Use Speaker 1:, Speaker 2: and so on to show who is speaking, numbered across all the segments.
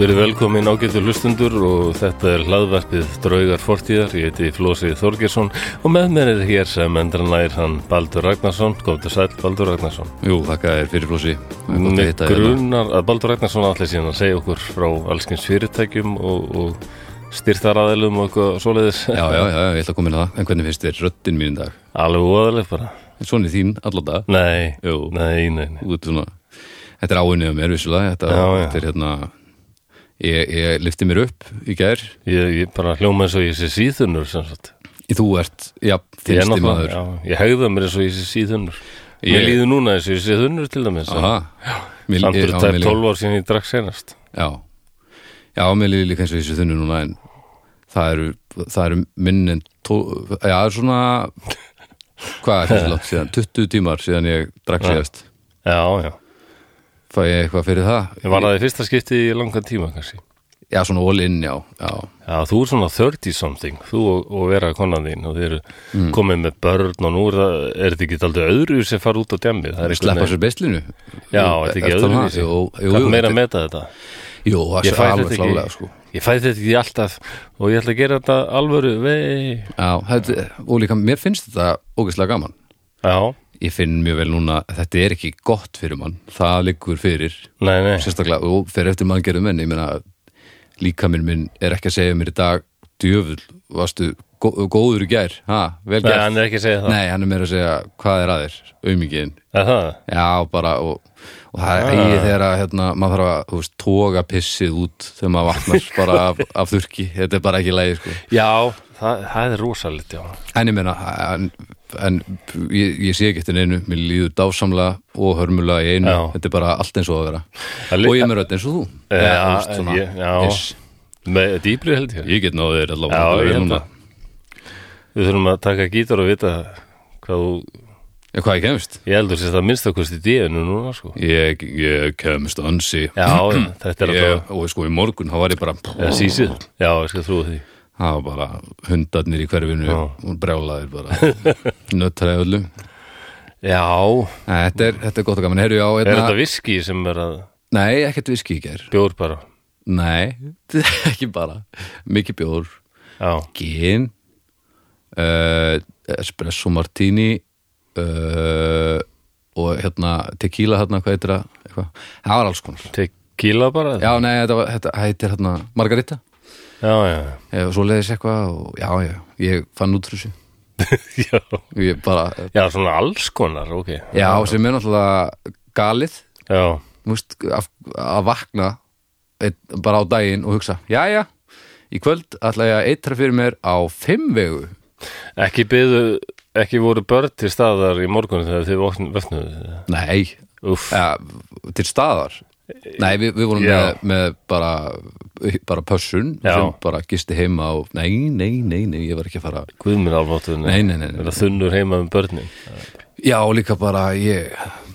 Speaker 1: Verið velkomin ágættu hlustundur og þetta er hlaðvarpið Draugar Fortíðar, ég heiti Flósi Þorgersson og með mér er hér sem endranær hann Baldur Ragnarsson, góður sæl Baldur Ragnarsson.
Speaker 2: Jú, þakka þér fyrir flósi
Speaker 1: Mér
Speaker 2: hérna.
Speaker 1: grunar að Baldur Ragnarsson allir síðan að segja okkur frá allskins fyrirtækjum og, og styrtaraðilum og eitthvað svoleiðis.
Speaker 2: Já, já, já, ég ætla að koma inn á það En hvernig finnst þér röddinn mín í dag?
Speaker 1: Alveg óðaleg bara.
Speaker 2: En svona er þín allan dag
Speaker 1: Nei,
Speaker 2: Jú.
Speaker 1: nei, nei, nei.
Speaker 2: Út svona Þetta er áunnið á mér, vissulega Þetta,
Speaker 1: Já, já.
Speaker 2: þetta er hérna Ég, ég lyfti mér upp í gær
Speaker 1: Ég, ég bara hljóma eins og ég sé síðunur sem sagt.
Speaker 2: Þú ert, já,
Speaker 1: Ég er
Speaker 2: þinnsti
Speaker 1: náttúrulega-
Speaker 2: maður
Speaker 1: Já, ég hegða mér eins og ég sé síðunur. Ég... Mér
Speaker 2: Ég-
Speaker 1: líður núna eins og ég sé þunnur til dæmis. en-
Speaker 2: Aha Mér-
Speaker 1: Samt
Speaker 2: ég-
Speaker 1: eru
Speaker 2: já,
Speaker 1: tæp
Speaker 2: mér líður-
Speaker 1: 12 ár síðan ég drakk senast
Speaker 2: Já, já, mér líður líka eins og þessu þunnu núna En það eru, það eru minn en tó, Já, það er svona Hvað er þessu langt síðan? 20 tímar síðan ég drakk síðast
Speaker 1: Já, já
Speaker 2: Fæ ég eitthvað fyrir það?
Speaker 1: Ég var að það í fyrsta skipti í langan tíma kannski
Speaker 2: Já, svona all in, já, já.
Speaker 1: Já, þú er svona 30 something Þú og, og vera konan þín Og þið eru komið með börn Og nú er það, er þetta ekki aldrei öðru sem fara út á djamið Það er einhvern
Speaker 2: Sleppa
Speaker 1: veginn-
Speaker 2: sér beislinu
Speaker 1: Já, þetta er ekki
Speaker 2: Ertu það?
Speaker 1: öðru
Speaker 2: Jú, jú,
Speaker 1: Hvað
Speaker 2: jú,
Speaker 1: meira að
Speaker 2: þetta-
Speaker 1: meta þetta?
Speaker 2: Jú, það
Speaker 1: Ég
Speaker 2: er
Speaker 1: fæ
Speaker 2: alveg
Speaker 1: þetta
Speaker 2: klálega
Speaker 1: ekki
Speaker 2: sko.
Speaker 1: Ég fæ þetta ekki alltaf Og ég ætla að gera þetta alvöru vei
Speaker 2: Já, þetta, og líka mér finnst þetta ógeðslega gaman
Speaker 1: Já,
Speaker 2: Ég finn mjög vel núna að þetta er ekki gott fyrir mann Það liggur fyrir
Speaker 1: nei, nei
Speaker 2: Sérstaklega, og fyrir eftir mann gerðum enn Ég meina, líka minn minn er ekki að segja mér í dag Djöfull, varstu gó- góður í gær ha, Vel
Speaker 1: Nei,
Speaker 2: gert
Speaker 1: hann er ekki að segja það
Speaker 2: Nei, hann er meira að segja hvað er að þér Aumingiðin
Speaker 1: Er það?
Speaker 2: Já, bara, og, og
Speaker 1: Ah.
Speaker 2: það er eigið þegar að hérna, maður þarf að, þú veist, toga pissið út þegar maður vaknar bara af, af þurki, þetta er bara ekki lægi, sko.
Speaker 1: Já, það, það er rosalit, já
Speaker 2: En ég meina, en, en ég, ég sé ekki eftir neinu, mér líður dásamlega og hörmulega í einu,
Speaker 1: Já.
Speaker 2: þetta er bara allt eins og að vera.
Speaker 1: Það li-
Speaker 2: og ég er með rödd eins og þú.
Speaker 1: Já,
Speaker 2: Eða, þú veist, svona,
Speaker 1: ég- já.
Speaker 2: ish.
Speaker 1: Með dýpri held ég
Speaker 2: Ég get náðu þér allavega.
Speaker 1: Já,
Speaker 2: alveg
Speaker 1: ég held
Speaker 2: núna.
Speaker 1: að Við þurfum að taka gítar og vita hvað þú,
Speaker 2: Já, hvað ég kemst?
Speaker 1: ég heldur sér það minnst okkur í díðinu núna, sko
Speaker 2: Ég, ég kemst ansi.
Speaker 1: Já, þetta er
Speaker 2: Ég,
Speaker 1: alltaf
Speaker 2: og sko, í morgun, þá var ég bara...
Speaker 1: Eða sísið, já, ég skal trúa því
Speaker 2: Það var bara hundarnir í hverfinu
Speaker 1: Já.
Speaker 2: og brjálaðir bara nöttræði öllu
Speaker 1: Já,
Speaker 2: Nei, þetta er, þetta er gott að gaman, heyrðu já
Speaker 1: er
Speaker 2: hérna,
Speaker 1: þetta viski sem er að
Speaker 2: Nei, ekkert viski í ger
Speaker 1: bjór bara
Speaker 2: Nei, ekki bara Mikið bjór,
Speaker 1: Já,
Speaker 2: gin uh, Espresso martini uh, Og hérna tequila hérna, hvað heitir það? Eitthvað? Það var alls konar
Speaker 1: tequila bara
Speaker 2: Já, nei, þetta, var, þetta heitir hérna Margarita
Speaker 1: já, já,
Speaker 2: Eh, Svo leiðis eitthvað og já, já, ég fann út úr þessu
Speaker 1: já.
Speaker 2: Ég bara,
Speaker 1: já svona alls konar, ok
Speaker 2: Já, sem er náttúrulega galið
Speaker 1: já,
Speaker 2: múst, að, að vakna eitt, bara á daginn og hugsa Jæja, í kvöld ætla ég að eitra fyrir mér á fimm vegu
Speaker 1: ekki byðu ekki voru börn til staðar í morgun þegar þið vökn- vöknuðu
Speaker 2: Nei,
Speaker 1: Uff,
Speaker 2: ja, til staðar Nei, við, við vorum með,
Speaker 1: Já.
Speaker 2: með bara, bara pössun
Speaker 1: Já.
Speaker 2: sem bara gisti heima og nei, nei, nei, nei, ég var ekki að fara
Speaker 1: guðmur alváttuðinu
Speaker 2: Nei, nei, nei, nei.
Speaker 1: Verða þunnur heima um börnin
Speaker 2: Já, og líka bara ég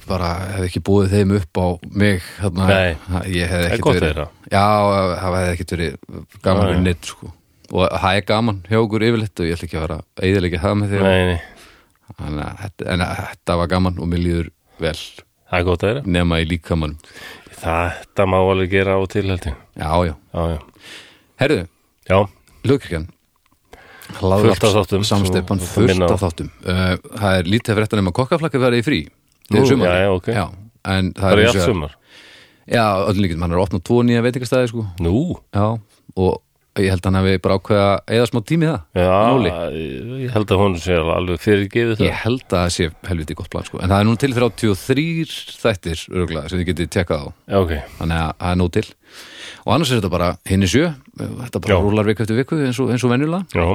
Speaker 2: bara hef ekki búið þeim upp á mig þarna,
Speaker 1: Nei.
Speaker 2: ég hef ekki
Speaker 1: gott að
Speaker 2: verið
Speaker 1: heyra.
Speaker 2: Já, það hef ekki verið gaman fyrir neitt sko og það er gaman hjá okkur yfirleitt og ég ætla ekki að vera eðilega það með þér
Speaker 1: Nei, nei,
Speaker 2: en, en að þetta var gaman og mér líður vel
Speaker 1: það er gott að þeirra
Speaker 2: nema í líkamann
Speaker 1: Þetta má alveg gera á til held ég
Speaker 2: Já, já,
Speaker 1: Já, já,
Speaker 2: herðu,
Speaker 1: já,
Speaker 2: hlugkirkjan
Speaker 1: Fullt af þáttum,
Speaker 2: Samsteppan,
Speaker 1: svo- þetta
Speaker 2: fullt
Speaker 1: minna á.
Speaker 2: af þáttum uh, Það er lítið fyrir þetta nema kokkaflakka verið í frí Þegar
Speaker 1: Nú,
Speaker 2: sumar
Speaker 1: já, já, ok.
Speaker 2: En það,
Speaker 1: það
Speaker 2: er
Speaker 1: er í
Speaker 2: hins
Speaker 1: allt
Speaker 2: vegar-
Speaker 1: sumar
Speaker 2: Já, öllum líkjum, hann er að opna tvo nýja veitingastæði sko
Speaker 1: Nú,
Speaker 2: Já, og ég held að hann hafi bara ákveða eða smá tími í það
Speaker 1: já,
Speaker 2: Lúli.
Speaker 1: ég held að hún sé alveg fyrirgefið það
Speaker 2: Ég held að það sé helviti gott plan sko. En það er nú til 33 þættir örgulega, sem þið getið tjekkað á
Speaker 1: Já, ok,
Speaker 2: Þannig að það er nú til Og annars er þetta bara hinni sjö Þetta bara
Speaker 1: Já.
Speaker 2: rúlar viku eftir viku eins og, eins og venjulega
Speaker 1: já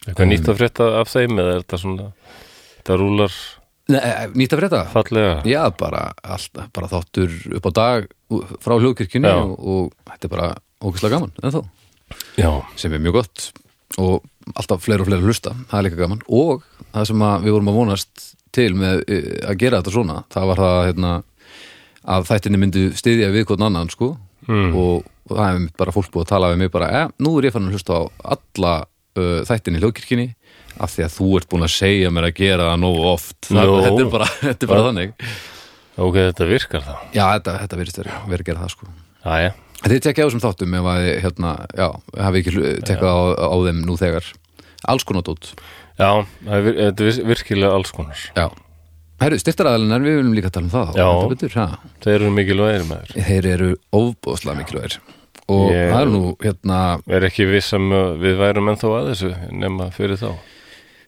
Speaker 1: Eitthvað nýtt að frétta af þeim eða er þetta svona Það rúlar
Speaker 2: Nei, eh, Nýtt að frétta
Speaker 1: fallega
Speaker 2: Já, bara, allt, bara þáttur upp á dag ú- frá hljóðkirkjunni
Speaker 1: Já.
Speaker 2: og, og þetta er bara ókvæslega gaman en þá
Speaker 1: Já,
Speaker 2: sem er mjög gott og alltaf fleiri og fleiri hlusta, það er líka gaman og það sem að við vorum að vonast til með e, að gera þetta svona það var það hérna, að þættinni myndu styðja við hvern annan sko og, og það er bara fólk búið að tala við mig bara, eh, nú er ég fann að hlusta á alla uh, þættinni í hljókirkjunni af því að þú ert búin að segja mér að gera það nógu oft það,
Speaker 1: Jó.
Speaker 2: þetta er bara, þetta er bara þannig
Speaker 1: ok, þetta virkar þá
Speaker 2: já, þetta, þetta verðist verið verið að gera það sko
Speaker 1: Jæja,
Speaker 2: Þið tekja á þessum þáttum ef að, hérna, já, hafi ekki tekja á, á þeim nú þegar. Alls konar dót.
Speaker 1: Já, það er vir- þetta er vir- virkilega alls konar.
Speaker 2: Já. Herru, styrtaraðalinar, við viljum líka tala um það. þá.
Speaker 1: Já.
Speaker 2: Heldur Betur, ha?
Speaker 1: Þeir eru mikilvægir maður.
Speaker 2: Þeir eru óbóðslega mikilvægir. Og
Speaker 1: Ég-
Speaker 2: það er nú, hérna,
Speaker 1: Er ekki viss um að við værum ennþá að þessu nema fyrir þá.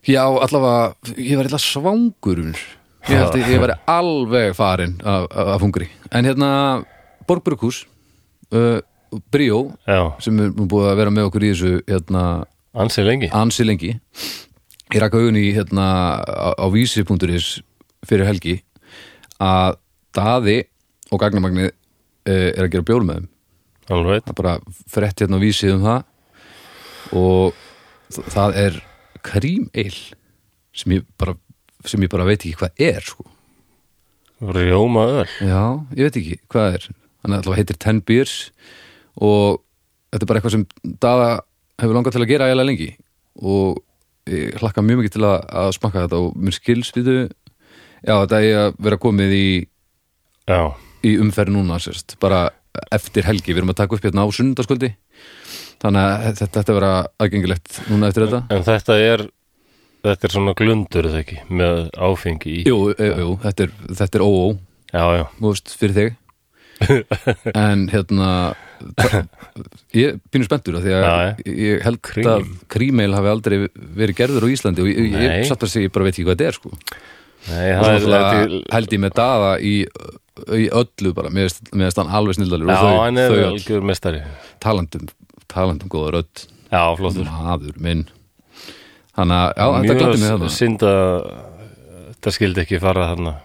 Speaker 2: já, allavega, ég var eitthvað svangurur. Ég held að ég var alveg farin af, af hungri. En hérna, Borgbrukus, uh, Bríó,
Speaker 1: Já,
Speaker 2: sem er nú búið að vera með okkur í þessu, hérna,
Speaker 1: ansi lengi.
Speaker 2: ansi lengi ég rakka augun í hérna á, á vísi.is fyrir helgi að Daði og Gagnamagni uh, er að gera bjór með þeim
Speaker 1: Alveg.
Speaker 2: það er bara frett hérna á vísi um það og þ- það er krímeil sem ég bara sem ég bara veit ekki hvað er sko
Speaker 1: Rjóma öll.
Speaker 2: Já, ég veit ekki hvað það er Þannig að það heitir Ten Beers og þetta er bara eitthvað sem Dada hefur langað til að gera eiginlega lengi og ég hlakka mjög mikið til að, að smakka þetta og mér skils við þau Já, þetta er að vera komið í,
Speaker 1: Já,
Speaker 2: í umferð núna sérst, bara eftir helgi, við erum að taka upp hérna á sundarskvöldi þannig að þetta, þetta vera aðgengilegt núna eftir þetta
Speaker 1: en þetta er, þetta er svona glundur þetta ekki með áfengi í.
Speaker 2: Jú, jú, jú þetta er, þetta er óó
Speaker 1: Já, já.
Speaker 2: þú veist, fyrir þig en hérna þa- ég er pínu spenntur af því að
Speaker 1: Já, já.
Speaker 2: ég held
Speaker 1: Krím.
Speaker 2: að krímeil hafi aldrei verið gerður á Íslandi og ég, ég,
Speaker 1: Nei.
Speaker 2: ég satt að segja, ég bara veit ekki hvað þetta er sko.
Speaker 1: Nei,
Speaker 2: og
Speaker 1: það er,
Speaker 2: svona
Speaker 1: þetta er-
Speaker 2: held ég með daða í, í öllu bara, mér finnst- mér finnst hann alveg snildalur
Speaker 1: já,
Speaker 2: og þau,
Speaker 1: hann er
Speaker 2: þau öll,
Speaker 1: algjör mestari.
Speaker 2: talandum talandum góða rödd,
Speaker 1: Já, flottur.
Speaker 2: maður minn þannig að, já, þetta
Speaker 1: Mjög
Speaker 2: glætti mig þarna
Speaker 1: synd að þetta skildi ekki fara þarna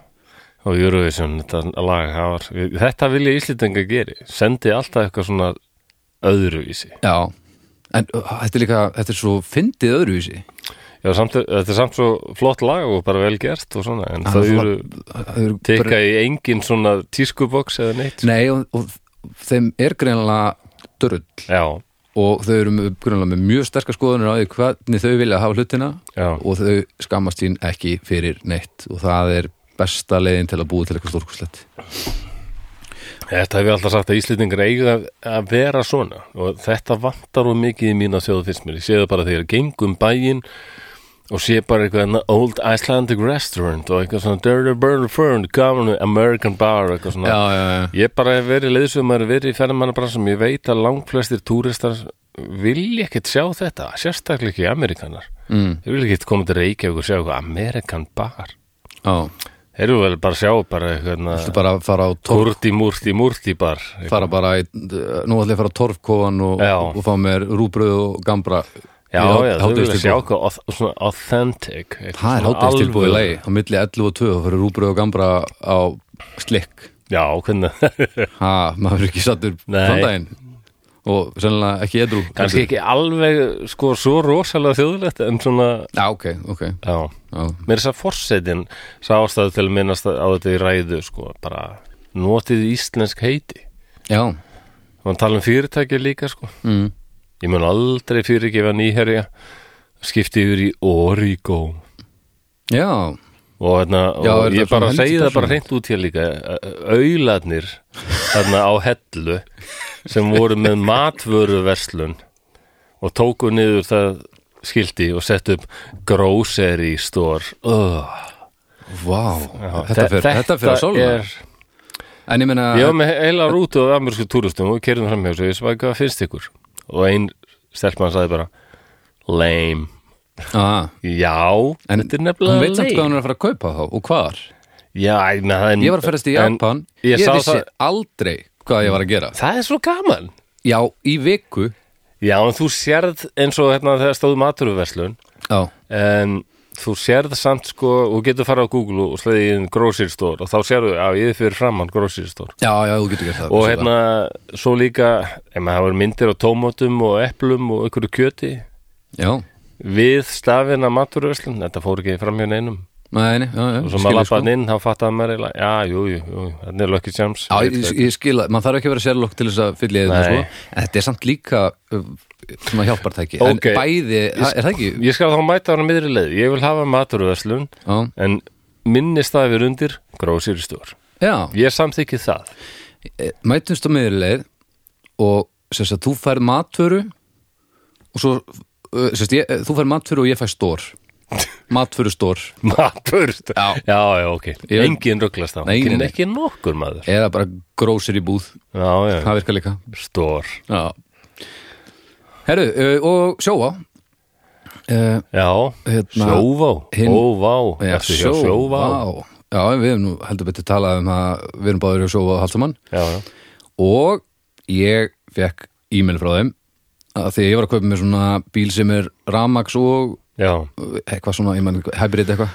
Speaker 1: á Eurovision þetta lag það var, þetta vilja Íslendinga geri sendi alltaf eitthvað svona öðruvísi
Speaker 2: já, en uh, þetta er líka þetta er svo fyndið öðruvísi
Speaker 1: Já, samt, er- þetta er samt svo flott lag og bara vel gert og svona en þau eru
Speaker 2: það eru bara-
Speaker 1: tekka í engin svona tískuboks eða neitt
Speaker 2: Nei, og, og þeim er greinlega drull
Speaker 1: Já,
Speaker 2: og þau eru með- greinlega með mjög sterkar skoðunir á því hvernig þau vilja hafa hlutina
Speaker 1: Já.
Speaker 2: og þau skammast sín ekki fyrir neitt og það er besta leiðin til að búa til eitthvað stórkurslegt
Speaker 1: þetta hef ég alltaf sagt að Íslendingar eiga að vera svona og þetta vantar og mikið í mína sjóðu fyrst mér ég sé það bara þegar ég geng um bæinn og sé bara eitthvað hérna, Old Icelandic Restaurant og eitthvað svona Dirty Burger Fern, Common American Bar eitthvað svona
Speaker 2: já, já
Speaker 1: Ég bara hef verið leiðsumar, verið í ferðmannabransum, ég veit að langflestir túristar vilja ekkert sjá þetta, sérstaklega ekki Amerikanar.
Speaker 2: mm,
Speaker 1: Þeir vilja ekkert koma til Reykjavík og sjá eitthvað Amerikan bar.
Speaker 2: Já,
Speaker 1: Þeir eru vel bara að sjá bara
Speaker 2: þetta
Speaker 1: eitthvað
Speaker 2: bara að fara á torf
Speaker 1: kurti múrti múrti bar.
Speaker 2: fara bara, í, nú ætla ég að fara á torfkóan og,
Speaker 1: Já.
Speaker 2: og fá mér rúbröð og gambra
Speaker 1: Já,
Speaker 2: í há-
Speaker 1: já, þau vilja
Speaker 2: hádegistilboð.
Speaker 1: sjá eitthvað auth- svona authentic. eitthvað
Speaker 2: Það er
Speaker 1: svona
Speaker 2: hátegistilbúið í
Speaker 1: alvöru.
Speaker 2: lagi á milli 11 og 2 og fyrir rúbröð og gambra á slikk
Speaker 1: Já, hvernig,
Speaker 2: Ha, maður er ekki sattur
Speaker 1: Nei.
Speaker 2: framdægin og sennilega ekki edru
Speaker 1: kannski ekki alveg sko svo rosalega þjóðlegt en svona,
Speaker 2: Já, ok, ok
Speaker 1: já.
Speaker 2: Já,
Speaker 1: Mér er þess að forsetin sá ástæðu til að minnast á þetta í ræðu sko, bara notið íslensk heiti
Speaker 2: já.
Speaker 1: og hann tala um fyrirtæki líka sko
Speaker 2: Mm.
Speaker 1: ég mun aldrei fyrirgefa nýherja skipti yfir í Origo
Speaker 2: já.
Speaker 1: og, hérna,
Speaker 2: Já, er
Speaker 1: og
Speaker 2: þetta
Speaker 1: ég bara
Speaker 2: svona
Speaker 1: segi
Speaker 2: helvíti
Speaker 1: það bara
Speaker 2: svona?
Speaker 1: hreint út hér líka auðlarnir þarna á hellu sem voru með matvöruverslun og tóku niður það skildi og sett upp grocery store oh,
Speaker 2: Vá, þetta fer, þetta fer að sólna
Speaker 1: er
Speaker 2: En ég meina,
Speaker 1: Ég var með heila rútu af amerísku túristum og kerðum fram hjá þessu, ég svæði hvað finnst ykkur og ein stelpmann sagði bara lame,
Speaker 2: aha,
Speaker 1: já
Speaker 2: en
Speaker 1: þetta er
Speaker 2: hún
Speaker 1: nefnilega
Speaker 2: veit samt hvað
Speaker 1: lame
Speaker 2: hún er að fara að kaupa þá og hvar
Speaker 1: Já, ég meina, það er-
Speaker 2: Ég var að ferðast í
Speaker 1: en
Speaker 2: Japan
Speaker 1: ég
Speaker 2: Ég,
Speaker 1: sá
Speaker 2: vissi
Speaker 1: það-
Speaker 2: aldrei hvað ég var að gera
Speaker 1: Það er svo gaman
Speaker 2: Já, í viku
Speaker 1: Já, en þú sérð eins og hérna þegar stóðu maturuverslun
Speaker 2: Já,
Speaker 1: en þú sérð samt sko og getur fara á Google og sleiði í einn grocery store og þá sérðu, já, ég er fyrir framann grocery store
Speaker 2: já, já, þú getur gert það
Speaker 1: og
Speaker 2: vissi
Speaker 1: hérna svo líka, ef maður hafa myndir á tómatum og eplum og ykkur kjöti
Speaker 2: það. Já,
Speaker 1: við stafina maturverslun þetta fór ekki fram hjá neinum
Speaker 2: nei, nei, já, já
Speaker 1: og svo
Speaker 2: skil ég,
Speaker 1: maður
Speaker 2: sko.
Speaker 1: lappaði inn, þá fattaði maður eiginlega, já, jú, jú, jú, þetta er Lucky Charms
Speaker 2: Já, ég, ég- ég skil að, maður þarf ekki að vera sérlokk til þess að fylla í þetta
Speaker 1: Nei.
Speaker 2: sko, en þetta er samt líka uh, svona hjálpartæki,
Speaker 1: Ókei.
Speaker 2: en bæði það- er það ekki?
Speaker 1: ég sko- skal þá mæta hann miðri leið ég vil hafa maturverslun
Speaker 2: Já,
Speaker 1: en minni stafir undir grósýristur
Speaker 2: já
Speaker 1: ég samþykki það
Speaker 2: e, mætumst á miðurleið og sem sagt, þú færð matvöru og svo uh, sem sagt, ég, þú færð matvöru og ég fæ stór matvöru stór
Speaker 1: Matur
Speaker 2: Já.
Speaker 1: já, já, ok
Speaker 2: Ég-
Speaker 1: Engin rugglast á
Speaker 2: Nei, nei,
Speaker 1: Engin
Speaker 2: nei.
Speaker 1: ekki nokkur maður
Speaker 2: eða bara grósir í búð
Speaker 1: Já, já,
Speaker 2: það virkar líka
Speaker 1: stór
Speaker 2: Já. Herru, uh, og sjóa uh,
Speaker 1: Já,
Speaker 2: Hérna,
Speaker 1: sjóvá
Speaker 2: hinn-
Speaker 1: Óvá,
Speaker 2: Já,
Speaker 1: ertu hjá sjóvá
Speaker 2: Já, en við hefum nú heldur betur talað um að við erum báður hjá sjóvá og halsamann
Speaker 1: Já, já,
Speaker 2: og ég fekk e-mail frá þeim að því að ég var að kaupa mér svona bíl sem er ramax og
Speaker 1: já
Speaker 2: uh, eitthvað svona, ég mann, hybrid eitthvað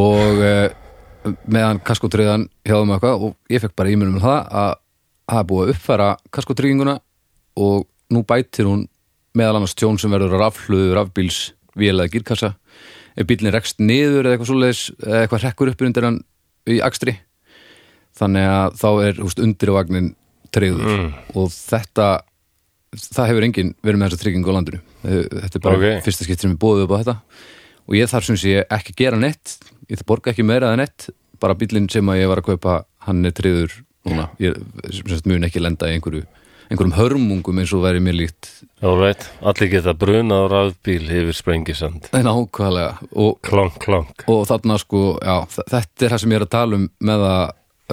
Speaker 2: og uh, meðan kaskotriðan hjáðum eitthvað og ég fekk bara e-mail um það að það er búið að uppfæra kaskotrygginguna og nú bætir hún meðal annars tjón sem verður að rafhluðu rafbíls vélaða gírkassa ef bílinn rekst niður eða eitthvað svoleiðis eða eitthvað rekkur upp undir hann í akstri þannig að þá er húst, undirvagnin treyður og þetta það hefur enginn verið með þessa tryggingu á landinu Eh, þetta er bara
Speaker 1: Ok.
Speaker 2: fyrsta skiptir sem ég bóðið upp á þetta og ég þarf sem sé ekki að gera neitt ég þarf að borga ekki meira en neitt bara bílinn sem að ég var að kaupa hann er treyður núna ég sem sagt, mun ekki lenda í einhverju einhverjum hörmungum eins og væri mér líkt
Speaker 1: All right, allir geta brunað á rafbíl yfir sprengisand
Speaker 2: nákvæmlega og,
Speaker 1: Klonk, klonk
Speaker 2: og þarna sko, já, þ- þetta er það sem ég er að tala um með að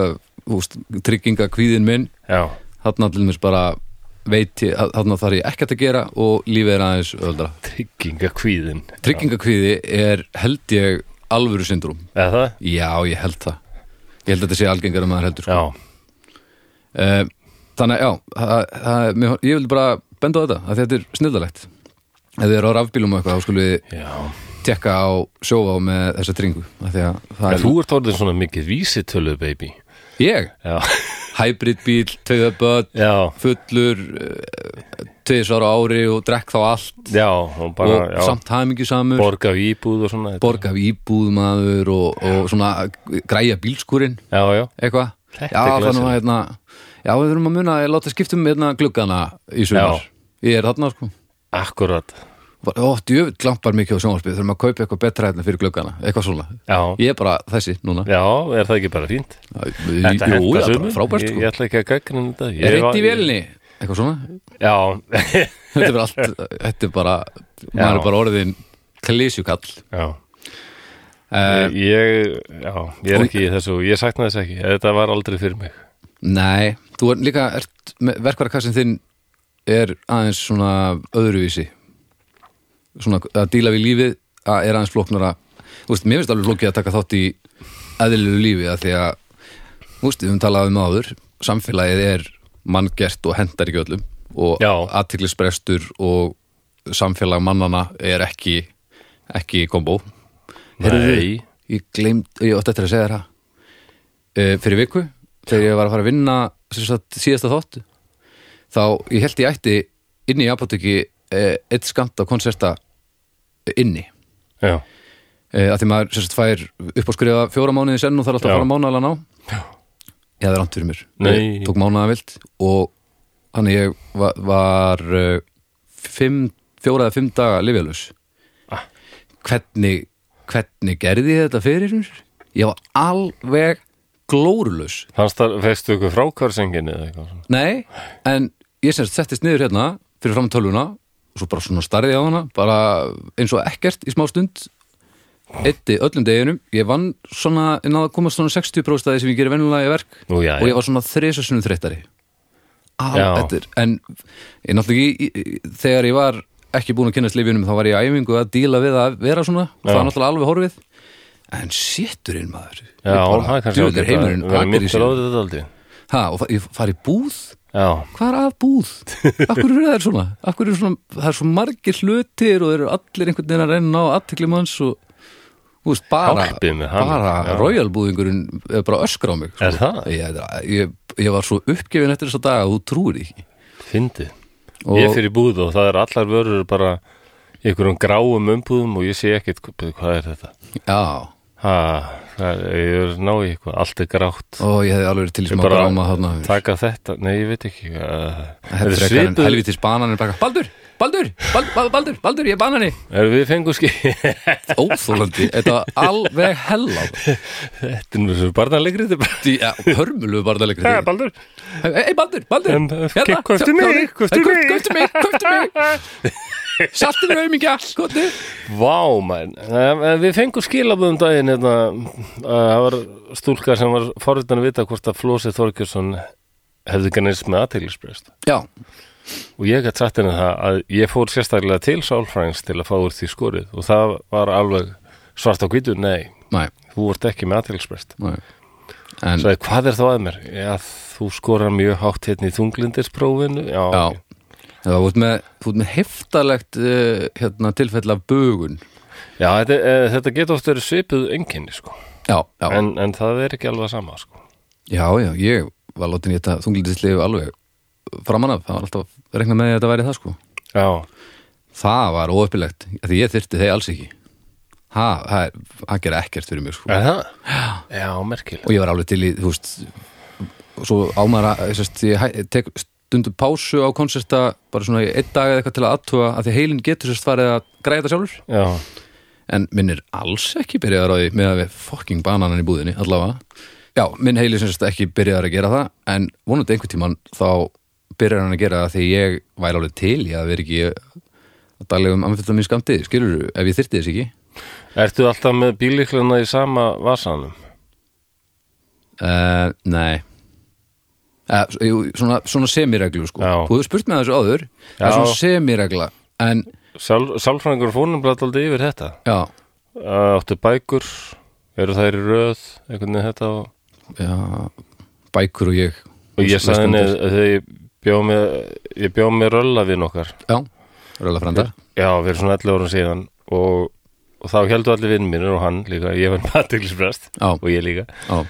Speaker 2: uh, húst, trygginga kvíðin minn
Speaker 1: Já,
Speaker 2: þarna til mér bara veit ég, að- þarna þarf ég ekkert að gera og lífið er aðeins öldra
Speaker 1: trygginga kvíðin
Speaker 2: tryggingakvíði er held ég alvöru syndrúm,
Speaker 1: Eða það?
Speaker 2: já ég held það ég held að þetta sé algengar um maður heldur sko.
Speaker 1: Já,
Speaker 2: Eh, þannig að já það, það, mér, ég vil bara benda á þetta að þetta er snildalegt ef þið eru á rafbílum og eitthvað þá skulum við
Speaker 1: já
Speaker 2: tekka á sjófa með þessa tryggingu af því að það
Speaker 1: En
Speaker 2: er
Speaker 1: þú ert orðin svona mikið vísitölu, baby
Speaker 2: ég,
Speaker 1: Já,
Speaker 2: hybridbíl, töðaböld
Speaker 1: já,
Speaker 2: fullur tveis ára ári og drekk þá allt
Speaker 1: já og bara,
Speaker 2: og
Speaker 1: já,
Speaker 2: samt hamingi samur
Speaker 1: borga af íbúð og svona
Speaker 2: borga af íbúð maður og, og svona græja bílskurinn
Speaker 1: Já, já,
Speaker 2: eitthvað
Speaker 1: Þetta er
Speaker 2: já, þannig
Speaker 1: glæsilegt.
Speaker 2: að hérna, já, við þurfum að muna að láta skiptum hérna gluggana í sumar
Speaker 1: Já.
Speaker 2: ég er þarna sko
Speaker 1: akkurat
Speaker 2: Bara, ó, djöfull glampar mikið á sjónvarpið þurfum að kaupa eitthvað betra hérna fyrir gluggana eitthvað svona,
Speaker 1: Já,
Speaker 2: ég er bara þessi núna
Speaker 1: já, er það ekki bara fínt?
Speaker 2: Jú,
Speaker 1: Þetta
Speaker 2: já,
Speaker 1: hentar
Speaker 2: bara
Speaker 1: sumum.
Speaker 2: frábært
Speaker 1: ég,
Speaker 2: sko
Speaker 1: ég ætla ekki að gagna þetta Ég
Speaker 2: er
Speaker 1: var-
Speaker 2: reynd í velinni, eitthvað svona
Speaker 1: Já,
Speaker 2: þetta er bara allt, þetta er bara maður er bara orðin klísjukall
Speaker 1: já
Speaker 2: uh,
Speaker 1: Ég, ég- já, ég er ekki í þessu Ég sakna þess ekki, þetta var aldrei fyrir mig
Speaker 2: nei, þú er líka ert, með- verkvarakassin þinn er aðeins svona öðruvísi svona að díla við lífið að er aðeins flóknara þú veist, mér finnst alveg flókið að taka þátt í eðlilegu lífi að því að þú veist, við höfum talað um áður samfélagið er manngert og hendar ekki öllum og
Speaker 1: Já.
Speaker 2: aðtiklisbrestur og samfélag mannana er ekki ekki kombo
Speaker 1: Nei,
Speaker 2: ég gleymd, ég átti eftir að segja þér það e, fyrir viku þegar ég var að fara að vinna sem sagt, síðasta þótt þá ég held ég ætti inni í apotekki e, eitt skamt á konserta eh, inni
Speaker 1: já,
Speaker 2: e, að því maður sem sagt, fær upp á skrifa fjóra mánuði senn og þarf alltaf
Speaker 1: Já.
Speaker 2: að fara mánuðalega ná ég hafði rámt fyrir mér
Speaker 1: Nei.
Speaker 2: ég tók mánuðavilt og hann ég var, var eh, fimm, fjóra eða fimm daga lifjalus
Speaker 1: Ah.
Speaker 2: hvernig hvernig gerði ég þetta fyrir mér? ég var alveg glórulus
Speaker 1: fannst það, feistu ykkur frákvörsenginni eða eitthvað svona?
Speaker 2: nei, en ég sem sagt settist niður hérna fyrir fram tölvuna og svo bara svona starði á hana bara eins og ekkert í smá stund eitti öllum deginum ég vann svona, ég náða að koma svona 60 próstaði sem ég gerir venjulega í verk
Speaker 1: Nú, já,
Speaker 2: og
Speaker 1: já.
Speaker 2: ég var svona þrisasunum þreyttari Al,
Speaker 1: Já.
Speaker 2: þetta er- en ég náttúrulega ekki í- í- þegar ég var ekki búin að kynast lifinum þá var ég í æfingu að díla við að vera svona
Speaker 1: Já.
Speaker 2: það var náttúrulega alveg horfið en sitturinn maður
Speaker 1: Já, það er kannski
Speaker 2: djúður heimurinn
Speaker 1: Það er
Speaker 2: akkur í
Speaker 1: mjög
Speaker 2: sér
Speaker 1: gráðið þetta aldrei
Speaker 2: ha, og fa- ég fari í búð
Speaker 1: Já,
Speaker 2: hvað er að búð? Akkur eru það svona? Akkur eru svona, það er svo margir hlutir og þeir eru allir einhvern veginn að reyna á aðtekli manns og þú veist, bara,
Speaker 1: Hjálpið mér, hann- já.
Speaker 2: bara royalbúðingurinn er bara að öskra á mig sko.
Speaker 1: Er það?
Speaker 2: Ég, ég, ég var svo uppgefin eftir þessa daga að þú trúir því ekki
Speaker 1: fyndið
Speaker 2: Og-
Speaker 1: Ég fyrir búð og það er allar vörur bara í einhverjum gráum umbúðum og ég sé ekkit hvað er þetta
Speaker 2: Já,
Speaker 1: ha, það, ég er ná í eitthvað allt er grátt
Speaker 2: Ó, ég hefði alveg verið til í
Speaker 1: Ég
Speaker 2: smá
Speaker 1: bara-
Speaker 2: gráma þarna
Speaker 1: taka þetta, nei ég veit ekki uh,
Speaker 2: Þetta er frekar en helvitis bananir baka Baldur, Baldur, Bal- Bal- Baldur, Baldur, ég er banani
Speaker 1: er við fengum skil
Speaker 2: Óþólandi, þetta var alveg hella
Speaker 1: þetta er nú svo barnalegri þetta er bara-
Speaker 2: Því, ja, hörmulu var það
Speaker 1: Ha,
Speaker 2: leikri
Speaker 1: Baldur,
Speaker 2: Ei, Baldur, Baldur Hérna,
Speaker 1: En, eh, kauptu mig, kauptu mig.
Speaker 2: Köftu mig, köftu mig Saltið er aumingja, skotu
Speaker 1: vá mæn við fengum skilaböðum daginn hérna, eh, það var stúlka sem var forvitan að vita hvort að Flósi Þorkjörsson hefði genist með aðtýlisbreyst
Speaker 2: Já,
Speaker 1: og ég gætt sagt henni það að ég fór sérstaklega til Sálfræns til að fá úr því skorið og það var alveg svart á hvítu, nei,
Speaker 2: næ,
Speaker 1: þú vart ekki með aðtýlisbreyst
Speaker 2: næ En,
Speaker 1: Sæði, hvað er þá að mér? Já, þú skorar mjög hátt hérna í þunglindisprófinu Já,
Speaker 2: já
Speaker 1: ok.
Speaker 2: Það var út með, þú ert með heftalegt uh, hérna, tilfell af bugun
Speaker 1: já þetta, e, þetta getur oft verið svipuð enginni sko.
Speaker 2: Já, já,
Speaker 1: en, en það er ekki alveg sama sko.
Speaker 2: já, já, ég var látin í þetta þunglindisleif alveg framan af, það var alltaf reikna með því að þetta væri það sko
Speaker 1: Já,
Speaker 2: Það var óöppilegt, því ég þyrfti þeir alls ekki Ha, það er- það gera ekkert fyrir mig sko
Speaker 1: er það? Já, merkileg
Speaker 2: og ég var alveg til í, þú veist og svo ámar að, sérst, ég hæ- tek stundum pásu á konserta bara svona í einn dag eða eitthvað til að aðtuga að því heilin getur sérst farið að græða þetta sjálfur
Speaker 1: Já,
Speaker 2: en minn er alls ekki byrjaðar á því með að við fucking bananan í búðinni allavega, já, minn heili sérst ekki byrjaðar að gera það, en vonandi einhvern tímann þá byrjar hann að gera það því ég væri alveg til í að vera ekki að um daglegum amfittamín skamti skilur, ef ég þyrti þess ekki
Speaker 1: ertu alltaf með bílikluna í sama vasanum?
Speaker 2: Uh, nei uh, svona, svona semireglu sko
Speaker 1: Já.
Speaker 2: Þú hefur spurt með þessu áður Það er
Speaker 1: Já.
Speaker 2: svona semiregla En,
Speaker 1: Sál, Sálfræðingur fórum blættaldi yfir þetta
Speaker 2: já,
Speaker 1: Að Áttu bækur, eru þær í röð einhvern veginn þetta og,
Speaker 2: já Bækur og ég
Speaker 1: og ég sagði henni
Speaker 2: Verslandir.
Speaker 1: að þegar ég bjó með ég bjó með rölla við nokkar
Speaker 2: Já, röla frendar
Speaker 1: Já, við erum svona 11 árum síðan og, og þá heldur allir vinn mínir og hann líka, ég var með aðteglisbrest
Speaker 2: Já,
Speaker 1: og ég líka
Speaker 2: já,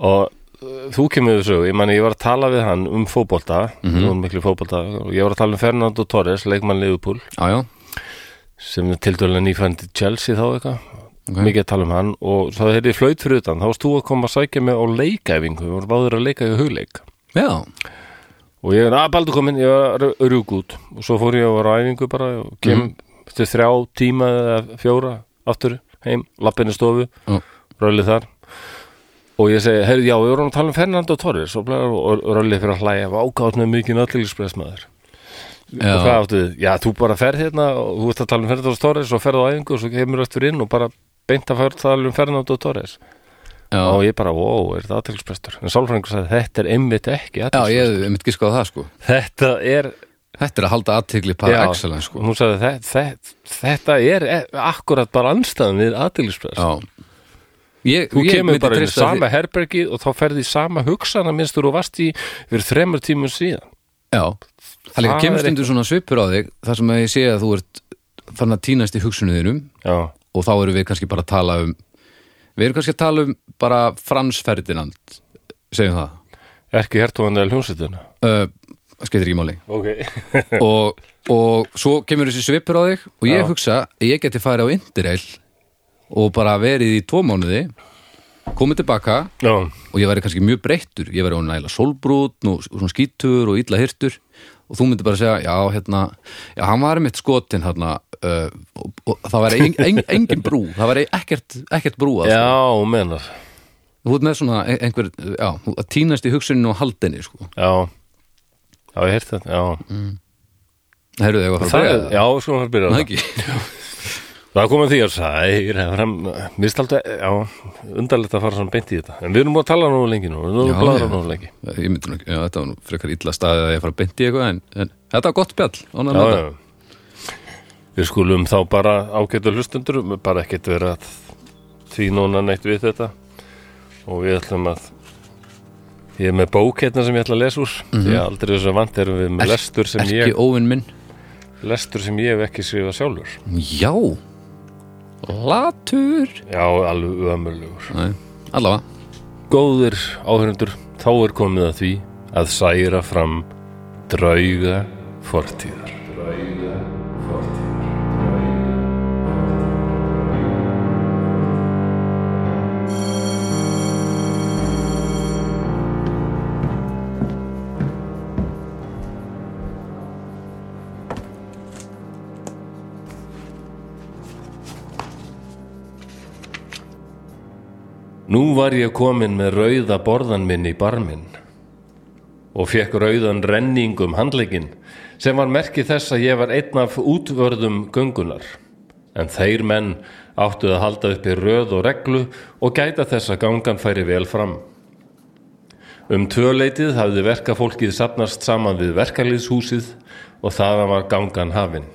Speaker 1: og uh, þú kemur við sögu, ég mani ég var að tala við hann um fótbolta,
Speaker 2: Mhm.
Speaker 1: mm -hmm. miklu fótbolta og ég var að tala um Fernando Torres, leikmann Liverpool
Speaker 2: já, já
Speaker 1: sem er tildurlega nýfændi Chelsea þá eitthvað
Speaker 2: Ok.
Speaker 1: mikið að tala um hann og þá heyrði ég flaut fyrir utan, þá varst þú að koma að sækja mig á leikæfingu, við vorum báður að leika í hugleik
Speaker 2: Já,
Speaker 1: og ég er að baldu komin, ég var rjúk út og svo fór ég og var á æfingu bara og kem
Speaker 2: Mhm.
Speaker 1: eftir þrjá tíma eða fjóra aftur heim, lappinni stofu
Speaker 2: Já.
Speaker 1: rölið þar og ég segi, heyrðu, já, við vorum að tala um Fernando Torres og, blæ- og og rölið fyrir að hlæja ágátt með mikið náttúrulegspressmaður
Speaker 2: Já.
Speaker 1: og hvað áttu þið? Já, þú bara ferð hérna og þú ert að tala um Fernando Torres og ferð á æfingu og svo kemur eftir inn og bara beint að fara að tala um Fernando Torres
Speaker 2: já,
Speaker 1: og ég bara, wow, er þetta aðtilsprestur en sálfrængur sagði, þetta er einmitt ekki
Speaker 2: já
Speaker 1: athyglisbrestur."
Speaker 2: ég hef einmitt giskað á það sko
Speaker 1: þetta er
Speaker 2: Þetta er að halda aðtegli par
Speaker 1: Já,
Speaker 2: excellence sko
Speaker 1: og hún sagði þetta, þetta, þetta er e- akkurat bara anstæðan við aðdýlispress
Speaker 2: Já ég,
Speaker 1: þú
Speaker 2: ég
Speaker 1: kemur
Speaker 2: myndi
Speaker 1: bara í
Speaker 2: treysta
Speaker 1: sama herbergi og þá ferði í sama hugsana minnst þú varst í fyrir þremur tímum síðan
Speaker 2: Já, það líka
Speaker 1: Það
Speaker 2: kemur
Speaker 1: er
Speaker 2: stundum svona svipur á þig þar sem að ég sé að þú ert þannig að týnast í hugsunum þínum
Speaker 1: já,
Speaker 2: og þá erum við kannski bara að tala um við erum kannski að tala um bara Frans Ferdinand segjum það
Speaker 1: ekki hertóðan eða hljómsveitina
Speaker 2: uh, skeitir ekki máli
Speaker 1: ok,
Speaker 2: og, og svo kemur þessi svipur á þig og ég
Speaker 1: Hm. Já.
Speaker 2: hugsa að ég geti farið á Indireil og bara verið í tvo mánuði komið tilbaka
Speaker 1: já,
Speaker 2: og ég væri kannski mjög breyttur ég væri hún nægilega sólbrútn og svona skítur og illa hirtur og þú myndi bara segja, já, hérna já, hann var mitt skotin hérna uh, og, og það væri ein, ein, engin brú það væri ekkert, ekkert brú að
Speaker 1: já, hún menar
Speaker 2: þú ert með svona ein- einhver, já, þú- að týnast í hugsuninu og haldinni, sko
Speaker 1: já, já, ég heyrti þetta já,
Speaker 2: heyrðu þau eitthvað
Speaker 1: það
Speaker 2: frá
Speaker 1: er, já, sko, hann byrjar
Speaker 2: það
Speaker 1: það
Speaker 2: ekki
Speaker 1: Það kom að því að sær, hann mist alltaf, já, undarlegt að fara svona beint í þetta. En við erum búin að tala nú lengi nú,
Speaker 2: Já,
Speaker 1: við erum búin að
Speaker 2: já.
Speaker 1: blara nú lengi.
Speaker 2: ég myndi nú ekki, já, þetta var nú frekar illa staðið að ég fara að beinti eitthvað en, en þetta var gott spjall, ánægð
Speaker 1: já,
Speaker 2: með
Speaker 1: já. Við skulum þá bara ágætu hlustundur, bara ekkert vera að því núna neitt við þetta og við ætlum að ég er með bók hérna sem ég ætla að lesa úr því að aldrei þessu vant erum við með
Speaker 2: Er-
Speaker 1: lestur sem,
Speaker 2: þetta
Speaker 1: ég,
Speaker 2: ekki óvinn minn
Speaker 1: lestur sem ég hef ekki skrifað sjálfur
Speaker 2: já, latur
Speaker 1: Já, alveg ömurlegur
Speaker 2: Nei, allavega
Speaker 1: Góðir áhörundur, þá er komið að því að særa fram drauga fortíðar Nú var ég komin með rauða borðan minn í barminn og fekk rauðan renning um handlegin sem var merki þess að ég var einn af útvörðum göngunar. En þeir menn áttu að halda uppi röð og reglu og gæta þess að gangan færi vel fram. Um tvöleitið hafði verkafólkið sapnast saman við verkalýðshúsið og þaðan var gangan hafin.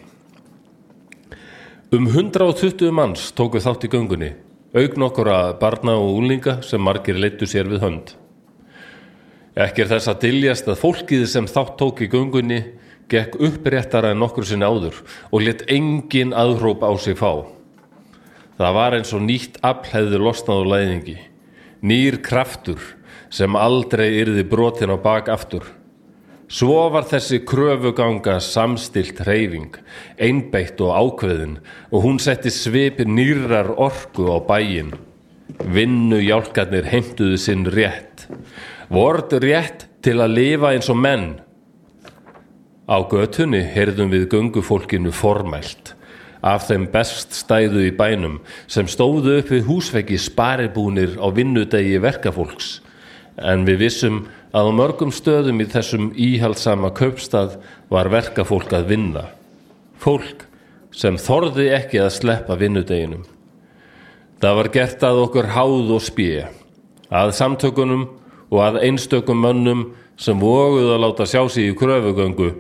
Speaker 1: Um 120 manns tóku þátt í göngunni, auk nokkura barna og úlinga sem margir leittu sér við hönd. Ekki er þess að diljast að fólkið sem þátt tók í göngunni gekk uppréttara en nokkur sinni áður og let engin aðróp á sig fá. Það var eins og nýtt afhæði losnað úr læðingi, nýr kraftur sem aldrei yrði brotin á bak aftur. Svo var þessi kröfuganga samstilt reyfing, einbeitt og ákveðin og hún setti svip nýrar orku á bæin. Vinnu hjálkarnir heimtuðu sinn rétt. Vort rétt til að lifa eins og menn. Á götunni heyrðum við göngufólkinu formælt af þeim best stæðu í bænum sem stóðu upp við húsveggi sparibúnir á vinnudegi verkafólks en við vissum að á mörgum stöðum í þessum íhaldsama kaupstað var verkafólk að vinna. Fólk sem þorði ekki að sleppa vinnudeginum. Það var gert að okkur háð og spíi, að samtökunum og að einstökum mönnum sem voguðu að láta sjá sig í kröfugöngu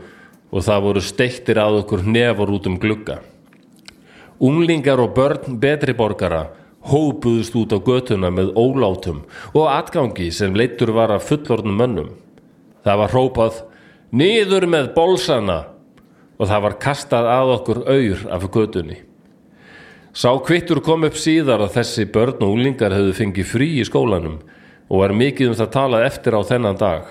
Speaker 1: og það voru steiktir að okkur nefur út um glugga. Unglingar og börn betri borgara hópuðust út á götuna með ólátum og atgangi sem leittur var af fullornum mönnum. Það var hrópað niður með bolsana og það var kastað að okkur auður af götunni. Sá kvittur kom upp síðar að þessi börn og unglingar hefðu fengið frí í skólanum og var mikið um það talað eftir á þennan dag.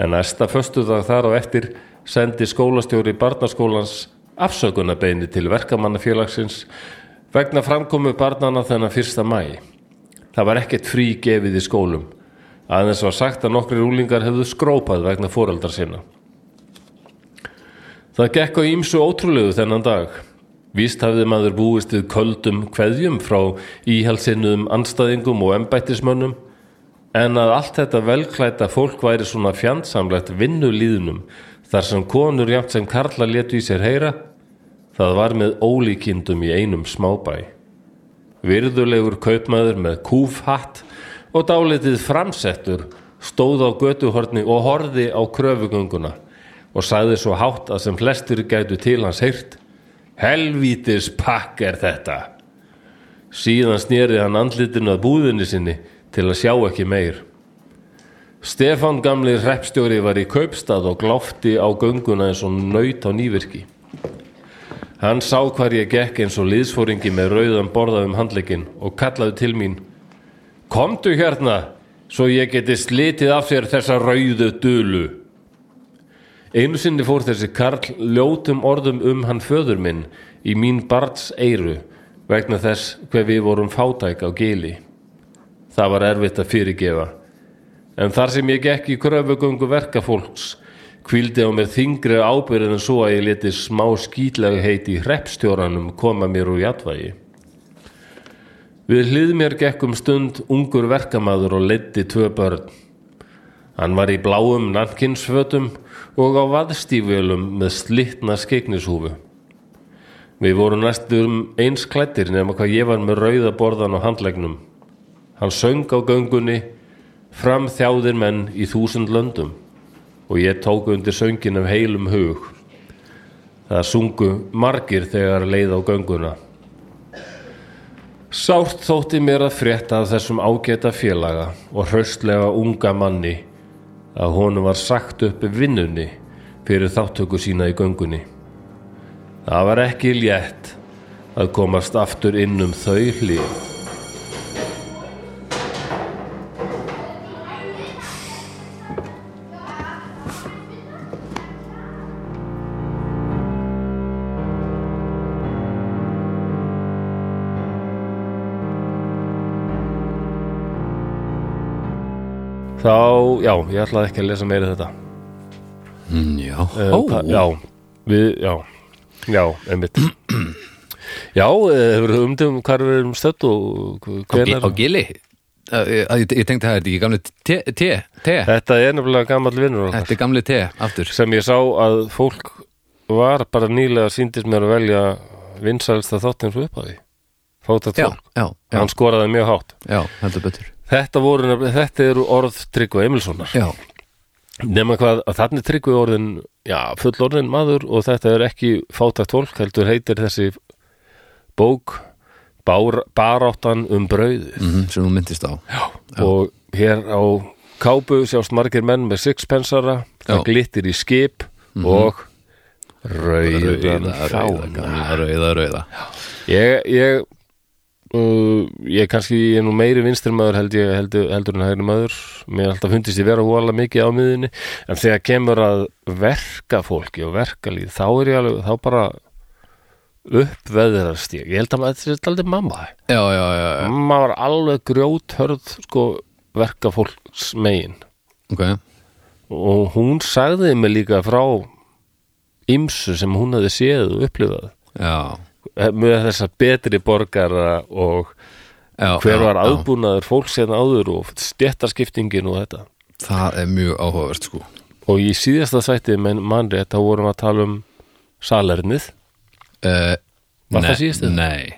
Speaker 1: En næsta föstudag þar á eftir sendi skólastjóri barnaskólans afsökunarbeini til verkamannafélagsins vegna framkomu barnana þennan fyrsta mæ. Það var ekkert frí gefið í skólum. Aðeins var sagt að nokkri rúlingar hefðu skrópað vegna foreldrar sinna. Það gekk á ímsu ótrúlegu þennan dag. Víst hafði maður búist við köldum kveðjum frá íhalsinnuðum anstæðingum og embættismönnum en að allt þetta velklæta fólk væri svona fjandsamlegt vinnulíðnum þar sem konur jafnt sem karla letu í sér heyra Það var með ólíkindum í einum smábæ. Virðulegur kaupmaður með kúfhatt og dálitið framsettur stóð á götuhorni og horði á kröfugönguna og sagði svo hátt að sem flestir gætu til hans heyrt Helvítis pakk er þetta! Síðan snýrið hann andlitinu að búðinni sinni til að sjá ekki meir. Stefan gamli reppstjóri var í kaupstað og gláfti á gönguna eins og nöyt á nývirki. Hann sá hvar ég gekk eins og liðsfóringi með rauðan borðað um handleikin og kallaði til mín Komdu hérna, svo ég geti slitið af þér þessa rauðu dulu. Einu sinni fór þessi karl ljótum orðum um hann föður minn í mín barns eiru vegna þess hver við vorum fátæk á gili. Það var erfitt að fyrirgefa. En þar sem ég gekk í kröfugöngu verkafólks Kvildi á mér þingri ábyrðin svo að ég leti smá skýtlegu heiti í hreppstjóranum koma mér úr jatvægi. Við hlið mér gekkum stund ungur verkamaður og leti tvö börn. Hann var í bláum nankinsfötum og á vaðstífjölum með slittna skeiknishúfu. Við vorum næstum eins klættir nema hvað ég var með rauðaborðan á handlegnum. Hann söng á göngunni, fram þjáðir menn í þúsund löndum og ég tóku undir söngin af heilum hug. Það sungu margir þegar leið á gönguna. Sárt þótti mér að frétta af þessum ágæta félaga og hraustlega unga manni að honum var sagt upp vinnunni fyrir þáttöku sína í göngunni. Það var ekki létt að komast aftur inn um þau hlið. Þá, já, ég ætlaði ekki að lesa meira um þetta
Speaker 2: Mm, já,
Speaker 1: Eh,
Speaker 2: ó,
Speaker 1: það- Já, við, já Já, einmitt Já, eh, hefur umdum um hvar við erum stödd og
Speaker 2: á, gi-
Speaker 1: hvernig
Speaker 2: á gili að að ég, ég tengdi það, er þetta ekki gamli te, te, te,
Speaker 1: Þetta er nefnilega gamall vinnur okkar
Speaker 2: þetta er gamli te, aftur
Speaker 1: sem ég sá að fólk var bara nýlega síndist mér að velja vinsælsta þáttinn svo upphafi Fóta
Speaker 2: já,
Speaker 1: tón,
Speaker 2: já, já,
Speaker 1: hann skoraði mjög hátt
Speaker 2: já, heldur betur
Speaker 1: Þetta, voru, nefnilega- þetta eru orð Tryggva Emilssonar
Speaker 2: já,
Speaker 1: Nefna hvað að þannig Tryggvi orðin já, fullorðin maður og þetta er ekki fátækt fólk, heldur heitir þessi bók bár, baráttan um brauðið
Speaker 2: mm sem þú myndist á
Speaker 1: og hér á kápu sjást margir menn með sixpensara það
Speaker 2: Já.
Speaker 1: glittir í skip og Mhm. rauðan fána
Speaker 2: gamla, rauða, rauða
Speaker 1: ég ég, uh, ég kannski ég er nú meiri vinstri maður held ég heldur, heldur en hægri maður mér er alltaf fundist ég vera hóla mikið á miðinni en þegar kemur að verka fólki og verkalíð þá er ég alveg þá bara uppveðrast ég, ég held að maður þetta er aldrei mamma
Speaker 2: já, já, já, já,
Speaker 1: mamma var alveg grjóthörð sko verka fólks megin
Speaker 2: ok
Speaker 1: og hún sagði mig líka frá ymsu sem hún hafði séð og upplifað
Speaker 2: já,
Speaker 1: með þessa betri borgara og
Speaker 2: já
Speaker 1: hver
Speaker 2: já,
Speaker 1: var
Speaker 2: já.
Speaker 1: aðbúnaður fólks hérna áður og stjættaskiptingin og þetta
Speaker 2: það er mjög áhugavert sko
Speaker 1: og í síðasta sætti með mannrétt þá vorum við að tala um salernið
Speaker 2: uh,
Speaker 1: Var það síðast eða?
Speaker 2: Nei,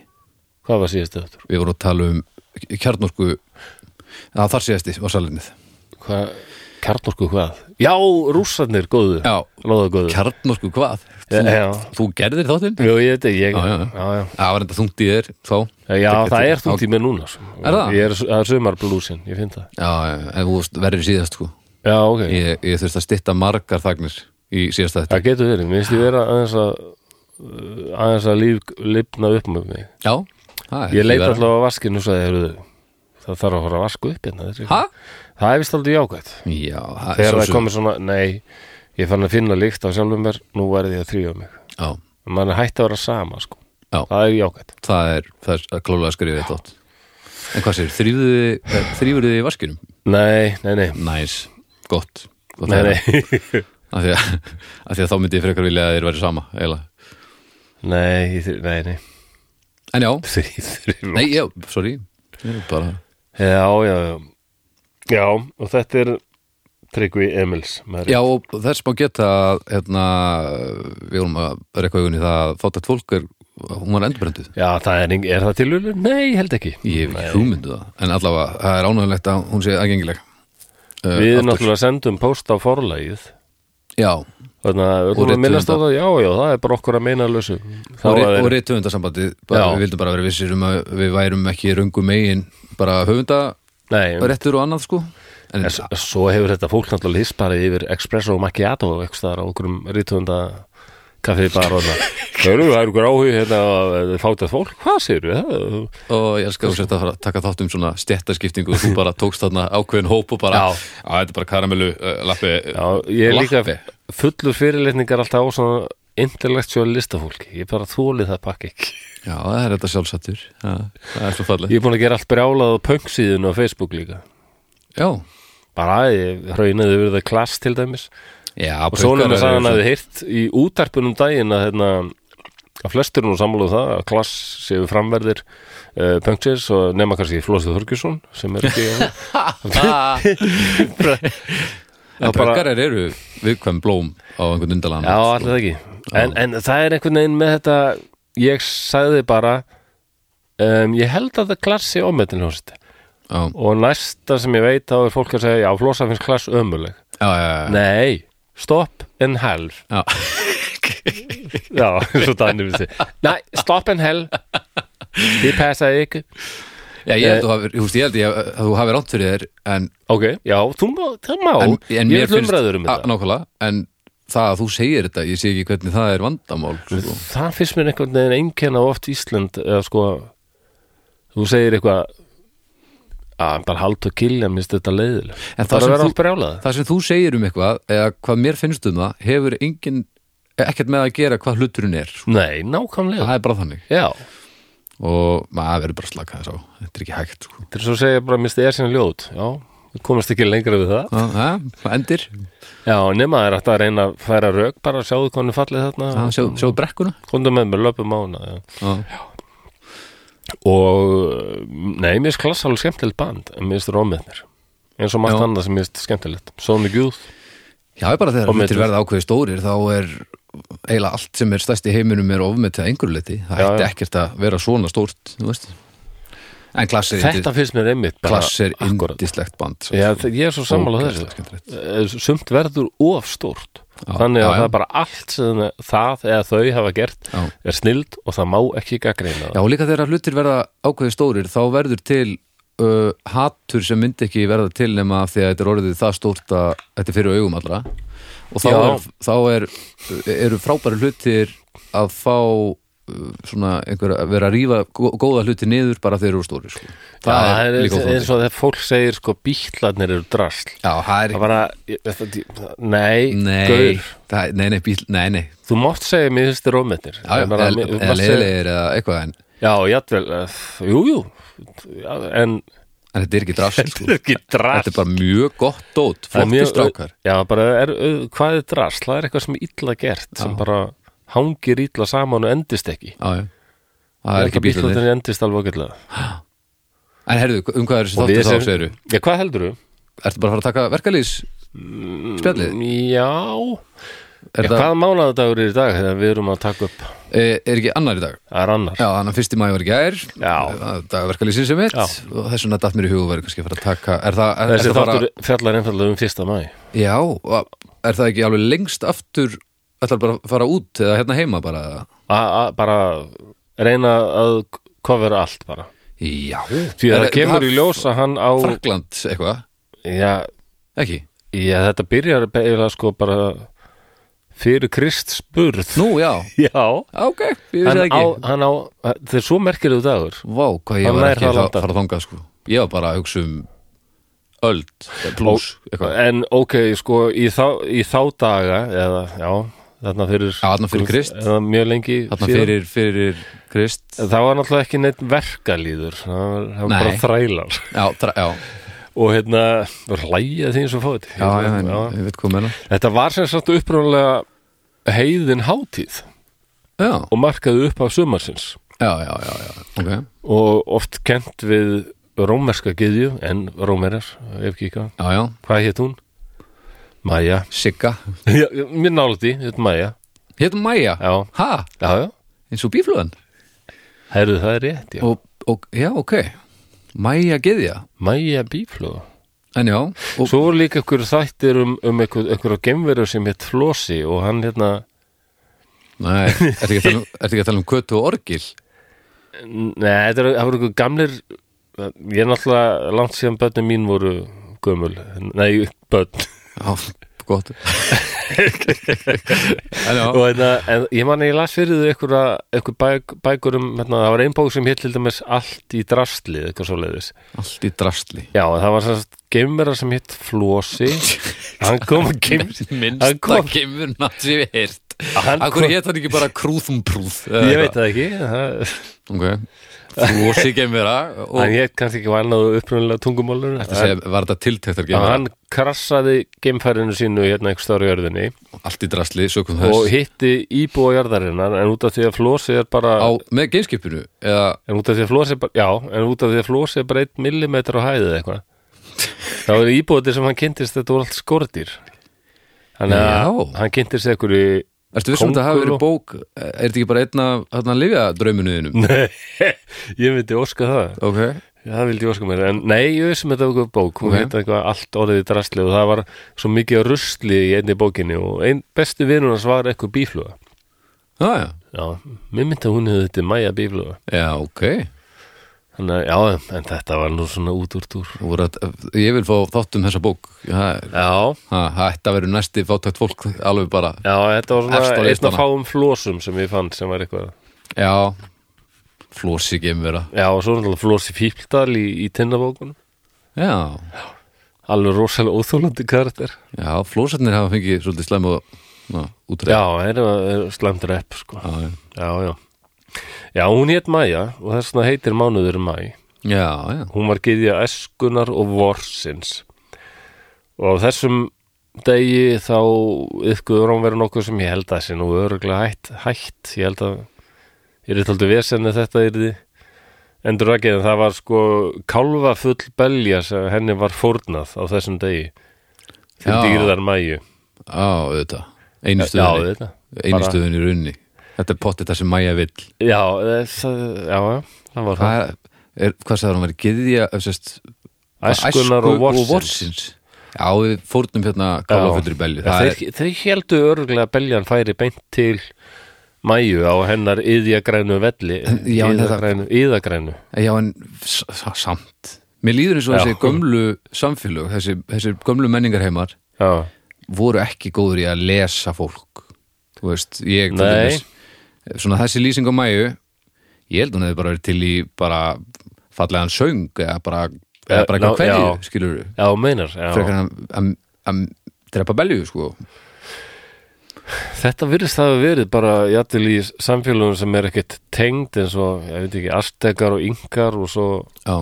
Speaker 1: hvað var síðasta öttur?
Speaker 2: við vorum að tala um kjarnorku að þar síðasti var salinnið
Speaker 1: Hvað, kjarnorku hvað? Já, rússarnir góðu
Speaker 2: Já.
Speaker 1: Lóða góðu
Speaker 2: Kjarnorku hvað?
Speaker 1: Já, já.
Speaker 2: Þú gerðir þáttinn?
Speaker 1: Jú, ég veit ekki, ég,
Speaker 2: Já, já, já.
Speaker 1: já, já.
Speaker 2: Það var enda þungt í þér þá
Speaker 1: Já, það er þútt í mér núna sko.
Speaker 2: Er það?
Speaker 1: Ég er, það er sömarblúsin, ég finn það
Speaker 2: Já, já, en þú varst verður síðast sko
Speaker 1: Já, ok,
Speaker 2: Ég, ég þurfti að stytta margar þagnir í síðasta þetta
Speaker 1: það getur verið Mér finnst ég vera aðeins að uh, aðeins að líf, lifna upp með mig
Speaker 2: Já, það er
Speaker 1: Ég leit
Speaker 2: verra.
Speaker 1: alltaf á vaskinu og sagði, heyrðu, það þarf að fara að vaska upp hérna. þetta er-
Speaker 2: Ha?
Speaker 1: Það er vist aldrei jákvæmt.
Speaker 2: Já, það er
Speaker 1: Þegar
Speaker 2: svo
Speaker 1: það komið svona, nei, ég fann að finna líkt á sjálfum mér, nú verði ég að þrýja mig.
Speaker 2: Já,
Speaker 1: Man er hægt að vera sama, sko.
Speaker 2: Já.
Speaker 1: Það er jákvæmt.
Speaker 2: það er, það er klálega skrifið þetta átt En hvað sér, þrýfur eh, þið í vaskinum?
Speaker 1: Nei, nei, nei.
Speaker 2: Næs, gott, gott
Speaker 1: Nei,
Speaker 2: að heyra.
Speaker 1: nei.
Speaker 2: af því, að, af því að þá myndi ég frekar vilja að þeir verið sama eiginlega.
Speaker 1: nei, ég þrý- nei, nei.
Speaker 2: En já,
Speaker 1: Þrý, þrý.
Speaker 2: nei, já, sorry Ég er bara,
Speaker 1: Já, já, já. Já, og þetta er Tryggvi Emils. maður.
Speaker 2: Já, og þess má geta að, hérna, við vorum að rekka augun í það að fátætt fólk er, hún var endurbrenduð
Speaker 1: Já, það er, eng- er það tilhulur? Nei, ég held ekki.
Speaker 2: Ég hef ekki hugmyndu það, en allavega það er ánægulegt að hún sé aðgengileg uh,
Speaker 1: Við
Speaker 2: aftur.
Speaker 1: náttúrulega sendum post á forlægið.
Speaker 2: Já,
Speaker 1: Þannig að
Speaker 2: Og
Speaker 1: öllum að
Speaker 2: rithöfunda.
Speaker 1: minnast á það, já, já, það er bara okkur að meina lausu. Þá
Speaker 2: og, reit,
Speaker 1: er-
Speaker 2: og reithöfundasambandi bara,
Speaker 1: Já.
Speaker 2: við vildum bara vera vissir um að við værum ekki röngu megin bara höfunda
Speaker 1: Nei, um-
Speaker 2: réttur og annað sko en,
Speaker 1: en s- svo hefur þetta fólk náttúrulega hispari yfir Espresso og Macchiato og eitthvað staðar á okkurum rítunda kaffið bara og það. Hörru, það er okkur áhug hérna að fáta fólk, hvað séru?
Speaker 2: og ég elskar að setja að fara að taka þátt um svona stjættaskiptingu og þú bara tókst þarna ákveðin hóp og bara,
Speaker 1: Já.
Speaker 2: "Á, þetta er bara karamellu uh, lappi,
Speaker 1: Já, ég er líka
Speaker 2: Lappi.
Speaker 1: fullur fyrirlitningar alltaf á svona intellectual listafólki, ég bara þólið það pakk ekki.
Speaker 2: já, það er þetta sjálfsattur það, það er svo fallið
Speaker 1: Ég er búin að gera allt brjálað á pöngsíðun á Facebook líka.
Speaker 2: já,
Speaker 1: Bara, ég hraunaði yfir það klass til dæmis.
Speaker 2: já,
Speaker 1: og Sónum
Speaker 2: punkar
Speaker 1: er sagðan að
Speaker 2: eru
Speaker 1: þið heyrt í útarpunum daginn að hérna að flestur nú samlóðu það að klass séu framverðir uh, punktis og nema kannski Flósið Þorgjusson sem er ekki
Speaker 2: svo-
Speaker 1: bara-
Speaker 2: punkar eru viðkvæm blóm á einhvern undalan
Speaker 1: Já, allir það ekki en, en það er einhvern veginn með þetta ég sagði bara um, ég held að það klass sé ómetin hljóðsett
Speaker 2: já,
Speaker 1: og næsta sem ég veit þá er fólk að segja já, Flósa finnst klass ömuleg
Speaker 2: já, já, já.
Speaker 1: Nei, stopp en helf
Speaker 2: Já.
Speaker 1: Já, svo danni við þið Nei, stopp en helf Þið passa ekki
Speaker 2: já, ég held þú hafir- þú veist, ég held ég að þú hafi rátt fyrir þér en,
Speaker 1: Ok, já, þú má, það má
Speaker 2: en, en
Speaker 1: Ég vil umræður um
Speaker 2: að-
Speaker 1: þetta
Speaker 2: nákvæmlega, en það að þú segir þetta, ég sé ekki hvernig það er vandamál sko.
Speaker 1: Það finnst mér einhvern veginn einkenna oft Ísland eða sko þú segir eitthvað að bara halda og kilja, minnst þetta leiðileg
Speaker 2: En það
Speaker 1: Bara
Speaker 2: sem
Speaker 1: vera
Speaker 2: þú-
Speaker 1: allt brjálað
Speaker 2: það sem þú segir um eitthvað eða hvað mér finnst um það hefur engin, e, ekkert með að gera hvað hluturinn er sko.
Speaker 1: Nei, nákvæmlega
Speaker 2: það er bara þannig
Speaker 1: Já,
Speaker 2: og maður verður bara að slaka þess á þetta er ekki hægt sko.
Speaker 1: þetta er svo að segja bara minnst er sinna ljót Já, við komast ekki lengra við það
Speaker 2: það ja, endir,
Speaker 1: Já, nema það er hægt að reyna að færa rauk bara að sjáðu hvernig fallið
Speaker 2: það,
Speaker 1: þarna
Speaker 2: sjá, sjá brekkuna
Speaker 1: Kondum með mér löpum á hana já.
Speaker 2: já.
Speaker 1: og nei, mér finnst klass alveg skemmtilegt band en mér finnst rómið mér eins og margt
Speaker 2: Já.
Speaker 1: annað sem mér finnst skemmtilegt Sonic Youth
Speaker 2: Já, bara þegar
Speaker 1: Ofmetið.
Speaker 2: hlutir verða ákveði stórir þá er eiginlega allt sem er stærst í heiminum er ofmetið að einhverju liti það
Speaker 1: Já,
Speaker 2: ætti
Speaker 1: já.
Speaker 2: ekkert að vera svona stórt þú veist. en klass er
Speaker 1: þetta finnst mér einmitt bara
Speaker 2: klass er
Speaker 1: akkúrat.
Speaker 2: indislegt band
Speaker 1: Já, þe- ég er svo sammála
Speaker 2: Ógeðslega
Speaker 1: þessu
Speaker 2: skemmtilegt.
Speaker 1: Eh, sumt verður of stórt
Speaker 2: Já,
Speaker 1: þannig að
Speaker 2: já,
Speaker 1: það
Speaker 2: já.
Speaker 1: er bara allt sem það eða þau hafa gert
Speaker 2: Já.
Speaker 1: er snild og það má ekki gaggreina
Speaker 2: Já,
Speaker 1: það
Speaker 2: og líka þegar hlutir verða ákveði stórir þá verður til uh, hatur sem myndi ekki verða til nema af því að þetta er orðið það stórt að þetta er fyrir augum allra og þá,
Speaker 1: Já.
Speaker 2: er, þá er, eru frábæri hlutir að fá uh, svona einhver að vera að rífa gó- góða hluti niður bara þeir eru stórir sko. það, er, líka óþólandi
Speaker 1: eins og þegar fólk segir sko bíklarnir eru drasl
Speaker 2: Já, það er
Speaker 1: það bara, ég- þetta- nei,
Speaker 2: Nei,
Speaker 1: gaur,
Speaker 2: það, nei, nei, bíl, nei, nei
Speaker 1: þú mátt segja mér þessi rómið
Speaker 2: Já, já, eða eða leiðilegir eða eitthvað en,
Speaker 1: Já, játvel, jú, jú já, en
Speaker 2: en þetta er ekki drasl sko.
Speaker 1: þetta er ekki
Speaker 2: Þetta
Speaker 1: drasl
Speaker 2: er bara mjög gott dót
Speaker 1: Það er mjög-
Speaker 2: flottir strákar
Speaker 1: Já, bara, er, au- hvað er drasl? Það er eitthvað sem er illa gert sem bara hangir illa saman og endist ekki
Speaker 2: Já, já. Það er ekki bílarnir.
Speaker 1: Bílarnir endist alveg ágætlega
Speaker 2: En herðu, um hvað er þessi
Speaker 1: Og við
Speaker 2: þáttu þá
Speaker 1: sem-
Speaker 2: segiru?
Speaker 1: Já, hvað heldur þú?
Speaker 2: Ertu bara að fara að taka verkalýs spjallið?
Speaker 1: Já,
Speaker 2: Er, það,
Speaker 1: já Mm,
Speaker 2: e,
Speaker 1: hvað mánaðadagur er í dag þegar við erum að taka upp
Speaker 2: er ekki annar í dag?
Speaker 1: Það er annar
Speaker 2: Já, þannig að fyrsti maður var í gær
Speaker 1: Já.
Speaker 2: Dagverkalýsin sem mitt
Speaker 1: Já.
Speaker 2: og þess vegna datt mér í hug og verið kannski að fara að taka Er það, er,
Speaker 1: Þessi
Speaker 2: er það bara,
Speaker 1: þáttur fjallar einfallega um fyrsta mæ
Speaker 2: já, og er það ekki alveg lengst aftur ætlar bara að fara út eða hérna heima bara
Speaker 1: A- a- Bara reyna að kofera allt bara
Speaker 2: Já
Speaker 1: Því að
Speaker 2: Er-
Speaker 1: það kemur
Speaker 2: er-
Speaker 1: í ljós að hann á
Speaker 2: Frakland eitthvað,
Speaker 1: Já,
Speaker 2: ekki?
Speaker 1: Já, þetta byrjar eiginlega sko bara fyrir Krist spurð.
Speaker 2: Nú, já,
Speaker 1: Já,
Speaker 2: ok, ég vissi
Speaker 1: hann
Speaker 2: það
Speaker 1: á,
Speaker 2: ekki
Speaker 1: hann á, þetta er svo merkilegu dagur.
Speaker 2: Vá, hvað ég
Speaker 1: Hann
Speaker 2: var
Speaker 1: nær
Speaker 2: ekki
Speaker 1: það
Speaker 2: að
Speaker 1: langt
Speaker 2: fara að þanga sko. Ég var bara að hugsa um öld, pluss eitthvað.
Speaker 1: En ok, sko, í þá, í þá daga, eða, já, þarna fyrir...
Speaker 2: Já, þarna fyrir Krist.
Speaker 1: Eða mjög lengi
Speaker 2: Þarna fyrir, fyrir Krist
Speaker 1: Það var náttúrulega ekki neitt verkalýður, það var, það var
Speaker 2: Nei.
Speaker 1: bara þrælar.
Speaker 2: Já, tra, já,
Speaker 1: Og hérna, hlæja því eins og fótt.
Speaker 2: já, já, en, ég veit hvað menna
Speaker 1: Þetta var sem sagt upprónulega heiðin hátíð
Speaker 2: Já,
Speaker 1: og markaði upp af sumarsins.
Speaker 2: já, já, já, já. Okay.
Speaker 1: og oft kent við rómerska gyðju en rómerar, ef ekki eitthvað
Speaker 2: já, já,
Speaker 1: hvað hétt hún? Maja
Speaker 2: Sigga
Speaker 1: Já, já, mér nálaði, þetta er Maja
Speaker 2: Hétum Maja,
Speaker 1: já,
Speaker 2: ha,
Speaker 1: já, já,
Speaker 2: eins og bíflugan
Speaker 1: herðu það er rétt já.
Speaker 2: og, og, já, ok Maja geðja,
Speaker 1: Maja bíflóða
Speaker 2: en já og,
Speaker 1: Svo voru líka ykkur þættir um, um ykkur, ykkur gemveru sem hétt Flósi og hann hérna
Speaker 2: Nei, ertu ekki að tala um, ertu ekki að tala um kötu og orgil
Speaker 1: Nei, þetta eru- það voru ykkur gamlir Ég er náttúrulega langt síðan börnin mín voru gömul Nei, börn
Speaker 2: Já, gott En já,
Speaker 1: og hérna, en ég man að ég las fyrir þau einhverja, einhver bæk, bækur um hérna, það var einn bók sem hétt til dæmis allt í drastlið, eitthvað svo leiðis
Speaker 2: allt í drastli
Speaker 1: já, en það var sérst geimverðar sem hétt Flósi hann kom að geim hann
Speaker 2: minnsta
Speaker 1: kom,
Speaker 2: geimurna sem ég heirt
Speaker 1: Hann
Speaker 2: Af hverju
Speaker 1: kom-
Speaker 2: hétt hann ekki bara krúðumprúð
Speaker 1: ég veit það ekki það,
Speaker 2: okay. Flósi geimura
Speaker 1: hann
Speaker 2: og
Speaker 1: hétt kannski ekki vannaðu upprunalega tungumálur
Speaker 2: Þetta segja, var þetta tiltektar
Speaker 1: en
Speaker 2: geimura
Speaker 1: hann krassaði geimfærinu sínu hérna einhver stóru jörðinni
Speaker 2: Allt í drastli, sökum
Speaker 1: og
Speaker 2: þess
Speaker 1: hitti íbúa jörðarinnar en út af því að Flósi er bara
Speaker 2: á, Með geimskipinu eða,
Speaker 1: En út af því að flósi er bara, já, en út af því að flósi er bara einn millimetr á hæðið eitthvað. þá er íbúðir sem hann kynntist þetta voru allt skordýr. Þannig að
Speaker 2: Já.
Speaker 1: hann kynntist eitthvað í...
Speaker 2: Ertu vissum að þetta hafi verið bók Er þetta ekki bara einn af þarna lifja
Speaker 1: Mm.
Speaker 2: drauminuðinum
Speaker 1: ég myndi óska það.
Speaker 2: Ok
Speaker 1: Það vildi ég óska mér. En nei, ég vissum þetta eitthvað bók.
Speaker 2: Ok.
Speaker 1: Hún okay. heit eitthvað allt orðið í drasli og það var svo mikið af rusli í einni bókinni og einn bestu vinur hans var eitthvað bífluga.
Speaker 2: Já, Ah, já,
Speaker 1: Já, mér myndi að hún hefði þetta mæja bífluga.
Speaker 2: já, ok
Speaker 1: Þannig að, já, en þetta var nú svona út úr túr.
Speaker 2: Þú voru að- Ég vil fá þátt um þessa bók Það er-
Speaker 1: Já,
Speaker 2: ha, Þetta verður næsti fátækt fólk alveg bara
Speaker 1: Já, þetta var
Speaker 2: Efst á
Speaker 1: svona einn
Speaker 2: listana.
Speaker 1: af fáum flósum sem ég fann sem var eitthvað
Speaker 2: Já, flósi geimvera
Speaker 1: Já, og svo er náttúrulega flósi fíldal í, í tinnabókunum
Speaker 2: Já,
Speaker 1: Alveg rosalega óþólandi karakter
Speaker 2: já, flósarnir hafa fengið svolítið slæm og ná, útreið
Speaker 1: Já, er, er slæmt rep sko.
Speaker 2: Já, já,
Speaker 1: Já, já Já, hún hétt Maja og þess vegna heitir mánuður Mæ
Speaker 2: já, já.
Speaker 1: Hún var gyðja eskunar og vorsins og á þessum degi þá yfkuður hún verið nokkuð sem ég held að sé nú öruglega hætt, hætt. ég held að ég er eitthvað vesennið þetta yrði endur rakið en það var sko kálfafull belja sem henni var fórnað á þessum degi til
Speaker 2: Já.
Speaker 1: dýrðar mæju
Speaker 2: á, auðvitað, einu
Speaker 1: Já,
Speaker 2: stuðinni
Speaker 1: þetta
Speaker 2: einu stuðinni í runni þetta er pottið það sem Maja vill
Speaker 1: Já, þess, já, já, það var það
Speaker 2: hvað, er, hvað sagði hún, var geðja eh, sest,
Speaker 1: Æskunar og vorsins
Speaker 2: já, við fórnum hérna kálafullir belju það er,
Speaker 1: Þeir, þeir heldu örgulega að beljan færi beint til mæju á hennar yðjagrænu velli
Speaker 2: Já, en þetta-
Speaker 1: yðagrænu, yðagrænu
Speaker 2: já, en s- s- samt mér líður eins og
Speaker 1: Já.
Speaker 2: þessi gömlu samfélög þessi, þessi gömlu menningarheimar
Speaker 1: Já,
Speaker 2: voru ekki góður í að lesa fólk þú veist, ég til
Speaker 1: Nei.
Speaker 2: dæmis, svona þessi lýsing á mæju ég held hún hefði bara verið til í bara fallegan söng eða bara, eða
Speaker 1: Eh,
Speaker 2: bara
Speaker 1: ná-
Speaker 2: eitthvað hverju,
Speaker 1: já.
Speaker 2: skilur við
Speaker 1: já meinar já.
Speaker 2: frekar en að- að að drepa belju, sko
Speaker 1: Þetta virðist það að verið bara jættil í samfélagum sem er ekkit tengd eins og, ég veit ekki, astekar og yngar og svo
Speaker 2: já,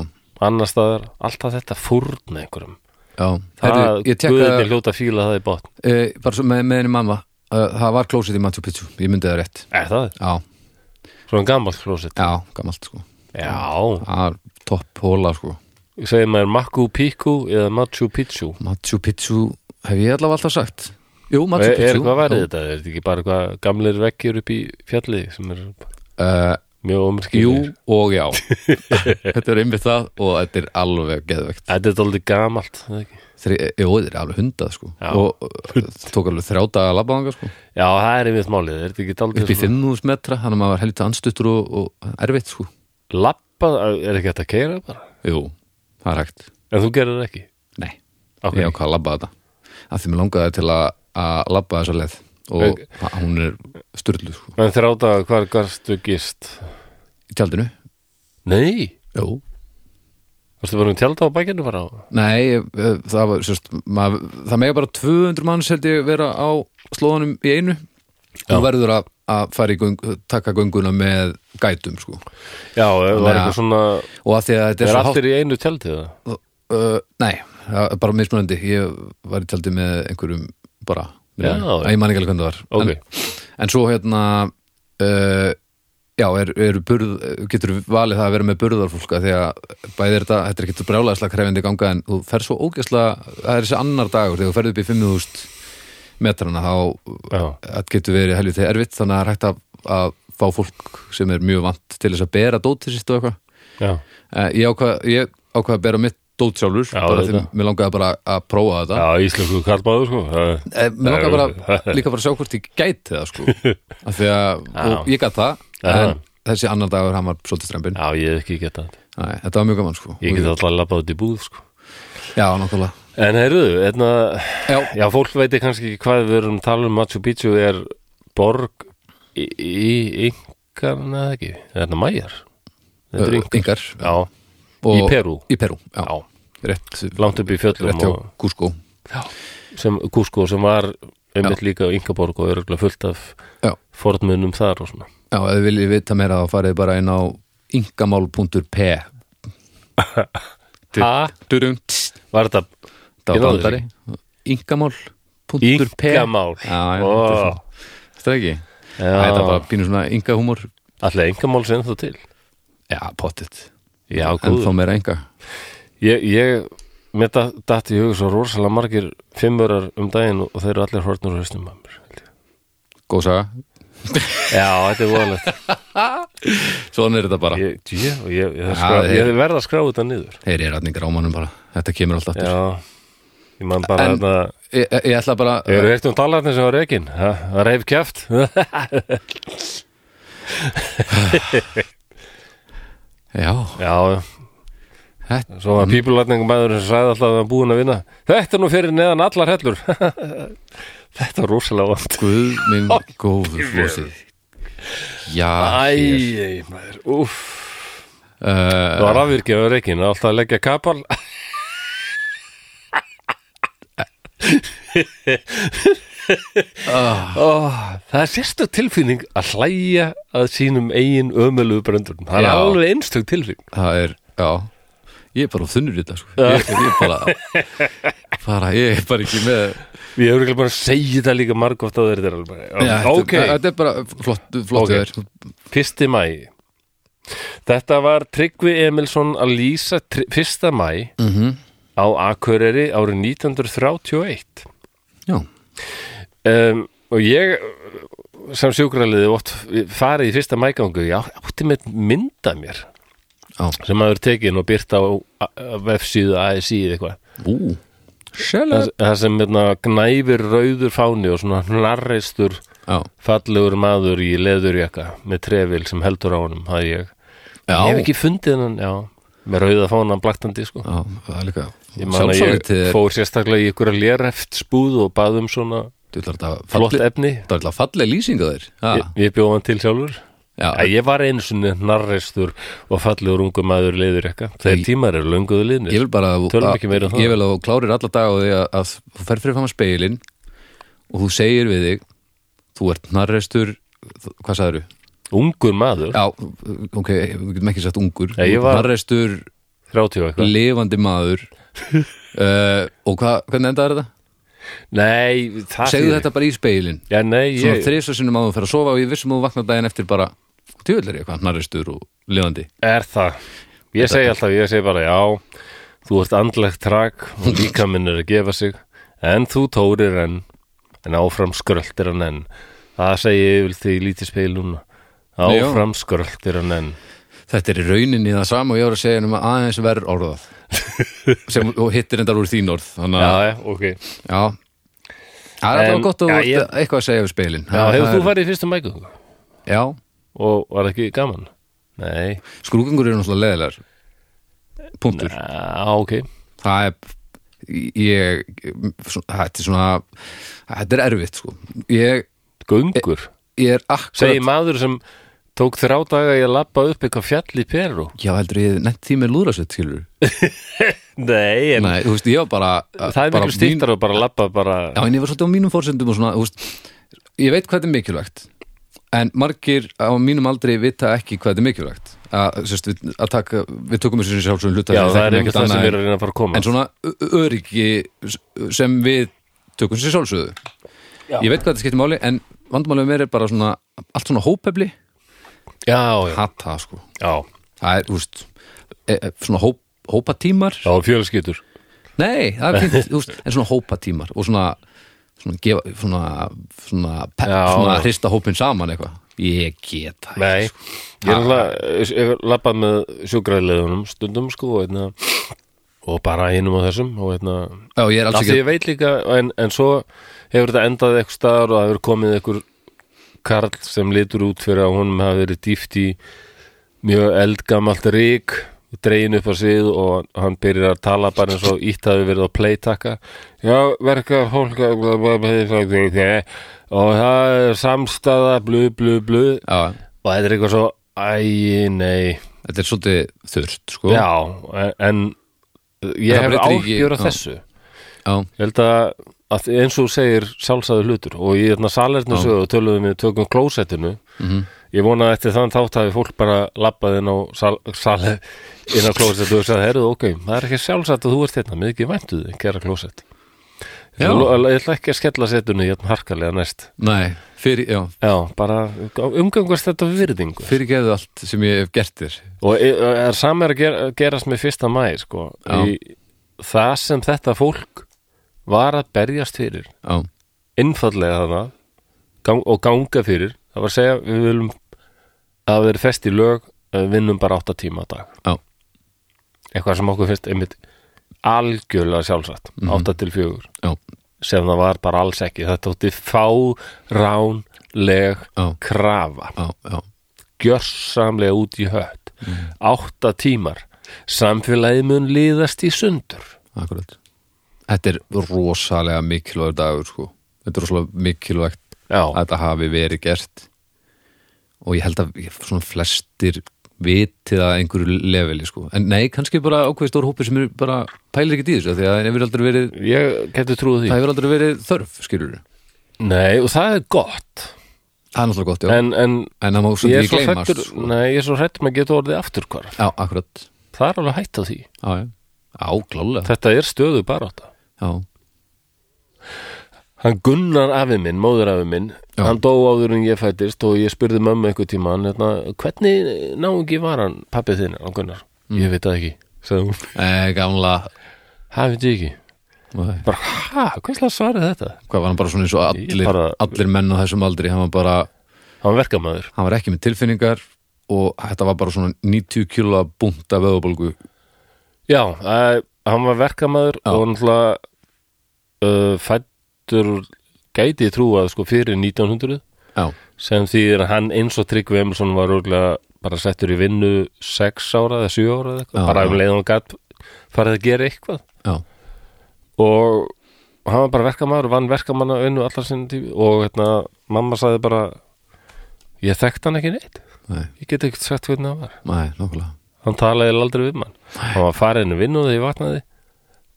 Speaker 1: annar staðar, alltaf þetta fórn einhverjum.
Speaker 2: já
Speaker 1: Það,
Speaker 2: Herru, ég
Speaker 1: guðinni
Speaker 2: tekka,
Speaker 1: hljóta að fíla það í botn.
Speaker 2: e, bara svo með, með henni mamma uh, það var klósið í Machu Picchu, ég myndi það rétt
Speaker 1: Er það?
Speaker 2: já,
Speaker 1: Svona gammalt klósit.
Speaker 2: já, gamalt, sko
Speaker 1: Já,
Speaker 2: það var topp hóla, sko
Speaker 1: segir maður Machu Picchu eða Machu Picchu.
Speaker 2: Machu Picchu, hef ég allavega alltaf sagt jú, Machu
Speaker 1: Eh, Er,
Speaker 2: Picchu
Speaker 1: er hvað
Speaker 2: já.
Speaker 1: værið þetta? Er þetta ekki bara hvað gamlir vekkjur upp í fjalli sem er
Speaker 2: Eh,
Speaker 1: mjög
Speaker 2: Jú
Speaker 1: ómyrskilir?
Speaker 2: og já Þetta er einmitt það og þetta er alveg geðvegt
Speaker 1: Þetta er aldrei gamalt, er það ekki?
Speaker 2: Þri, Jó, þetta er alveg hundað sko
Speaker 1: Já.
Speaker 2: og uh, tók alveg þrjá daga að labba þangað sko
Speaker 1: Já, það er einmitt málið, er þetta ekki aldrei
Speaker 2: upp í 500 metra, þannig að maður var helvita anstuttur og, og erfitt sko
Speaker 1: Lappa, er ekki hægt að keira bara?
Speaker 2: Jú, það er hægt
Speaker 1: En þú gerir það ekki?
Speaker 2: Nei,
Speaker 1: Af
Speaker 2: ég
Speaker 1: hverju?
Speaker 2: ákvað að labba þetta af því mér langaði til að, að labba þessa leið og
Speaker 1: Ok.
Speaker 2: okay. hún er styrlu sko
Speaker 1: En þrjá daga, hvar garstu gist?
Speaker 2: í tjaldinu
Speaker 1: Nei,
Speaker 2: Jú
Speaker 1: varstu bara um tjálta á bækinu bara á?
Speaker 2: Nei, eh, það var sérst, maður, það mega bara 200 manns held ég vera á slóðanum í einu
Speaker 1: Já.
Speaker 2: þú verður að, að fara í göng, taka gönguna með gætum sko.
Speaker 1: Já, það var
Speaker 2: Þannig að-
Speaker 1: eitthvað svona,
Speaker 2: og að því að þetta
Speaker 1: er
Speaker 2: er, svo
Speaker 1: allir í einu tjáltið það?
Speaker 2: hátt uh, Nei, það er bara mismunandi ég var í tjaldi með einhverjum bara,
Speaker 1: Já,
Speaker 2: Að ég man ekki alveg hvernig það var
Speaker 1: Ok.
Speaker 2: en, en svo hérna uh, já, er, er burð, getur valið það að vera með burðarfólka því að bæði er þetta, þetta er ekkert brjálæðislega krefindi ganga en þú fer svo ógæslega það er þessi annar dagur, þegar þú ferð upp í 5000 metrana þá
Speaker 1: Já,
Speaker 2: það getur verið helviti erfitt þannig að það er hægt að, að fá fólk sem er mjög vant til þess að bera dótið sitt og eitthvað
Speaker 1: já,
Speaker 2: Eh, ég ákvað, ég ákvað að bera mitt dót sjálfur,
Speaker 1: Já,
Speaker 2: bara því
Speaker 1: auðvitað.
Speaker 2: mér langaði bara að prófa þetta
Speaker 1: já, íslensku kallbáður sko Það-
Speaker 2: Eh, mér
Speaker 1: Það er-
Speaker 2: langaði bara líka bara að sjá hvort ég gæti það sko af því að, og
Speaker 1: Já.
Speaker 2: ég gæti það
Speaker 1: Já.
Speaker 2: en þessi annar dagur hann var svolítið strempin
Speaker 1: Já, ég hef ekki geta þetta
Speaker 2: þetta var mjög gaman sko
Speaker 1: Ég get alltaf að labba út í búð sko
Speaker 2: já, nákvæmlega
Speaker 1: En heyrðu, einna,
Speaker 2: já,
Speaker 1: já, fólk veitir kannski ekki hvað við erum að tala um Machu Picchu er borg í, í yngarna eða ekki, þetta mæjar Þetta er yngar,
Speaker 2: yngar
Speaker 1: já, í
Speaker 2: Og-
Speaker 1: Perú
Speaker 2: í Perú, já,
Speaker 1: Já,
Speaker 2: rétt
Speaker 1: langt upp í fjöllum
Speaker 2: rétt hjá
Speaker 1: og,
Speaker 2: Cusco
Speaker 1: sem Cusco sem var einmitt líka á Ingaborg og örgulega fullt af
Speaker 2: já,
Speaker 1: fornmunum þar og svona
Speaker 2: já, ef þið viljið vita meira þá farið bara inn á yngamál.p
Speaker 1: ha,
Speaker 2: durum, tss,
Speaker 1: var þetta
Speaker 2: það
Speaker 1: Ég
Speaker 2: var
Speaker 1: náði þessu
Speaker 2: brandari yngamál.p
Speaker 1: yngamál
Speaker 2: Já, já, þetta er
Speaker 1: Ó,
Speaker 2: svona- Þetta er ekki Æ, Þetta er
Speaker 1: já,
Speaker 2: bara pínu svona ynga húmor
Speaker 1: alltaf yngamál sem þú til
Speaker 2: Já, pottitt
Speaker 1: já,
Speaker 2: En
Speaker 1: góð
Speaker 2: þá meira ynga
Speaker 1: ég, ég mér dat- datt í hug svo rosalega margir fimmörar um daginn og þeir eru allir hortnur og haustum að mér held ég.
Speaker 2: Góð saga
Speaker 1: já, þetta er voðalegt
Speaker 2: Svona er þetta bara
Speaker 1: ég, ég, ég, ég, ég,
Speaker 2: Já,
Speaker 1: skrá,
Speaker 2: þeir-
Speaker 1: ég verð að skrá þetta niður
Speaker 2: Þeir eru allir grámanum bara Þetta kemur alltaf aftur
Speaker 1: já, ég man bara
Speaker 2: En-
Speaker 1: en, að
Speaker 2: ég, ég- ég ætla bara
Speaker 1: Ég eru eitt um talarnir sem var reikin Það reif kjæft
Speaker 2: Já,
Speaker 1: Já,
Speaker 2: þetta
Speaker 1: svo var pípulatningum maður sem sagði alltaf að hann búin að vinna Þetta er nú fyrir neðan allar hellur Þetta er rosalega vant
Speaker 2: Guð minn góður flósið Já hér.
Speaker 1: Æ, maður, úff
Speaker 2: uh,
Speaker 1: Það var afvirkjað á reikin, alltaf að leggja kapal oh, Það er sérstök tilfinning að hlæja að sínum eigin ömöluðu bröndurum Það er
Speaker 2: Já.
Speaker 1: alveg einstök tilfinning
Speaker 2: Það er, já Ég er bara á þunnur í þetta sko Ég ég er bara, bara Ég er bara ekki með
Speaker 1: Við hefur ekki bara að segja það líka margóft á þeir þetta er alveg bara,
Speaker 2: Já, þetta-
Speaker 1: Ok,
Speaker 2: Þetta er bara flott, flott
Speaker 1: Ok.
Speaker 2: okay.
Speaker 1: fyrsti mæ Þetta var Tryggvi Emilsson að lýsa tri- 1. mæ
Speaker 2: mm
Speaker 1: á Akureyri árið 1931
Speaker 2: Já,
Speaker 1: um, og ég sem sjúkraliði ótt farið í fyrsta mægangu, já, átti með mynda mér
Speaker 2: já,
Speaker 1: sem maður tekin og byrt á a- vefsíðu ASI eða eitthvað
Speaker 2: ú
Speaker 1: það,
Speaker 2: Sjálf
Speaker 1: það sem hérna, gnæfir rauður fáni og svona hnarreistur
Speaker 2: Já,
Speaker 1: fallegur maður í leðurjaka með trefil sem heldur á honum það ég,
Speaker 2: já,
Speaker 1: ég hef ekki fundið hann já, með rauða fánan blaktandi sko.
Speaker 2: já það er líka
Speaker 1: ég man að ég
Speaker 2: Sjálfsálið er
Speaker 1: fór sérstaklega í ykkur að léreft spúð og bað um svona
Speaker 2: Þetta er
Speaker 1: flott
Speaker 2: falleg-
Speaker 1: efni
Speaker 2: þetta er alltaf falleg lýsing að þér Já,
Speaker 1: ég, ég bjóð hann til sjálfur
Speaker 2: já,
Speaker 1: Já, ég var einu sinni narreistur og fallegur ungu maður leiður ekka þeir
Speaker 2: Ég-
Speaker 1: tímar eru lönguðu liðnir
Speaker 2: Ég vil bara að,
Speaker 1: Tölum
Speaker 2: að-
Speaker 1: ekki meira um það.
Speaker 2: Ég vil að þú klárir alla dag á því að, að þú fer fyrir fram að speilin og þú segir við þig þú ert narrestur hvað sagðirðu?
Speaker 1: ungur maður,
Speaker 2: Já, ok, við getum ekki sagt ungur
Speaker 1: Nei, ég var-
Speaker 2: narrestur,
Speaker 1: 30 og eitthvað
Speaker 2: lifandi maður uh, og hva, hvernig endaði þetta?
Speaker 1: nei, það
Speaker 2: Segðu
Speaker 1: þýðir-
Speaker 2: þetta bara í speilin
Speaker 1: já, nei,
Speaker 2: svona
Speaker 1: ég,
Speaker 2: þrisvar sinnum áður fyrir að sofa og ég vissum að þú vaknar daginn eftir bara tjóðlega er ég hvað narrestur og lifandi
Speaker 1: er það ég segi alltaf, ég segi bara já þú ert andlegt trak og líka minn er að gefa sig en þú tórir enn en áfram skröltir hann enn það segi ég vil því lítið spil núna
Speaker 2: Nei, já.
Speaker 1: áfram skröltir hann enn
Speaker 2: Þetta er í rauninni það sama og ég var að segja um aðeins verð orðað sem, og hittir endar úr þín orð þannig að
Speaker 1: já, já, ok já,
Speaker 2: Já Það er
Speaker 1: En,
Speaker 2: alltaf gott að
Speaker 1: já,
Speaker 2: þú ert
Speaker 1: ég-
Speaker 2: eitthvað að segja við speilin
Speaker 1: hefur
Speaker 2: Það
Speaker 1: þú
Speaker 2: er-
Speaker 1: farið í fyrstu mæku
Speaker 2: Já,
Speaker 1: og var það ekki gaman nei,
Speaker 2: skrúkingur eru náttúrulega leðilegar Punktur
Speaker 1: já, Ah, ok
Speaker 2: Það er ég, svona- þetta er svona þetta er erfitt sko ég,
Speaker 1: göngur,
Speaker 2: ég er akkurat
Speaker 1: segi maður sem tók þrjá daga í að labba upp eitthvað fjall í Peru
Speaker 2: Já, heldur ég nefnt því með lúðrasveit skilur
Speaker 1: nei, en
Speaker 2: Nei, þú veist, ég var bara
Speaker 1: það er
Speaker 2: bara
Speaker 1: miklu stýttar og bara labba bara
Speaker 2: Já, en ég var svolítið á mínum fórsendum og svona, þú veist, ég veit hvað þetta er mikilvægt en margir á mínum aldrei vita ekki hvað þetta er mikilvægt að, sérst, við, að taka, við tökum þessu sjálfsögum hluta
Speaker 1: Já,
Speaker 2: þegar
Speaker 1: það er
Speaker 2: þekkjum
Speaker 1: einmitt
Speaker 2: ekkert
Speaker 1: það sem
Speaker 2: annað
Speaker 1: við erum að reyna að fara að koma
Speaker 2: en svona ö- ö- öryggi s- sem við tökum sér sjálfsögðu
Speaker 1: Já.
Speaker 2: ég veit hvað þetta skiptir máli en vandmálið með mér er bara svona allt svona hópefli,
Speaker 1: Já, já,
Speaker 2: hata sko
Speaker 1: já,
Speaker 2: það er, þú veist, e, e, svona hóp, hópatímar
Speaker 1: já, fjölskyldur
Speaker 2: Nei, það er fint, þú veist, en svona hópatímar og svona svona, gefa, svona, svona, pe,
Speaker 1: Já.
Speaker 2: svona hrista hópin saman eitthvað ég get það ekki,
Speaker 1: Nei,
Speaker 2: sko.
Speaker 1: ég er alltaf labbað með sjúkraðilegunum stundum sko og, einna, og bara einum og þessum og hérna- einna,
Speaker 2: Já, ég er alls
Speaker 1: af því
Speaker 2: ekki
Speaker 1: ég veit líka en, en svo hefur þetta endað eitthvað staðar og það hefur komið eitthvað karl sem litur út fyrir að honum hafi verið dýft í mjög eldgamalt rík dregin upp á sig og hann byrjar að tala bara eins og ítt hafi verið á playtaka já, verka fólk og það er samstaða blu, blu, blu
Speaker 2: Já,
Speaker 1: og þetta er eitthvað svo æ, nei,
Speaker 2: þetta er svolítið þurft sko.
Speaker 1: já en- en ég
Speaker 2: Það
Speaker 1: hef
Speaker 2: breytir ekki-
Speaker 1: áhyggjur af
Speaker 2: já.
Speaker 1: þessu
Speaker 2: Já,
Speaker 1: ég held að, að eins og þú segir sjálfsæðu hlutur og í þarna salernu sögu töluðum við tökum klósettinu
Speaker 2: mhm.
Speaker 1: -hmm. ég vona að eftir þann þátt hafi fólk bara labbað inn á sal, sal, inn á klósett og sagði, herruðu, ok, það er ekki sjálfsætt að þú ert hérna, mér ekki væntu þig, gera klósett ég
Speaker 2: Já.
Speaker 1: ætla ég ætla ekki að skella setunni hérna harkalega næst
Speaker 2: nei, fyrir, já,
Speaker 1: já, bara umgangast þetta við virðingu
Speaker 2: fyrirgefðu allt sem ég hef gert þér
Speaker 1: og e- er samar að gera, gerast með fyrsta mæ sko,
Speaker 2: Já.
Speaker 1: í það sem þetta fólk var að berjast fyrir
Speaker 2: Já,
Speaker 1: innfallega þarna gang, og ganga fyrir það var að segja við viljum að það verið fest í lög að við vinnum bara 8 tíma á dag
Speaker 2: já,
Speaker 1: eitthvað sem okkur finnst einmitt algjörlega sjálfsagt
Speaker 2: Mhm.
Speaker 1: 8 til 4
Speaker 2: já,
Speaker 1: sem það var bara alls ekki þetta þótti fá ránleg
Speaker 2: Já.
Speaker 1: krafa
Speaker 2: já, já
Speaker 1: gjörsamlega út í hött
Speaker 2: Mhm.
Speaker 1: 8 tímar samfélagið mun liðast í sundur
Speaker 2: akkurat Þetta er rosalega mikilvægur dagur sko. Þetta er rosalega mikilvægt
Speaker 1: já,
Speaker 2: að þetta hafi verið gert og ég held að ég- svona flestir vitið að einhverju leveli sko. en nei, kannski bara ákveði stór hópi sem eru bara pælir ekkert í þessu af því að það hefur aldrei verið,
Speaker 1: ég geti trúið
Speaker 2: það
Speaker 1: því
Speaker 2: hefur aldrei verið þörf skilur
Speaker 1: nei, og það er gott
Speaker 2: það er náttúrulega gott, já, en,
Speaker 1: en, en
Speaker 2: það má
Speaker 1: Eh, ég
Speaker 2: svona
Speaker 1: er
Speaker 2: ekki
Speaker 1: svo
Speaker 2: gleymast
Speaker 1: hrættur
Speaker 2: sko.
Speaker 1: nei, ég er svo hrættur maður geta orðið afturkvarf
Speaker 2: já, akkurat,
Speaker 1: það er alveg hætt á því
Speaker 2: já, já á, klálega,
Speaker 1: þetta er stöðu barátta
Speaker 2: já,
Speaker 1: hann Gunnar afi minn, móður afi minn
Speaker 2: Já.
Speaker 1: hann dó áður en ég fættist og ég spurði mömmu einhver tíma hann, hérna, hvernig náungi var hann pappið þinn, hann Gunnar ég veit það ekki, sagði hún
Speaker 2: Eh, gamla
Speaker 1: það veit ég ekki,
Speaker 2: Nei.
Speaker 1: bara hæ, hverslega svarið þetta
Speaker 2: Hvað var hann bara svona eins og allir,
Speaker 1: bara-
Speaker 2: allir menn á þessum aldri Hann var bara,
Speaker 1: hann verkamæður,
Speaker 2: hann var ekki með tilfinningar Og þetta var bara svona 90 kilo búnta veðubólgu
Speaker 1: já, að, hann var verkamæður
Speaker 2: Já.
Speaker 1: og náttúrulega uh, fættur gæti ég trúa sko fyrir 1900
Speaker 2: Já,
Speaker 1: sem þýðir að hann eins og Tryggvi Emilsson var úrlega bara settur í vinnu 6 ára eða 7 ára eða
Speaker 2: Já,
Speaker 1: eitthvað, bara
Speaker 2: já.
Speaker 1: um leiðan hann gat farið að gera eitthvað
Speaker 2: já,
Speaker 1: og hann var bara verkamaður vann verkamanna önnu allar sinni tími og hérna, mamma sagði bara ég þekkt hann ekki neitt
Speaker 2: nei,
Speaker 1: ég get ekkert sagt hvernig hann var
Speaker 2: nei, nokkulega
Speaker 1: hann talaði eiginlega aldrei við mann hann var farin að vinnu þegar ég vaknaði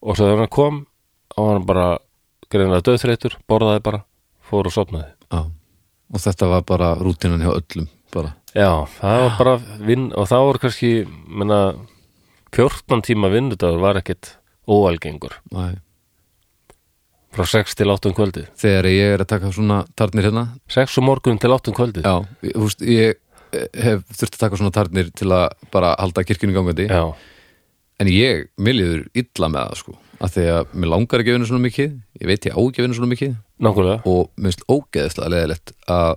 Speaker 1: og svo þegar hann kom þá var hann bara greinaði döðþreytur, borðaði bara fór og sopnaði
Speaker 2: Já, og þetta var bara rútinan hjá öllum bara.
Speaker 1: Já, það var bara vinn og það voru kannski, menna 14 tíma vinnudagur var ekkit óalgengur
Speaker 2: Nei.
Speaker 1: frá 6 til 8 um kvöldið
Speaker 2: Þegar ég er að taka svona tarnir hérna
Speaker 1: 6 um morgun til 8 um kvöldið
Speaker 2: Já, ég- þú veist, ég eh, hef þurft að taka svona tarnir til að bara halda kirkjunni gangandi
Speaker 1: Já,
Speaker 2: en ég, mér liður illa með það sko af því að mér langar ekki að vinna svona mikið ég veit ég á ekki að vinna svona mikið
Speaker 1: nákvæmlega
Speaker 2: og mér finnst ógeðislega leðilegt að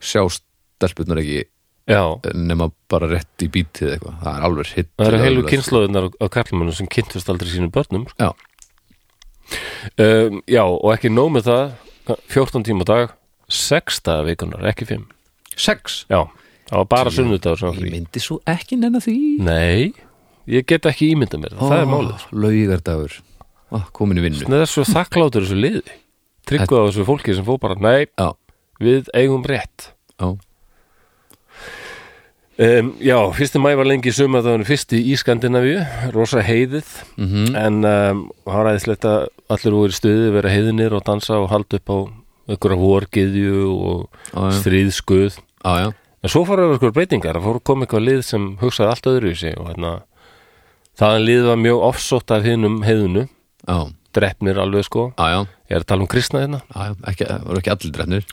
Speaker 2: sjá stelpurnar ekki eh,
Speaker 1: Já,
Speaker 2: nema bara rétt í bítið eða eitthvað það er alveg hitt
Speaker 1: það eru heilu kynnslóðunar á karlmönnum sem kynntust aldrei sínum börnum
Speaker 2: Já,
Speaker 1: um, Já, og ekki nóg með það 14 tíma á dag 6 dagar vikunar, ekki 5
Speaker 2: sex
Speaker 1: Já, það var bara sunnudagur sem var
Speaker 2: Ég
Speaker 1: frí.
Speaker 2: myndi svo ekki nennan því
Speaker 1: Nei, ég get ekki ímynda mér það, það er málið
Speaker 2: Laugardagur, ah, komin í vinnu
Speaker 1: Nei, það er svo þakklátur þessu liði Trygguð á þessu fólki sem fór bara Nei,
Speaker 2: Já,
Speaker 1: við eigum rétt
Speaker 2: já,
Speaker 1: um, Já, fyrsti mæ var lengi í suma það var fyrsti í Skandinavíu Rosa heiðið
Speaker 2: Mhm.
Speaker 1: En um, það var aðeinslegt að allir voru í stuði vera heiðinir og dansa og halda upp á einhverja vorgiðju og
Speaker 2: Já, já.
Speaker 1: stríðskuð
Speaker 2: já, já,
Speaker 1: En svo fóru einhverjum breytingar, það fóru kom eitthvað lið sem hugsaði allt öðru í sig og hérna þaðan lið var mjög offsótt af hinnum heiðinu,
Speaker 2: já,
Speaker 1: drefnir alveg sko
Speaker 2: já, já,
Speaker 1: Ég er að tala um kristna hérna
Speaker 2: já, já ekki, það voru ekki allir drefnir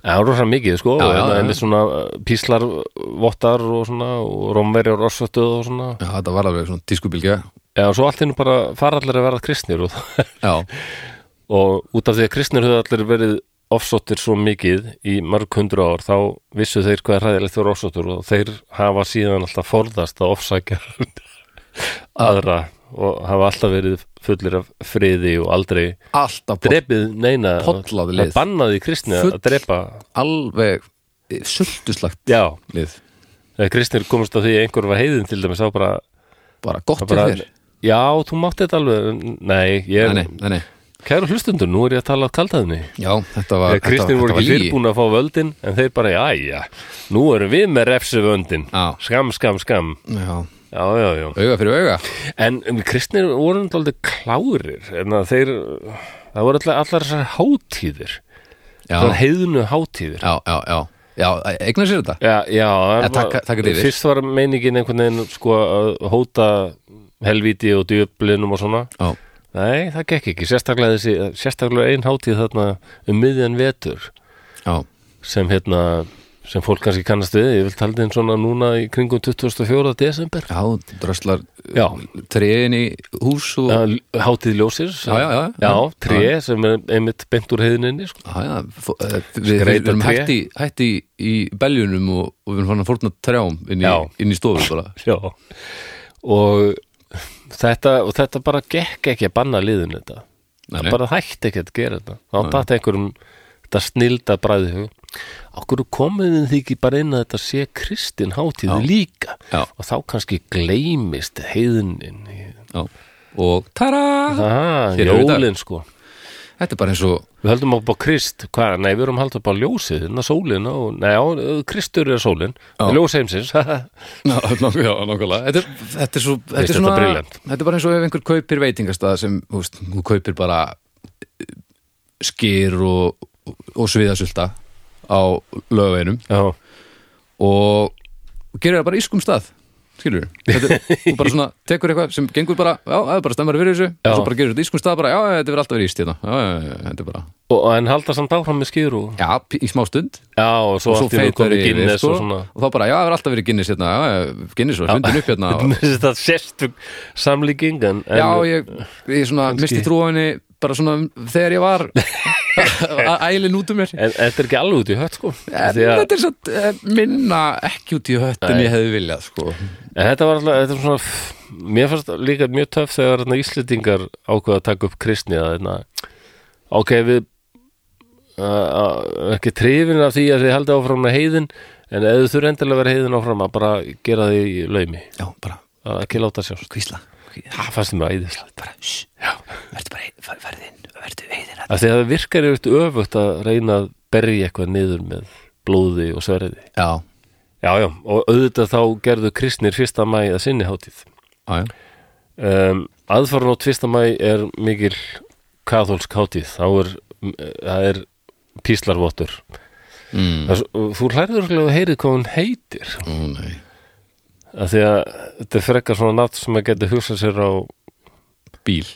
Speaker 1: Já, það er rosa mikið, sko,
Speaker 2: Já,
Speaker 1: já,
Speaker 2: já,
Speaker 1: já,
Speaker 2: já.
Speaker 1: en svona uh, píslar, uh, vottar og svona, og romverjar orsvötuð og svona.
Speaker 2: Já, þetta var alveg svona tískubilgja
Speaker 1: Já, og svo allt hennu bara fara allir að verða kristnir og,
Speaker 2: Já,
Speaker 1: og út af því að kristnir höfðu allir verið ofsóttir svo mikið í mörg hundru ár, þá vissu þeir hvað er hræðilegt fyrir ofsóttur og þeir hafa síðan alltaf forðast að ofsækja aðra og hafa alltaf verið fullir af friði og aldrei
Speaker 2: alltaf pot,
Speaker 1: drepið neina
Speaker 2: Pollað lið.
Speaker 1: að bannaði kristni að
Speaker 2: Full-
Speaker 1: drepa
Speaker 2: alveg eh, sultuslagt
Speaker 1: já,
Speaker 2: lið
Speaker 1: þegar kristnir komast að því að einhver var heiðin til dæmis þá bara,
Speaker 2: Bara gott
Speaker 1: þá
Speaker 2: fyrir
Speaker 1: bara
Speaker 2: þér
Speaker 1: já, þú mátt þetta alveg en- nei, ég
Speaker 2: Nei,
Speaker 1: er,
Speaker 2: nei, nei, nei
Speaker 1: kæru hlustundur, nú er ég að tala að kaldaðinni
Speaker 2: Já, þetta var
Speaker 1: þegar
Speaker 2: þetta-
Speaker 1: kristnir Eh, voru
Speaker 2: þetta var
Speaker 1: ekki
Speaker 2: lygi.
Speaker 1: fyrirbúin að fá völdin en þeir bara, já, já, nú erum við með refsivöndin,
Speaker 2: Já.
Speaker 1: skam, skam, skam
Speaker 2: Já,
Speaker 1: já, já, já
Speaker 2: auga fyrir auga
Speaker 1: en um, kristnir voru náttúrulega klárir en að þeir, það voru allar, allar þessar hátíðir,
Speaker 2: Já,
Speaker 1: þessar heiðinu hátíðir
Speaker 2: já, já, já, já eignar sér þetta
Speaker 1: Já, já, það
Speaker 2: Ja,
Speaker 1: var-
Speaker 2: taka- taka þetta yfir.
Speaker 1: fyrst var meiningin einhvern veginn sko að hóta helvíti og djöflinum og svona
Speaker 2: Já,
Speaker 1: Nei, það gekk ekki, sérstaklega þessi sérstaklega ein hátíð þarna um miðjan vetur
Speaker 2: já,
Speaker 1: sem hérna sem fólk kannski kannast við, ég vil taldi einn svona núna í kringum 24. desember
Speaker 2: já, dröslar
Speaker 1: Já.
Speaker 2: Tréin í hús og
Speaker 1: Það er hátíð ljósir
Speaker 2: Já, já, já.
Speaker 1: tré sem er einmitt beint úr heiðninni sko.
Speaker 2: Já, já, fó- eh, við við-
Speaker 1: Skreyta
Speaker 2: við erum
Speaker 1: tré.
Speaker 2: hætti, hætti í beljunum og, og við erum fann að fórna trjám inn í,
Speaker 1: Já.
Speaker 2: inn í stofu bara
Speaker 1: Já og þetta, og þetta bara gekk ekki að banna liðin þetta
Speaker 2: Nei,
Speaker 1: það bara hætti ekki að gera þetta þá datt einhverjum þetta snilda bræði hug okkur komið þið ekki bara inn að þetta sé kristin hátíð líka
Speaker 2: Já.
Speaker 1: og þá kannski gleymist heiðnin í-
Speaker 2: Já. og tara
Speaker 1: Aha,
Speaker 2: Hér eru í dag.
Speaker 1: jólin sko
Speaker 2: Þetta er bara eins og
Speaker 1: við höldum upp á krist, hvað, nei við erum haldum upp á ljósið, en að sólin og, nei, á, kristur er sólin,
Speaker 2: Já.
Speaker 1: ljós heimsins
Speaker 2: Já, nokkuð- já, nákvæmlega Þetta er, þetta er, svo, þetta
Speaker 1: Veist,
Speaker 2: er
Speaker 1: þetta
Speaker 2: svona
Speaker 1: er brilliant.
Speaker 2: Þetta er bara eins og ef einhver kaupir veitingastað sem, þú veist, hún kaupir bara eh, skyr og, og sviðasulta á lögveinum
Speaker 1: já,
Speaker 2: og gerir það bara í ískum stað skilur við, og bara svona tekur eitthvað sem gengur bara, já, það er bara stemmar fyrir þessu
Speaker 1: Já.
Speaker 2: og svo bara gerir þetta í ískum stað bara, já, já, þetta verður alltaf verið íst hérna já, já, já, já, þetta er bara,
Speaker 1: og, en halda samt áfram með skýru
Speaker 2: já, p- í smá stund
Speaker 1: já, og svo
Speaker 2: og svo
Speaker 1: allt í einu
Speaker 2: feitar
Speaker 1: komið
Speaker 2: yfir,
Speaker 1: Guinness
Speaker 2: sko,
Speaker 1: og svona
Speaker 2: og þá bara, já, það er alltaf verið Guinness hérna, já, já, Guinness og hundin upp hérna og,
Speaker 1: Mér finnst þetta sérstök samlíking en, en
Speaker 2: já, ég, ég svona misti trúinni bara svona um- þegar ég var að ælin út um mér en,
Speaker 1: En þetta er ekki alveg út í hött sko Því að,
Speaker 2: þetta er satt eh, minna ekki út í hött en ég hefði viljað sko.
Speaker 1: en þetta var alltaf þetta var svona, f- Mér fannst líka mjög töff þegar þarna Íslendingar ákveða að taka upp kristni að, hérna, Ok, við uh, uh, ekki trifin af því að þið haldið áfram með heiðin en ef þú þurfi endilega að vera heiðin áfram að bara gera því í laumi
Speaker 2: já, bara
Speaker 1: að ekki láta sjást
Speaker 2: kvísla bara,
Speaker 1: Það fannst mér æðislega
Speaker 2: shh,
Speaker 1: Já.
Speaker 2: verður bara verðin, verður heiðin
Speaker 1: Af því að það virkar yfir öfugt að reyna að berja eitthvað niður með blóði og sverði
Speaker 2: já,
Speaker 1: Já, já, og auðvitað þá gerðu kristnir fyrsta mæ að sinni hátíð
Speaker 2: já, já
Speaker 1: um, aðfaran á tvista mæ er mikil kathólsk hátíð þá er, m- eh, það er píslarvottur
Speaker 2: mm.
Speaker 1: Það er svo- þú hlærður að þú heyrið hvað hún heitir
Speaker 2: Ó, nei.
Speaker 1: af því að þetta er frekar svona nátt sem að geta hugsað sér á
Speaker 2: bíl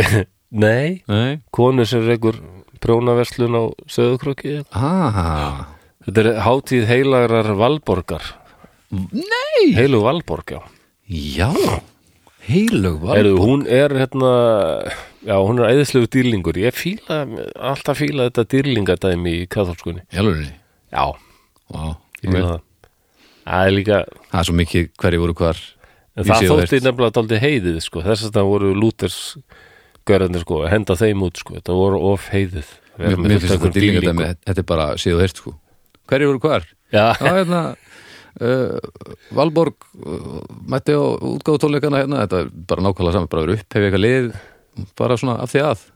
Speaker 1: nei,
Speaker 2: nei,
Speaker 1: konu sem rekur prjónaverslun á söðukröki
Speaker 2: ah,
Speaker 1: þetta er hátíð heilagrar valborgar
Speaker 2: nei.
Speaker 1: heilu valborg, já
Speaker 2: já heilög var
Speaker 1: Heyrðu, hún er hérna já, hún er æðislegu dýrlingur ég fíla, alltaf fíla þetta dýrlingadæmi í kathólskunni
Speaker 2: Jálfurni,
Speaker 1: já,
Speaker 2: vá
Speaker 1: ég fíla það það er líka,
Speaker 2: Það er svo mikið hverju voru hvar
Speaker 1: en
Speaker 2: Ég sé
Speaker 1: það
Speaker 2: það
Speaker 1: þótti nefnilega dálítið heiðið, sko, þess að það voru Lúters görðanir, sko, að henda þeim út sko, þetta voru of heiðið að vera
Speaker 2: Mér, mér
Speaker 1: með fullt
Speaker 2: finnst
Speaker 1: af
Speaker 2: þetta
Speaker 1: einhverjum
Speaker 2: dýlinga
Speaker 1: dýrlingum.
Speaker 2: dæmi Þetta er bara séð og heyrt sko Hverju voru hvar? Já,
Speaker 1: já,
Speaker 2: hérna uh, Valborg uh, mætti á útgáðutónleikana hérna Þetta er bara nákvæmlega saman, bara verið upp Hefði eitthvað lið, bara svona af því að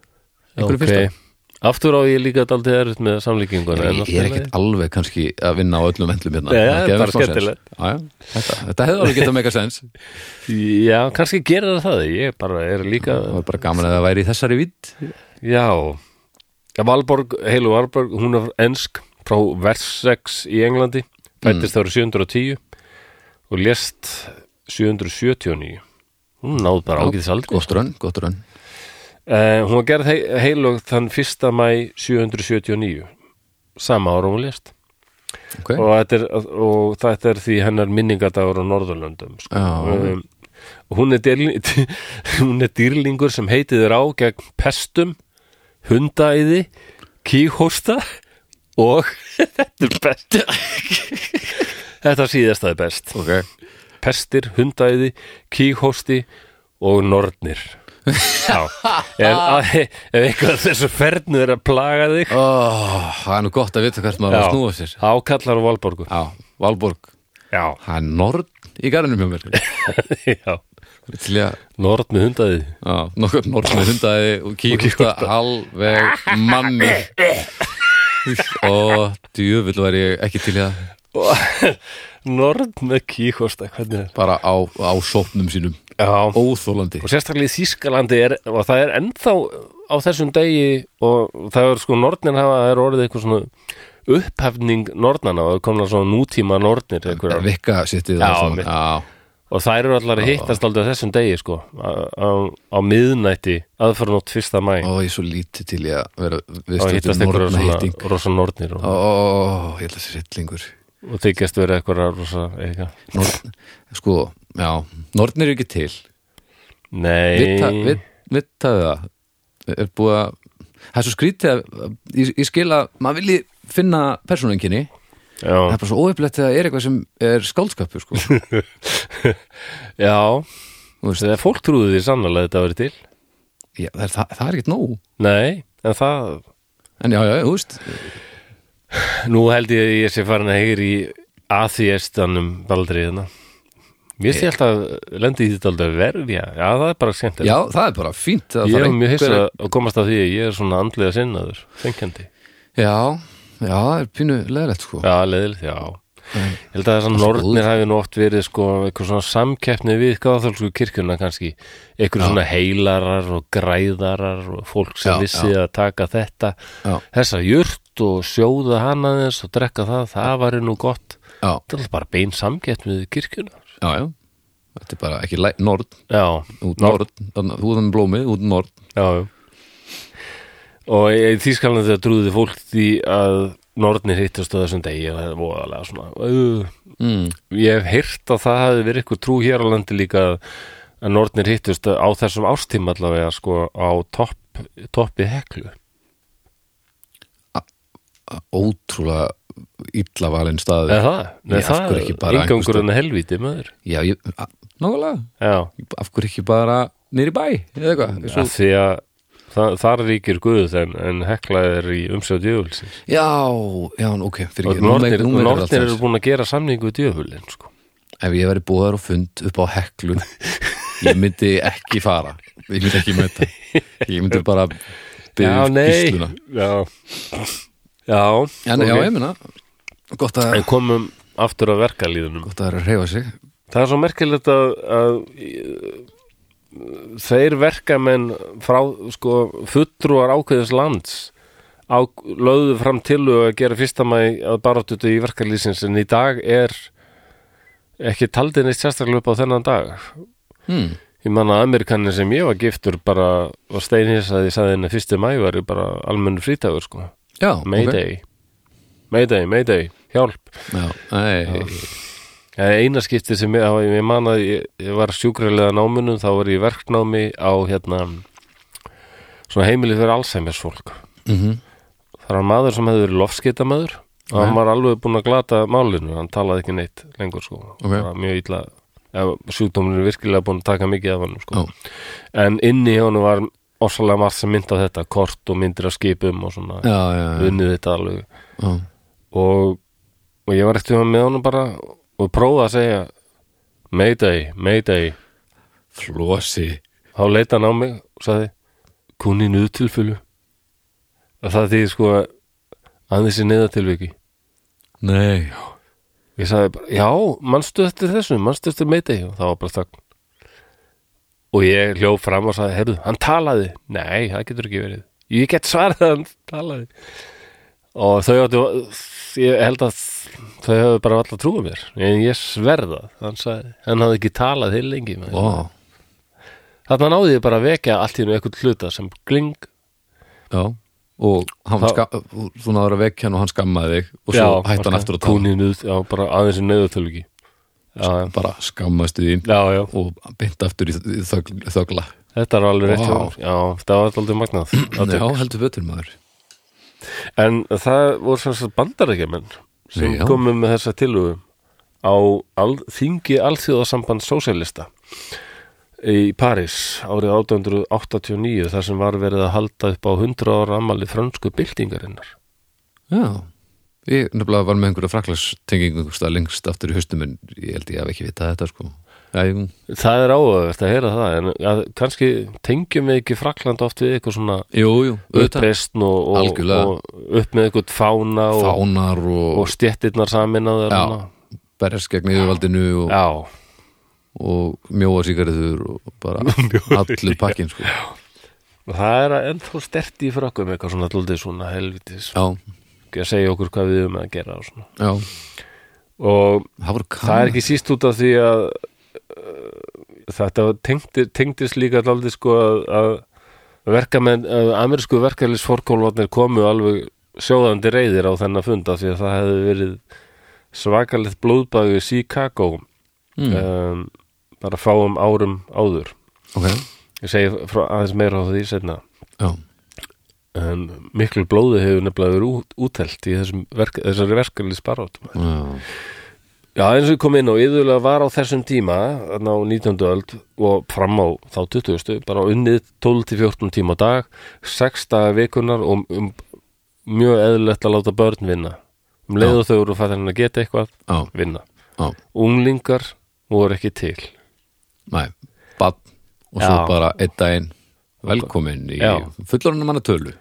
Speaker 2: Einhverju
Speaker 1: ok aftur á ég líka dálítið erut með samlíkinguna en
Speaker 2: fyrsta Ég er
Speaker 1: allt í lagi.
Speaker 2: ekkert alveg kannski að vinna á öllum endlum hérna
Speaker 1: Nei,
Speaker 2: Það
Speaker 1: það er
Speaker 2: gerði
Speaker 1: bara
Speaker 2: smá sens.
Speaker 1: skemmtilegt.
Speaker 2: Já, já, Þetta, þetta hefði alveg getað mega sens
Speaker 1: já, kannski gerir það það ég bara er líka
Speaker 2: Það var bara gaman að það væri í þessari vidd
Speaker 1: Já, Valborg, heilu Valborg, hún er ensk frá Versex í Englandi, fættist mm. árið 710 og lést 779. Hún náð bara ágæðis aldrei.
Speaker 2: Gott rönn, gott rönn
Speaker 1: Uh, hún var gerð hei, heilög þann 1. mæ 779, sama ára hún lést.
Speaker 2: okay.
Speaker 1: Og þetta, er, og þetta er því hennar minningadagur á Norðurlöndum sko.
Speaker 2: Já.
Speaker 1: um, og hún er, dýrling, hún er dýrlingur sem heitið er á gegn pestum hundaæði kíhósta og þetta er best þetta síðasta er best
Speaker 2: okay.
Speaker 1: pestir, hundaæði, kíhósti og nornir Já, ef, að, ef eitthvað af þessu fernu er að plaga þig
Speaker 2: oh, Það er nú gott að vita hvert maður var að snúa sér
Speaker 1: ákallar á Valborgu
Speaker 2: Já, Valborg
Speaker 1: Já,
Speaker 2: Það er norn í garðinum hjá mér
Speaker 1: já
Speaker 2: Til ég að
Speaker 1: Nord með hundaði
Speaker 2: Já, nokkur norn með hundaði og kíkústa alveg manni Og djöfull var ég ekki til í það
Speaker 1: Nord með kíkosta, hvernig er
Speaker 2: Bara á, á sópnum sínum
Speaker 1: Já
Speaker 2: Óþólandi
Speaker 1: Og sérstaklega í Þískalandi er, og það er ennþá á þessum degi og það er sko nornin hafa, það er orðið eitthvað svona upphefning nornana og það komna svona nútíma nornir einhverjar.
Speaker 2: Vikka sittið
Speaker 1: Já,
Speaker 2: það
Speaker 1: mitt.
Speaker 2: svona Já,
Speaker 1: og þær eru allar að hittast aldrei á þessum degi sko á, á, á miðnætti aðfarnótt fyrsta mæ
Speaker 2: ó, ég er svo lítið til í að vera
Speaker 1: og hittast
Speaker 2: viðstöðum
Speaker 1: einhverjar
Speaker 2: norna hitting
Speaker 1: svona rosa nornir og,
Speaker 2: Ó, ég ætla sér sittlingur
Speaker 1: og þykjast verið einhverjar rosa eitthvað.
Speaker 2: Norn, sko, já Norn er ekki til Vita-
Speaker 1: Nei
Speaker 2: vit- vitaðu það er búið að það er svo skrítið að ég, ég skil að maður vilji finna persónuenginni það
Speaker 1: Já,
Speaker 2: er bara svo óöflegt að það er eitthvað sem er skáldskapur sko.
Speaker 1: já.
Speaker 2: Þú veist,
Speaker 1: Þegar fólk trúði því sannlega þetta verið til
Speaker 2: já, það, er, það, það er ekkert nóg
Speaker 1: Nei, en það
Speaker 2: en já, já, þú veist
Speaker 1: Nú held ég að ég sé farin að heyri í atheistanum valdriðina Mér
Speaker 2: Eh.
Speaker 1: sé alltaf lendi í þetta aldrei verfja Já, það er bara skemmt
Speaker 2: já, það er bara fínt að
Speaker 1: Ég
Speaker 2: það
Speaker 1: er
Speaker 2: er einhver-
Speaker 1: mjög hissa að komast að því að ég er svona andlega sinnaður Þengjandi
Speaker 2: já, já, það er pínu leðilegt sko.
Speaker 1: Já, leðilegt, já
Speaker 2: Eh.
Speaker 1: Ég held að þessar nornir hafi nú oft verið sko eitthvað svona samkeppni við gáðþálsku kirkjuna kannski eitthvað svona heilarar og græðarar og fólk sem
Speaker 2: Já,
Speaker 1: vissi að taka þetta
Speaker 2: Já.
Speaker 1: þessa jurt og sjóða hana þess og drekka það, það var nú gott
Speaker 2: já,
Speaker 1: Þetta er alltaf bara bein samkeppni við kirkjuna
Speaker 2: já, já þetta er bara ekki læ, norn
Speaker 1: Já,
Speaker 2: út norn, þannig að þú þannig blómið út norn
Speaker 1: já, já og í Þískalandi það trúði fólk því að nornir hittast á þessum degi og það er voðalega svona uh,
Speaker 2: mm.
Speaker 1: ég hef heyrt að það hefði verið eitthvað trú hér á landi líka að- að nornir hittust á þessum ástíma allavega sko á topp, toppi heklu
Speaker 2: Ótrúlega illa valinn staður
Speaker 1: eða það, Nei,
Speaker 2: Ég, af
Speaker 1: það
Speaker 2: hverju ekki bara
Speaker 1: er
Speaker 2: einhvers
Speaker 1: ingangur en helvíti maður
Speaker 2: Já, ég, a- nákvæmlega
Speaker 1: já,
Speaker 2: Af hverju ekki bara nýri bæ eða eitthvað
Speaker 1: svo...
Speaker 2: Svo,
Speaker 1: því að það, þar ríkir guð en, en hekla er í umsjáð djöfulsins
Speaker 2: Já, já, ok fyrir
Speaker 1: og
Speaker 2: ekki, nú meik-
Speaker 1: nornir,
Speaker 2: nú meikar allt
Speaker 1: nornir
Speaker 2: sens.
Speaker 1: eru búin að gera samning við djöfulin sko.
Speaker 2: Ef ég væri búðar og fund upp á heklu Ég myndi ekki fara Ég myndi ekki mæta Ég myndi bara
Speaker 1: já,
Speaker 2: biðja um
Speaker 1: nei
Speaker 2: skýrsluna.
Speaker 1: já, já,
Speaker 2: En já,
Speaker 1: ok.
Speaker 2: ég meina Gott að,
Speaker 1: En komum aftur að verkalíðunum
Speaker 2: gott að reyfa sig
Speaker 1: Það er svo merkilegt að, að eh, þeir verkamenn frá sko, fulltrúar ákveðis lands á, lögðu fram til að gera fyrsta mæ að baráttutu í verkalýsins en í dag er ekki taldið neitt sérstaklega upp á þennan dag
Speaker 2: hmm.
Speaker 1: Ég man að Amerikanin sem ég var giftur bara var steinhisaði, sagði henni að fyrsti mæ var bara almennu frítagur sko
Speaker 2: Já, ok.
Speaker 1: Mayday, Mayday, Mayday, hjálp
Speaker 2: Já, nei,
Speaker 1: Það er eina skipti sem ég, hafa- ég man að ég, ég var sjúkralega námunum þá var ég í verknámi á hérna svona heimilið fyrir Alzheimer's fólk
Speaker 2: mhm,
Speaker 1: það var maður sem hefði verið lofskeitamæður og hann
Speaker 2: Nei.
Speaker 1: var alveg búinn að glata málinu hann talaði ekki neitt lengur sko
Speaker 2: Ok.
Speaker 1: það var mjög illa ja, sjúkdómurinn er virkilega búinn að taka mikið af hann sko.
Speaker 2: Já.
Speaker 1: en inni hjá hann var ósalega margt sem myndi á þetta kort og myndir af skipum og svona
Speaker 2: já, já, já,
Speaker 1: unnið þetta alveg
Speaker 2: já.
Speaker 1: og, og ég var eftir hann með honum bara og prófaði að segja Mayday, Mayday
Speaker 2: Flosi
Speaker 1: þá leita hann á mig og sagði kunni nöðtilfölu og það því sko að þessi neðatilviki
Speaker 2: Nei,
Speaker 1: ég sagði bara, já, mannstu eftir þessu mannstu eftir Mayday og það var bara þakk og ég hljóf fram og sagði heyrðu, hann talaði, nei, það getur ekki verið ég get svarað að hann talaði og þau áttu ég held að þau hefðu bara alltaf trúið mér, en ég sverða hann sagði, hann hafði ekki talað heil lengi maður.
Speaker 2: ó,
Speaker 1: þarna náði ég bara að vekja allt í einu eitthvað hluta sem gling
Speaker 2: já Og hann
Speaker 1: Það-
Speaker 2: ska, þú náður að vekja hann og hann skammaði þig Og svo hætti hann aftur að tala
Speaker 1: kúnin út, já, bara aðeins nöðutölgi já, já,
Speaker 2: Bara skammaðstu þín
Speaker 1: já, já,
Speaker 2: og beint aftur í í þögl- þögla
Speaker 1: þetta er alveg rétt
Speaker 2: Vá.
Speaker 1: hjá mér. já, það var alltaf magnað
Speaker 2: Já,
Speaker 1: Þetta-
Speaker 2: heldur betur maður
Speaker 1: en það voru sem sagt bandarækjumenn sem
Speaker 2: Já.
Speaker 1: komu með þessa tilhugum á al, þingi alþjóðasamband sósélista í París árið 1889 þar sem var verið að halda upp á 100 ára ammali frönsku byltingarinnar
Speaker 2: Já, ég nefnilega var með einhverja fraklarstengingu stað lengst aftur í haustum en ég held ég hef ekki vitað þetta sko Já, ég,
Speaker 1: það er áhugavert að heyra það en að, kannski tengjum við ekki Frakland oft við eitthvað svona
Speaker 2: jú, jú, auðvitað
Speaker 1: uppreisn og, og,
Speaker 2: Algjörlega.
Speaker 1: og upp með eitthvað fána og,
Speaker 2: Fánar og,
Speaker 1: og stjettirnar saminaðar
Speaker 2: Já.
Speaker 1: hana.
Speaker 2: berjast gegn yfirvaldinu og,
Speaker 1: já,
Speaker 2: og mjóa síkariður og bara allur pakkin sko Já,
Speaker 1: og það er að ennþá stert í frökkum eitthvað svona alltaf svona helvitis
Speaker 2: já,
Speaker 1: að segja okkur hvað við um að gera og, svona.
Speaker 2: það
Speaker 1: og
Speaker 2: voru kann
Speaker 1: það er ekki síst út af því að uh, þetta tengdi, tengdist líka alltaf sko að, að verkamenn, að amerísku verkarlis fórkólvarnir komu alveg sjóðandi reyðir á þennan funda því að það hefði verið svakalegt blóðbæðu í Chicago
Speaker 2: mm,
Speaker 1: um, bara fáum árum áður
Speaker 2: Ok,
Speaker 1: ég segi frá, aðeins meira á því setna
Speaker 2: já,
Speaker 1: en miklu blóði hefur nefnilega verið út, útelt í þessum verk, þessari verkefli sparátum
Speaker 2: já,
Speaker 1: Já, eins og ég kom inn á, yðurlega var á þessum tíma þarna á 19. öld og fram á þá 20. bara unnið 12-14 tíma á dag 6 daga vikunar og um, mjög eðlilegt að láta börn vinna um leið og þau eru fættir hann að geta eitthvað
Speaker 2: já,
Speaker 1: vinna,
Speaker 2: já
Speaker 1: unglingar voru ekki til
Speaker 2: Nei, bann og svo
Speaker 1: Já.
Speaker 2: bara einn daginn velkomin í
Speaker 1: Já.
Speaker 2: fullorinn manna tölu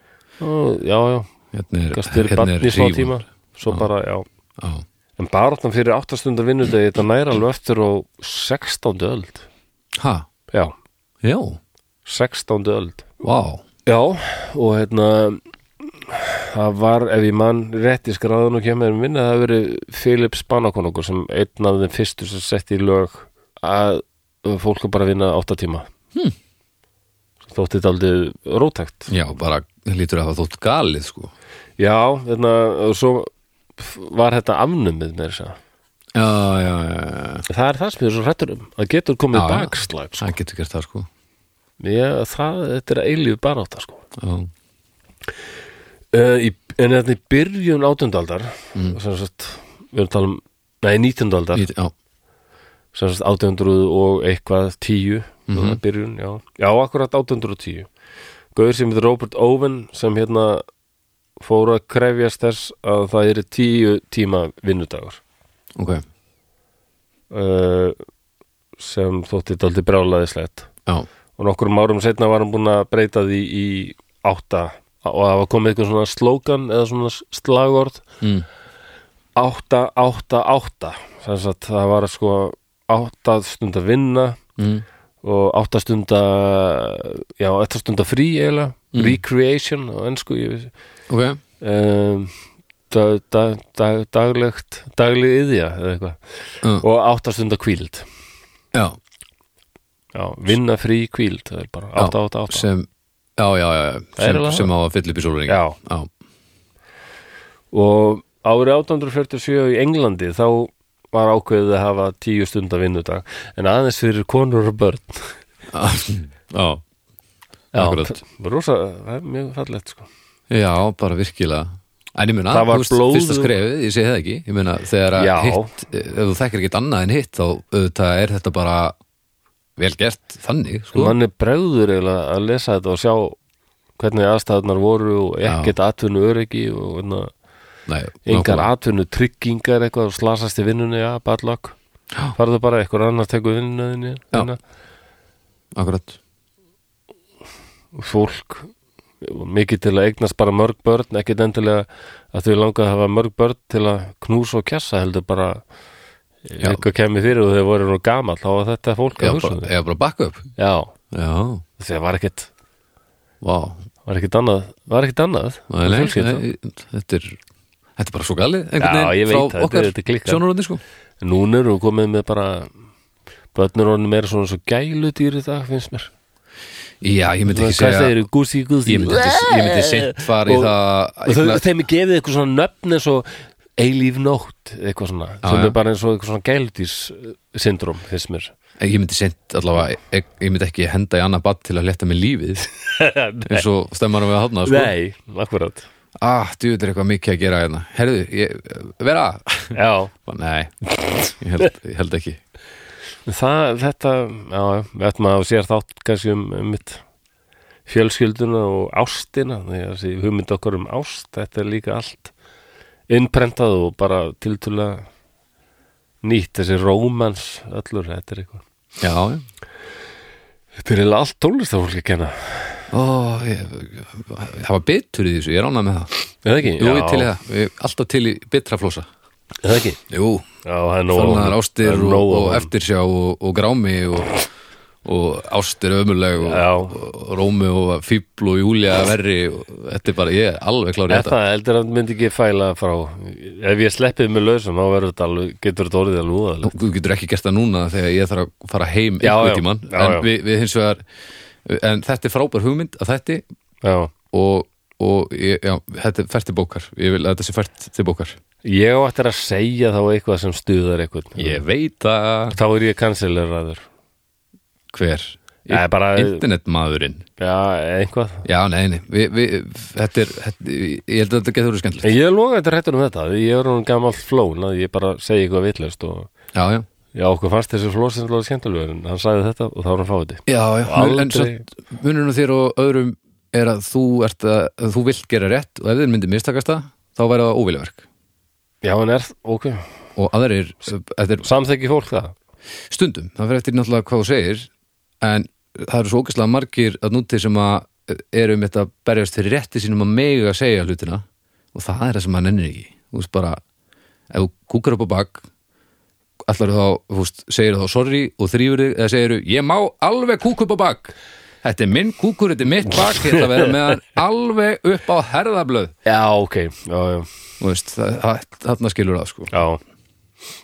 Speaker 1: Ó, Já, já,
Speaker 2: Hérna er,
Speaker 1: gast verið barn í smá
Speaker 2: hrífun.
Speaker 1: tíma svo bara, já
Speaker 2: Já,
Speaker 1: En baráttan fyrir 8 stundar vinnudegi þetta næra alveg eftir á 16. öld
Speaker 2: ha,
Speaker 1: Já,
Speaker 2: já,
Speaker 1: 16. öld
Speaker 2: vá
Speaker 1: Já, og hérna það var, ef ég mann rétt í skráðan og kemur minna, um það hafi verið Philip Spanakonungur sem einn af þeim fyrstu sem setti í lög að fólk er bara að vinna 8 tíma hm. þótti þetta aldrei rótækt
Speaker 2: Já, bara lítur að það þótt galið sko
Speaker 1: Já, þarna, og svo var þetta afnumið með þess að segja.
Speaker 2: Já, já, já, já.
Speaker 1: það er það sem ég er svo hrættur um það getur komið
Speaker 2: Já, já.
Speaker 1: bakslag sko.
Speaker 2: Það getur gert það sko
Speaker 1: Ég, það, þetta er eilíf baráta sko.
Speaker 2: Já,
Speaker 1: uh, í, en þetta í byrjun átundaldar mm. sagt, við erum að tala um nei, nítundaldar,
Speaker 2: Ít- já,
Speaker 1: sem sagt átundruð og eitthvað tíu mm byrjun, já, já, akkurat átundruð tíu Gauður sem heitir Robert Owen sem hérna fóru að krefjast þess að það eru tíu tíma vinnudagur
Speaker 2: ok
Speaker 1: uh, sem þótti daldi brálaðislegt
Speaker 2: Já,
Speaker 1: og nokkrum árum setna var hann búin að breyta því í átta og það var komið eitthvað svona slókan eða svona slagord
Speaker 2: mm.
Speaker 1: átta, átta, átta þess að það var sko átta stund að vinna
Speaker 2: Mm.
Speaker 1: og átta stund að já, átta stund að frí eiginlega
Speaker 2: Mm.
Speaker 1: recreation á ennsku
Speaker 2: ok
Speaker 1: um, dag, dag, dag, daglegt dagleg yðja eða eitthvað
Speaker 2: Já,
Speaker 1: og átta stund að kvíld
Speaker 2: já
Speaker 1: Já, vinna frí kvíld það er bara
Speaker 2: Já,
Speaker 1: 8, 8, 8
Speaker 2: sem Já, já, já, já,
Speaker 1: Það er
Speaker 2: sem,
Speaker 1: alveg
Speaker 2: sem á að fylla upp í sólurinn
Speaker 1: Já.
Speaker 2: já,
Speaker 1: og árið 1847 í Englandi þá var ákveðið að hafa tíu stunda vinnudag en aðeins fyrir konur og börn
Speaker 2: já, Akkurat.
Speaker 1: það var rosa, það er mjög fallegt sko.
Speaker 2: já, bara virkilega En ég meina,
Speaker 1: Það var
Speaker 2: þú veist,
Speaker 1: blóðug-
Speaker 2: fyrsta skrefið, ég segi það ekki Ég meina, þegar að
Speaker 1: Já.
Speaker 2: hitt, ef þú þekkir ekkert annað en hitt þá auðvitað er þetta bara vel gert þannig, sko
Speaker 1: mann er bregður eiginlega að lesa þetta og sjá hvernig aðstæðunar voru og
Speaker 2: Já.
Speaker 1: ekkert atvinnu öryggi og hérna,
Speaker 2: Nei,
Speaker 1: engar
Speaker 2: nákvæmlega.
Speaker 1: atvinnu tryggingar eitthvað og slasast í vinnunni, já, bad luck
Speaker 2: Já.
Speaker 1: farðu bara eitthvað annar tekur vinnunni
Speaker 2: Já.
Speaker 1: þína.
Speaker 2: Akkurat
Speaker 1: fólk mikið til að eignast bara mörg börn ekkit endilega að þau langa að hafa mörg börn til að knúsa og kjassa heldur bara
Speaker 2: Já.
Speaker 1: eitthvað kemur fyrir og þau voru nú gamall þá var þetta fólk
Speaker 2: Eða
Speaker 1: að hugsa um
Speaker 2: bara,
Speaker 1: þau
Speaker 2: eða bara backup
Speaker 1: já,
Speaker 2: Já,
Speaker 1: þegar var ekkit
Speaker 2: vá
Speaker 1: var ekkit annað, var ekkit annað
Speaker 2: Nei, nei,
Speaker 1: Fjölskylda.
Speaker 2: nei, Þetta er Þetta er bara svo galið
Speaker 1: Já,
Speaker 2: einhvern veginn
Speaker 1: ég veit það,
Speaker 2: frá
Speaker 1: þetta-
Speaker 2: okkar
Speaker 1: þetta klikkar.
Speaker 2: sjónuröndi sko
Speaker 1: núna eru komið með bara börnur honum meira svona svo gæludýr í dag finnst mér
Speaker 2: Já, ég myndi
Speaker 1: hvað
Speaker 2: ekki segja
Speaker 1: þeir eru gúsi gúsi
Speaker 2: Ég myndi, ég myndi seint fara í
Speaker 1: Og-
Speaker 2: það
Speaker 1: og þau,
Speaker 2: eignast-
Speaker 1: þeim er gefið eitthvað svona nöfn eins og eilíf nótt eitthvað svona, sem
Speaker 2: já.
Speaker 1: er bara eins og eitthvað svona gæludís syndrom, finnst mér
Speaker 2: Ég myndi seint allavega ég, ég myndi ekki henda í annað badd til að leta með lífið eins og stemmarum við að hafna sko.
Speaker 1: Nei, akkurat
Speaker 2: Ah, djúður er eitthvað mikið að gera hérna Herðu, ég, vera
Speaker 1: Já,
Speaker 2: Bara, Nei, ég held, ég held ekki
Speaker 1: það, þetta já, já, við ættum að sér þátt kannski um, um mitt fjölskylduna og ástina því að þessi hugmynd okkar um ást þetta er líka allt innprentað og bara tiltúlega nýtt, þessi rómans öllur, þetta er eitthvað
Speaker 2: Já, já
Speaker 1: Þetta er eiginlega allt tónlistafólk að kenna
Speaker 2: Ó, ég, það var bitur í þessu, ég rána með það
Speaker 1: Eða ekki?
Speaker 2: Jú, ég
Speaker 1: Já.
Speaker 2: til í það, ég, er alltaf til í bitraflósa
Speaker 1: Eða ekki?
Speaker 2: Jú,
Speaker 1: Já, það er nóg af
Speaker 2: fannar
Speaker 1: honum.
Speaker 2: ástir
Speaker 1: Það er
Speaker 2: og,
Speaker 1: nóg af
Speaker 2: og
Speaker 1: honum.
Speaker 2: eftirsjá og, og grámi og, og ástir ömuleg og,
Speaker 1: Já.
Speaker 2: og Rómi og fíbl og Júlia verri og, Þetta er bara, ég er alveg klár í
Speaker 1: Eða
Speaker 2: þetta
Speaker 1: það, heldur að myndi ekki fæla frá Ef ég sleppið með lausum, þá verður þetta alveg getur þetta orðið alveg úðalega
Speaker 2: Þú getur ekki gert það núna þegar ég þarf að fara heim
Speaker 1: Já, já.
Speaker 2: einhvern tímann
Speaker 1: Já,
Speaker 2: en
Speaker 1: já.
Speaker 2: Við, við hins vegar en þetta er frábær hugmynd að þetta
Speaker 1: Já,
Speaker 2: og, og ég, já, þetta er fært til bókar ég vil að þetta sé fært til bókar
Speaker 1: ég á eftir að segja þá eitthvað sem stuðar eitthvað
Speaker 2: Ég veit að
Speaker 1: Þá er ég kansileraður
Speaker 2: Hver?
Speaker 1: Já, bara,
Speaker 2: Internetmaðurinn
Speaker 1: já, eitthvað
Speaker 2: Já, nei, nei, vi, vi, þetta er þetta, Ég held að þetta getur verið skemmtilegt
Speaker 1: En ég er loga þetta réttur um þetta Ég er hún gamall flón að ég bara segi eitthvað vitlaust og
Speaker 2: Já, já,
Speaker 1: já, okkur fannst þessi flósinslega skemmtulegur en hann sagði þetta og þá er hann fáið
Speaker 2: já, já
Speaker 1: aldrei-
Speaker 2: En satt, munurinn á þér og öðrum er að þú, ert að, að þú vilt gera rétt og ef þið myndir mistakast það, þá væri það óviljaverk
Speaker 1: Já, en er, ok,
Speaker 2: og aðrir, þetta er
Speaker 1: samþekki fólk það
Speaker 2: stundum það fyrir eftir náttúrulega hvað þú segir en það eru svo ógæslega margir að núti sem að eru um þetta að berjast fyrir rétti sínum að mega segja hlutina og það er það sem maður nennir ekki þú veist bara, ef þú kúkar upp á bak allar þá, þú veist, segir þá sorry og þrýfur þig, eða segir ég má alveg kúka upp á bak þetta er minn kúkur, þetta er mitt bak þetta verður með hann alveg upp á herðablöð
Speaker 1: Já, ok, já, já
Speaker 2: þú veist, það- það- þarna skilur það sko
Speaker 1: Já,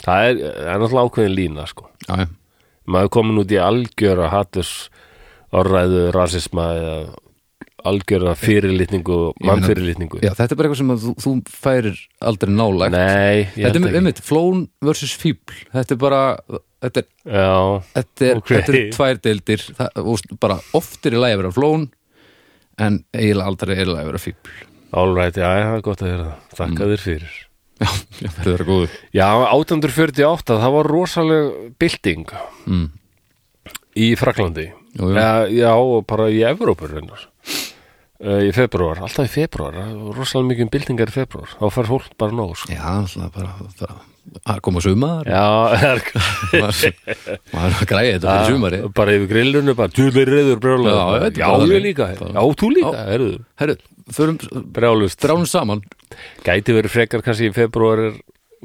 Speaker 1: það er, það er náttúrulega ákveðin lína sko
Speaker 2: já, já,
Speaker 1: maður er komin út í algjöra haturs orðræðu, rasisma eða algjörða fyrirlitningu og
Speaker 2: meina-
Speaker 1: mannfyrirlitningu
Speaker 2: Já, þetta er bara eitthvað sem að þú, þú færir aldrei nálægt
Speaker 1: Nei, ég
Speaker 2: Þetta
Speaker 1: held
Speaker 2: er
Speaker 1: ekki
Speaker 2: einmitt, flón versus fíbl Þetta er bara, þetta er,
Speaker 1: Já,
Speaker 2: þetta er,
Speaker 1: Ok.
Speaker 2: þetta er tvær deildir það, og bara oftir í lagi að vera flón en eiginlega aldrei er í lagi að vera fíbl
Speaker 1: all right, já, það er gott að heyra það Þakka
Speaker 2: Mm.
Speaker 1: þér fyrir
Speaker 2: Já, já, það er góður
Speaker 1: Já, 1848, það var rosaleg bylting
Speaker 2: Mm.
Speaker 1: í Fraklandi
Speaker 2: Jú, jú.
Speaker 1: Já, já, og bara í Evrópur reynar í februar, alltaf í februar rosalega mikið um byltingar í februar þá fær fólk bara nóg sko.
Speaker 2: Já, alltaf bara, bara að koma sumar
Speaker 1: Já, er,
Speaker 2: maður, maður er að græja þetta fyrir sumari
Speaker 1: Ah, bara yfir grillunni bara tjúlir reyður brjóla
Speaker 2: Já, ég veit
Speaker 1: já,
Speaker 2: bara
Speaker 1: ég
Speaker 2: þannig.
Speaker 1: líka, já, þú líka, erður
Speaker 2: Herru, förum,
Speaker 1: brjálust,
Speaker 2: dránum saman
Speaker 1: gæti verið frekar kannski í februar er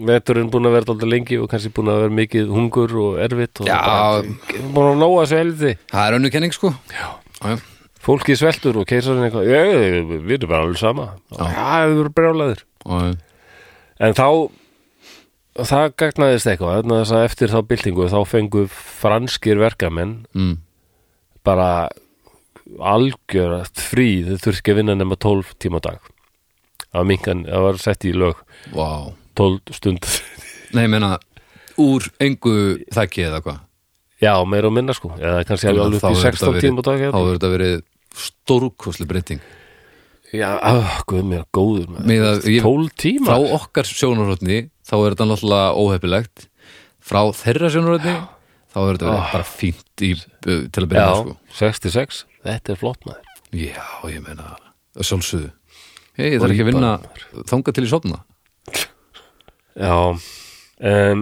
Speaker 1: veturinn búin að vera alltaf lengi og kannski búin að vera mikið hungur og erfitt og
Speaker 2: Já. um,
Speaker 1: bara- búin að nóa þessu heldi
Speaker 2: Það er önnu kenning sko Já, já,
Speaker 1: fólki sveltur og keisarinn eitthvað "Ég, ég, við erum bara alveg sama já, við erum brjálæðir
Speaker 2: já.
Speaker 1: en þá það gagnaðist eitthvað vegna þess að eftir þá byltingu þá fengu franskir verkamenn
Speaker 2: Mm.
Speaker 1: bara algjörast frí þau þurfti ekki að vinna nema 12 tíma á dag það var, minkan, það var sett í lög
Speaker 2: Vá
Speaker 1: 12 stund
Speaker 2: Nei, ég meina, úr engu þekki eða hvað
Speaker 1: já, meira og minna sko eða kannski alveg
Speaker 2: Þá
Speaker 1: upp í
Speaker 2: hefur
Speaker 1: 16
Speaker 2: þetta
Speaker 1: tíma á dag
Speaker 2: verið- Þá
Speaker 1: hérna.
Speaker 2: verður þetta verið stórkosli breyting
Speaker 1: já, ah, guð mér góður maður.
Speaker 2: Miðað- ég-
Speaker 1: 12 tíma
Speaker 2: Frá okkar sjónarhóttni þá er þetta náttúrulega óheppilegt Frá þeirra sjónarhóttni þá verður þetta verið bara fínt í, uh, til að byrja með,
Speaker 1: Ah. já,
Speaker 2: sko
Speaker 1: 66, þetta er flott maður
Speaker 2: Já, ég meina, að sjálfsögðu Hei, það er ekki að vinna þanga til í sofna
Speaker 1: Já, um,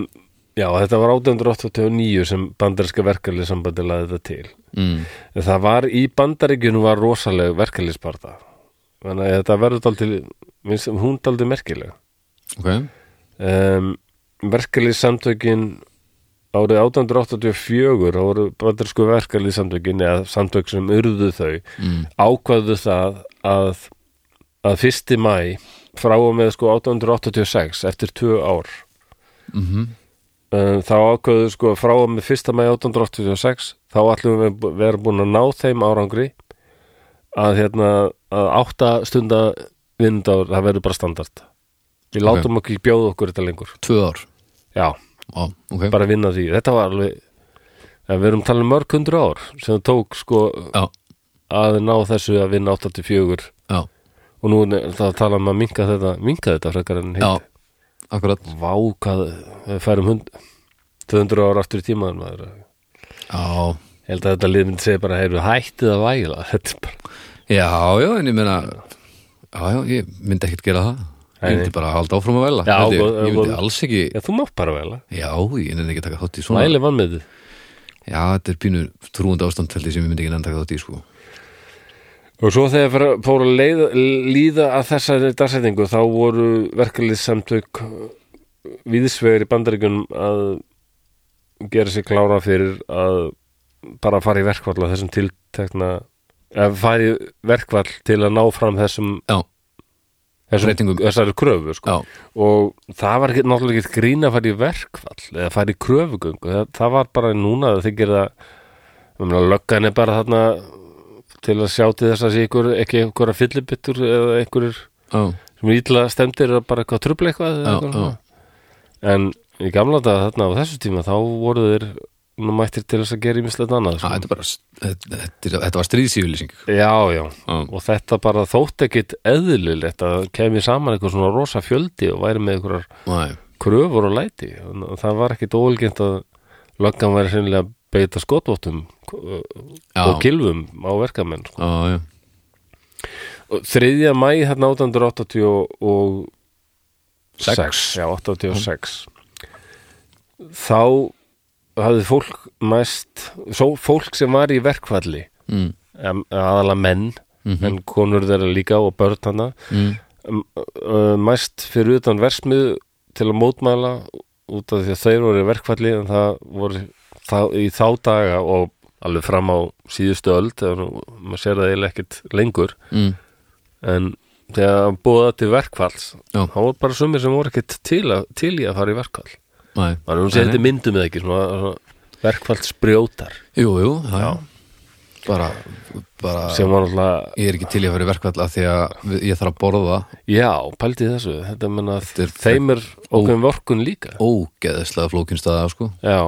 Speaker 1: já þetta var 1889 sem bandarinska verkarlið sambandi laði þetta til.
Speaker 2: mm.
Speaker 1: En Það var í bandaríkjunum var rosaleg verkarliðsparta. Þannig að þetta verður daldið, minnst hún daldið merkileg.
Speaker 2: Ok,
Speaker 1: Um, verkarliðsamtökin árið 1884 þá voru bandarísku verkarliðsamtökin eða samtök sem urðu þau
Speaker 2: mm.
Speaker 1: ákvaðu það að, að fyrsti mæ frá og með sko 1886 eftir tvö ár
Speaker 2: Mm
Speaker 1: um, þá ákveðu sko frá og með 1. mæði 1886 þá ætlum við að vera búin að ná þeim árangri að hérna að átta stunda vindáður, það verður bara standart við látum okkur bjóða okkur þetta lengur
Speaker 2: tvö ár
Speaker 1: já,
Speaker 2: Á, okay.
Speaker 1: bara vinna því, þetta var alveg að við erum talað um mörg hundru ár sem það tók sko
Speaker 2: Já,
Speaker 1: að ná þessu að vinna 84
Speaker 2: já,
Speaker 1: og nú er það að tala um að minka þetta minka þetta frekar en
Speaker 2: já
Speaker 1: hitt
Speaker 2: Akkurat,
Speaker 1: vá hvað, við færum hund 200 ára aftur í tímaðan maður
Speaker 2: já
Speaker 1: Ég held að þetta lið myndi segja bara heyrðu hættið að væla þetta er bara,
Speaker 2: Já, já, en ég meina Já, já, ég myndi ekkert gera það
Speaker 1: Nei,
Speaker 2: Ég myndi bara halda áfram að væla
Speaker 1: Já,
Speaker 2: held ég,
Speaker 1: góð-
Speaker 2: ég myndi
Speaker 1: góð-
Speaker 2: alls ekki
Speaker 1: já þú mátt bara væla
Speaker 2: Já, ég nefnir ekki að taka þátt í svona
Speaker 1: væli vann með þið
Speaker 2: Já, þetta er pínur trúandi ástand held ég sem ég myndi ekki nefnir að taka þátt í sko.
Speaker 1: og svo þegar fara- fóru að leiða, líða að þessari dagsetningu þá voru verkalið samtök viðsvegar í bandaríkjunum að gera sig klára fyrir að bara fara í verkvall að þessum tiltekna eða fara í verkvall til að ná fram þessum,
Speaker 2: Já,
Speaker 1: þessum
Speaker 2: Breytingum.
Speaker 1: þessari kröfu sko.
Speaker 2: já,
Speaker 1: og það var ekki, náttúrulega ekki grín að fara í verkfall eða fara í kröfugöngu það, það var bara núna að þið gera það löggan er bara þarna til að sjá til þess að sé ykkur, ekki einhverja fyllibittur eða einhverjur
Speaker 2: já,
Speaker 1: sem ítla stemdir er bara eitthvað trubla eitthvað, eða
Speaker 2: já,
Speaker 1: eitthvað
Speaker 2: já.
Speaker 1: svona. en í gamla daga þarna á þessu tíma þá voru þeir nú mættir til þess að gera ímislegt annað
Speaker 2: Já,
Speaker 1: sko.
Speaker 2: þetta, er bara, þetta, þetta, er- þetta var stríðsýfylýsing
Speaker 1: já, já,
Speaker 2: Já,
Speaker 1: og þetta bara þótt ekkit eðlilegt að kemi saman eitthvað svona rosa fjöldi og væri með einhverjar
Speaker 2: næ,
Speaker 1: kröfur og læti Þannig að það var ekkit óalgengt að löggan væri sennilega að beita skotvottum uh,
Speaker 2: Já.
Speaker 1: og kilvum á verkamenn sko.
Speaker 2: já, já
Speaker 1: Og 3. mæ hérna 1886
Speaker 2: Sex.
Speaker 1: já, 86 þá hafði fólk mæst svo fólk sem var í verkfalli
Speaker 2: mm, mhm,
Speaker 1: em, aðalega menn en konur þeirra líka og börn hana
Speaker 2: mm,
Speaker 1: m- ö, mæst uh, fyrir utan versmið til að mótmæla út af því að þeir voru í verkfalli en það voru þá, í þá daga og alveg fram á síðustu öld þegar nú- maður sér það eiginlega ekkert lengur
Speaker 2: mm,
Speaker 1: en þegar búða til verkfalls
Speaker 2: Já.
Speaker 1: þá voru bara sumir sem voru ekkert til, að, til í að fara í verkfall
Speaker 2: næ
Speaker 1: þannig að hún sé þetta myndum eða ekki svona, svona verkfallsbrjótar
Speaker 2: Jú, jú, já, já bara, bara
Speaker 1: sem var náttúrulega,
Speaker 2: ég er ekki til í að vera verkvall af því að við- ég þarf að borða
Speaker 1: já, pældi í þessu þetta menna að
Speaker 2: Þetta er-
Speaker 1: þeim er okkur vorkun líka
Speaker 2: ógeðislega flókinstaða sko.
Speaker 1: já,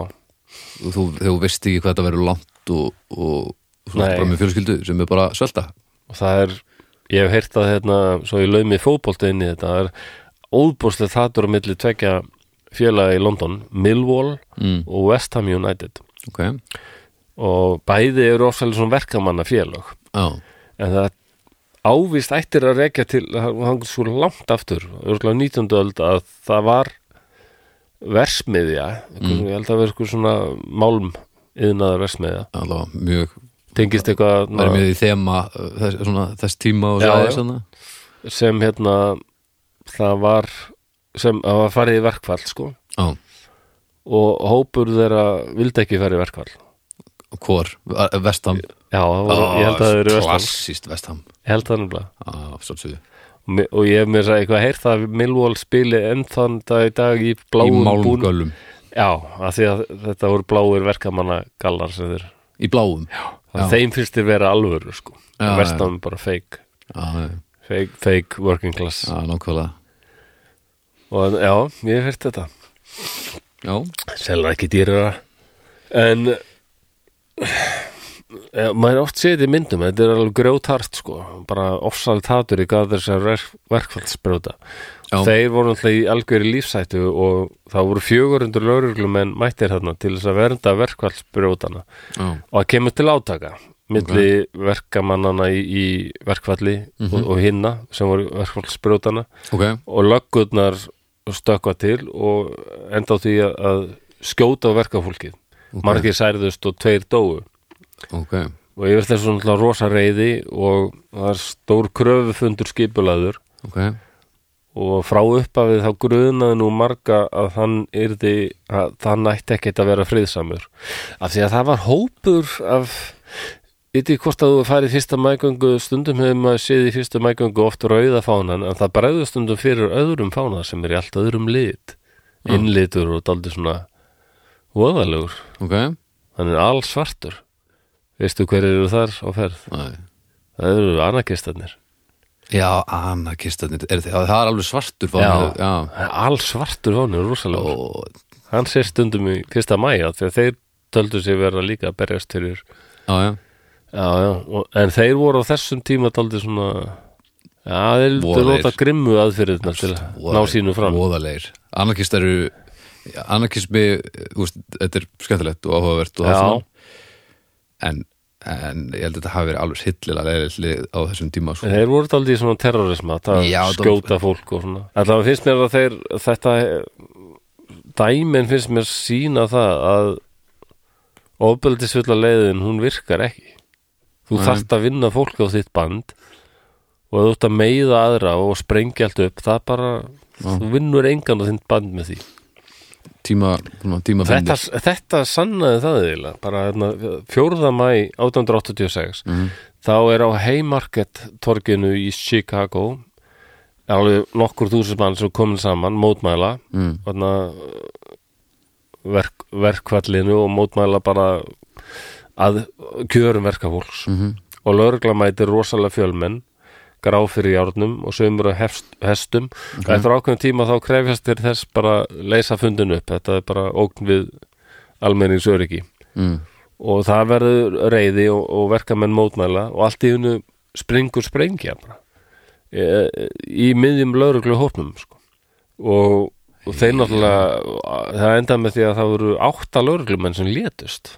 Speaker 2: Og þú, þú veist ekki hvað þetta verður langt og, og svona
Speaker 1: Nei.
Speaker 2: bara með fjölskyldu sem er bara að svelta
Speaker 1: og það er ég hef heyrt að hérna, svo ég laumi fótbolta inn í þetta, það er óbúrslega þáttur á milli tvekja félaga í London, Millwall
Speaker 2: mm.
Speaker 1: og West Ham United
Speaker 2: ok,
Speaker 1: og bæði eru ofsalega svona verkamanna félag
Speaker 2: já,
Speaker 1: en það ávist ættir að rekja til það hann svo langt aftur örgulega 19. öld að það var versmiðja mm. ég held að vera eitthvað svona málm yðnaðar versmiðja
Speaker 2: allavega mjög
Speaker 1: tengist eitthvað
Speaker 2: verður
Speaker 1: na,
Speaker 2: mjög í þema uh, þess, svona, þess tíma og
Speaker 1: Já,
Speaker 2: svo
Speaker 1: já.
Speaker 2: svona
Speaker 1: sem hérna það var sem það var farið í verkfall sko
Speaker 2: já,
Speaker 1: og hópur þeirra vildi ekki farið í verkfall
Speaker 2: og hvor, A- vestam
Speaker 1: já, það var,
Speaker 2: Ah,
Speaker 1: ég held að það eru versmiðja
Speaker 2: klassist vestam
Speaker 1: ég held það nefnilega
Speaker 2: á, svolítið
Speaker 1: og mi- og ég hef mér að eitthvað heyrt að Millwall spili ennþann dag í dag í
Speaker 2: í
Speaker 1: bláum búning
Speaker 2: málmgölum,
Speaker 1: Já, af því að þetta voru bláir verkamanna gallar sem þeir
Speaker 2: í bláum Já.
Speaker 1: Þeim finnst þeir vera alvöru sko
Speaker 2: Já,
Speaker 1: Vestan bara fake,
Speaker 2: já, já,
Speaker 1: fake, fake working class
Speaker 2: já, nákvæmlega
Speaker 1: Og já, ég hef heyrt þetta
Speaker 2: já,
Speaker 1: Selur ekki dýrara En eh, maður oft séð þetta í myndum þetta er alveg grjótart sko bara ofsalegt hatur í gaf þess að verkfallsbrjóta
Speaker 2: Já.
Speaker 1: þeir voru alltaf í algjöri lífsættu og það voru 400 lögreglum en mættir þarna til þess að vernda verkfallsbrjótana
Speaker 2: já,
Speaker 1: og það kemur til átaka milli verkamannana í, í verkfalli og, og hinna sem voru verkfallsbrjótana
Speaker 2: ok
Speaker 1: og löggurnar stökkva til og enda á því að, að skjóta á verkafólkið
Speaker 2: Ok.
Speaker 1: margir særðust og tveir dóu
Speaker 2: ok,
Speaker 1: og yfir þessu svona rosa reyði og það er stór kröfufundur skipulaður
Speaker 2: ok,
Speaker 1: og frá uppafið þá grunaði nú marga að hann yrði að það nætti ekkert að vera friðsamur af því að það var hópur af yttir hvort að þú farið í fyrsta mægöngu stundum hefur maður séð í fyrsta mægöngu oft rauða fánan en það bregður stundum fyrir öðrum fána sem er í allt öðrum lit innlitur og daldi svona voðalegur,
Speaker 2: ok
Speaker 1: hann er alls svartur veistu hver eru þar á ferð
Speaker 2: Nei.
Speaker 1: það eru anarkistarnir
Speaker 2: já, anarkistarnir er, þið- já, það er alveg svartur fáni, já.
Speaker 1: alls svartur fáni, rosalega
Speaker 2: Og,
Speaker 1: hann sé stundum í fyrsta mæja þegar þeir töldu sig vera líka að berjast fyrir
Speaker 2: já, já,
Speaker 1: já, já, og, en þeir voru á þessum tíma taldi svona já, þeir vildu
Speaker 2: Voru þeir.
Speaker 1: nota grimmu aðfyrirna til að ná sínu fram
Speaker 2: voðalegir anarkistar eru anarkismi, úst, þetta er skemmtilegt og áhugavert og
Speaker 1: Já.
Speaker 2: það en, en ég held að þetta hafi verið alveg hillilega leiðileg á þessum tíma sko.
Speaker 1: þeir voru taldi í svona terrorisma það
Speaker 2: Já, það-
Speaker 1: skjóta fólk og svona allavega finnst mér að þeir þetta dæmin finnst mér sína það að ofbeldisfulla leiðin hún virkar ekki þú
Speaker 2: Nei.
Speaker 1: þarft að vinna fólk á þitt band og ef þú ert að meiða aðra og sprengja allt upp það bara, þú vinnur engan á þitt band með því
Speaker 2: tíma, svona, tíma
Speaker 1: þetta, þetta sannaði það eiginlega bara hérna, 4. mæ 1886 þá er á Haymarket torginu í Chicago alveg nokkur þúsismann sem komin saman, mótmæla
Speaker 2: mm,
Speaker 1: þarna, verk, verkvallinu og mótmæla bara að kjörum verkafólks
Speaker 2: mhm,
Speaker 1: og lögregla mætir rosalega fjölmenn grá fyrir járnum og sömur að hefst, hestum og eftir ákveðum tíma þá krefjast þeir þess bara að leysa fundin upp þetta er bara ógn við almenningsöryggi
Speaker 2: mm,
Speaker 1: og það verður reyði og, og verkamenn mótmæla og allt í hennu springur sprengja bara e, í miðjum lögreglu hópnum sko. og, og þeir náttúrulega það enda með því að það voru átta lögreglumenn sem létust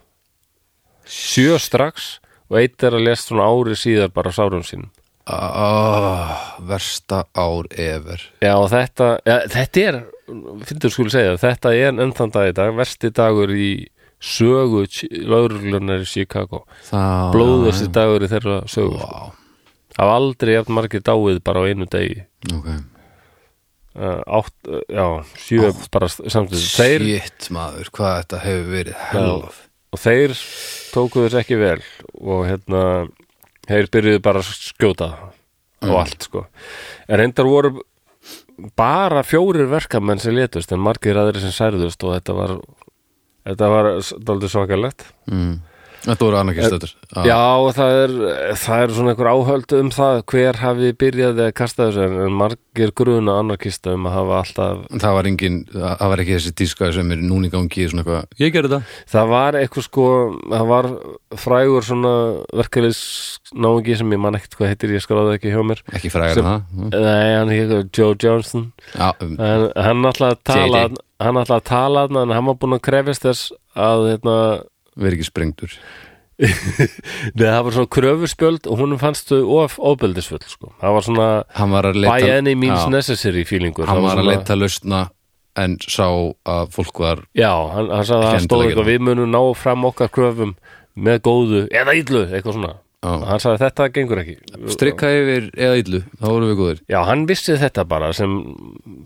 Speaker 1: sjö strax og eitt er að lest svona ári síðar bara á sárum sínum
Speaker 2: Ah, versta ár ever
Speaker 1: Já, og þetta, ja, þetta er finnur skuli segja, þetta er ennþann dag í dag, versti dagur í sögu lauruglunar í Chicago Ah.
Speaker 2: það,
Speaker 1: blóðusti dagur í þeirra sögu sko.
Speaker 2: wow.
Speaker 1: af aldrei jafn margir dáið bara á einu degi
Speaker 2: ok,
Speaker 1: uh, átt, uh, já, sjö bara samtidig þeir,
Speaker 2: shit maður hvað þetta hefur verið helf
Speaker 1: og þeir tóku þess ekki vel og hérna þeir byrjuðu bara að skjóta og allt sko en reyndar voru bara fjórir verkamenn sem létust en margir aðri sem særðust og þetta var þetta var daldið svakalegt
Speaker 2: mm. Þetta voru anarkistöður
Speaker 1: Eh, Já, það er, það er svona einhver áhöld um það hver hafi byrjað að kasta þessu en- en margir gruna anarkista um að hafa alltaf
Speaker 2: Ah, Það var engin, það það var ekki þessi tíska sem er núna í gangi svona eitthvað Ég gerði það
Speaker 1: það var eitthvað sko það var frægur svona verkefliðs náungi sem ég man ekkert hvað heitir ég skráði það ekki hjá mér
Speaker 2: Ekki frægar
Speaker 1: Sem-
Speaker 2: en það Mm.
Speaker 1: Nei, hann hefði Joe Johnson
Speaker 2: Já, um,
Speaker 1: en hann ætlaði að tala
Speaker 2: JD.
Speaker 1: hann ætlaði að tala þarna, en hann var búin að krefjast þess að hérna,
Speaker 2: verið ekki sprengdur
Speaker 1: nei, það var svona kröfuspjöld og húnum fannst þau of ofbeldisfull sko. það var svona
Speaker 2: Hann var að leita
Speaker 1: by any means
Speaker 2: Já,
Speaker 1: necessary feelingur
Speaker 2: Hann
Speaker 1: Það
Speaker 2: var að
Speaker 1: svona-
Speaker 2: leita lausna en sá að fólk var
Speaker 1: Já, hann, hann sagði að
Speaker 2: Ekki
Speaker 1: hann stóð
Speaker 2: endilega
Speaker 1: eitthvað við munum ná fram okkar kröfum með góðu eða illu, eitthvað svona
Speaker 2: Já.
Speaker 1: hann sagði þetta gengur ekki
Speaker 2: strikka yfir eða illu, þá voru við góðir
Speaker 1: Já, hann vissi þetta bara sem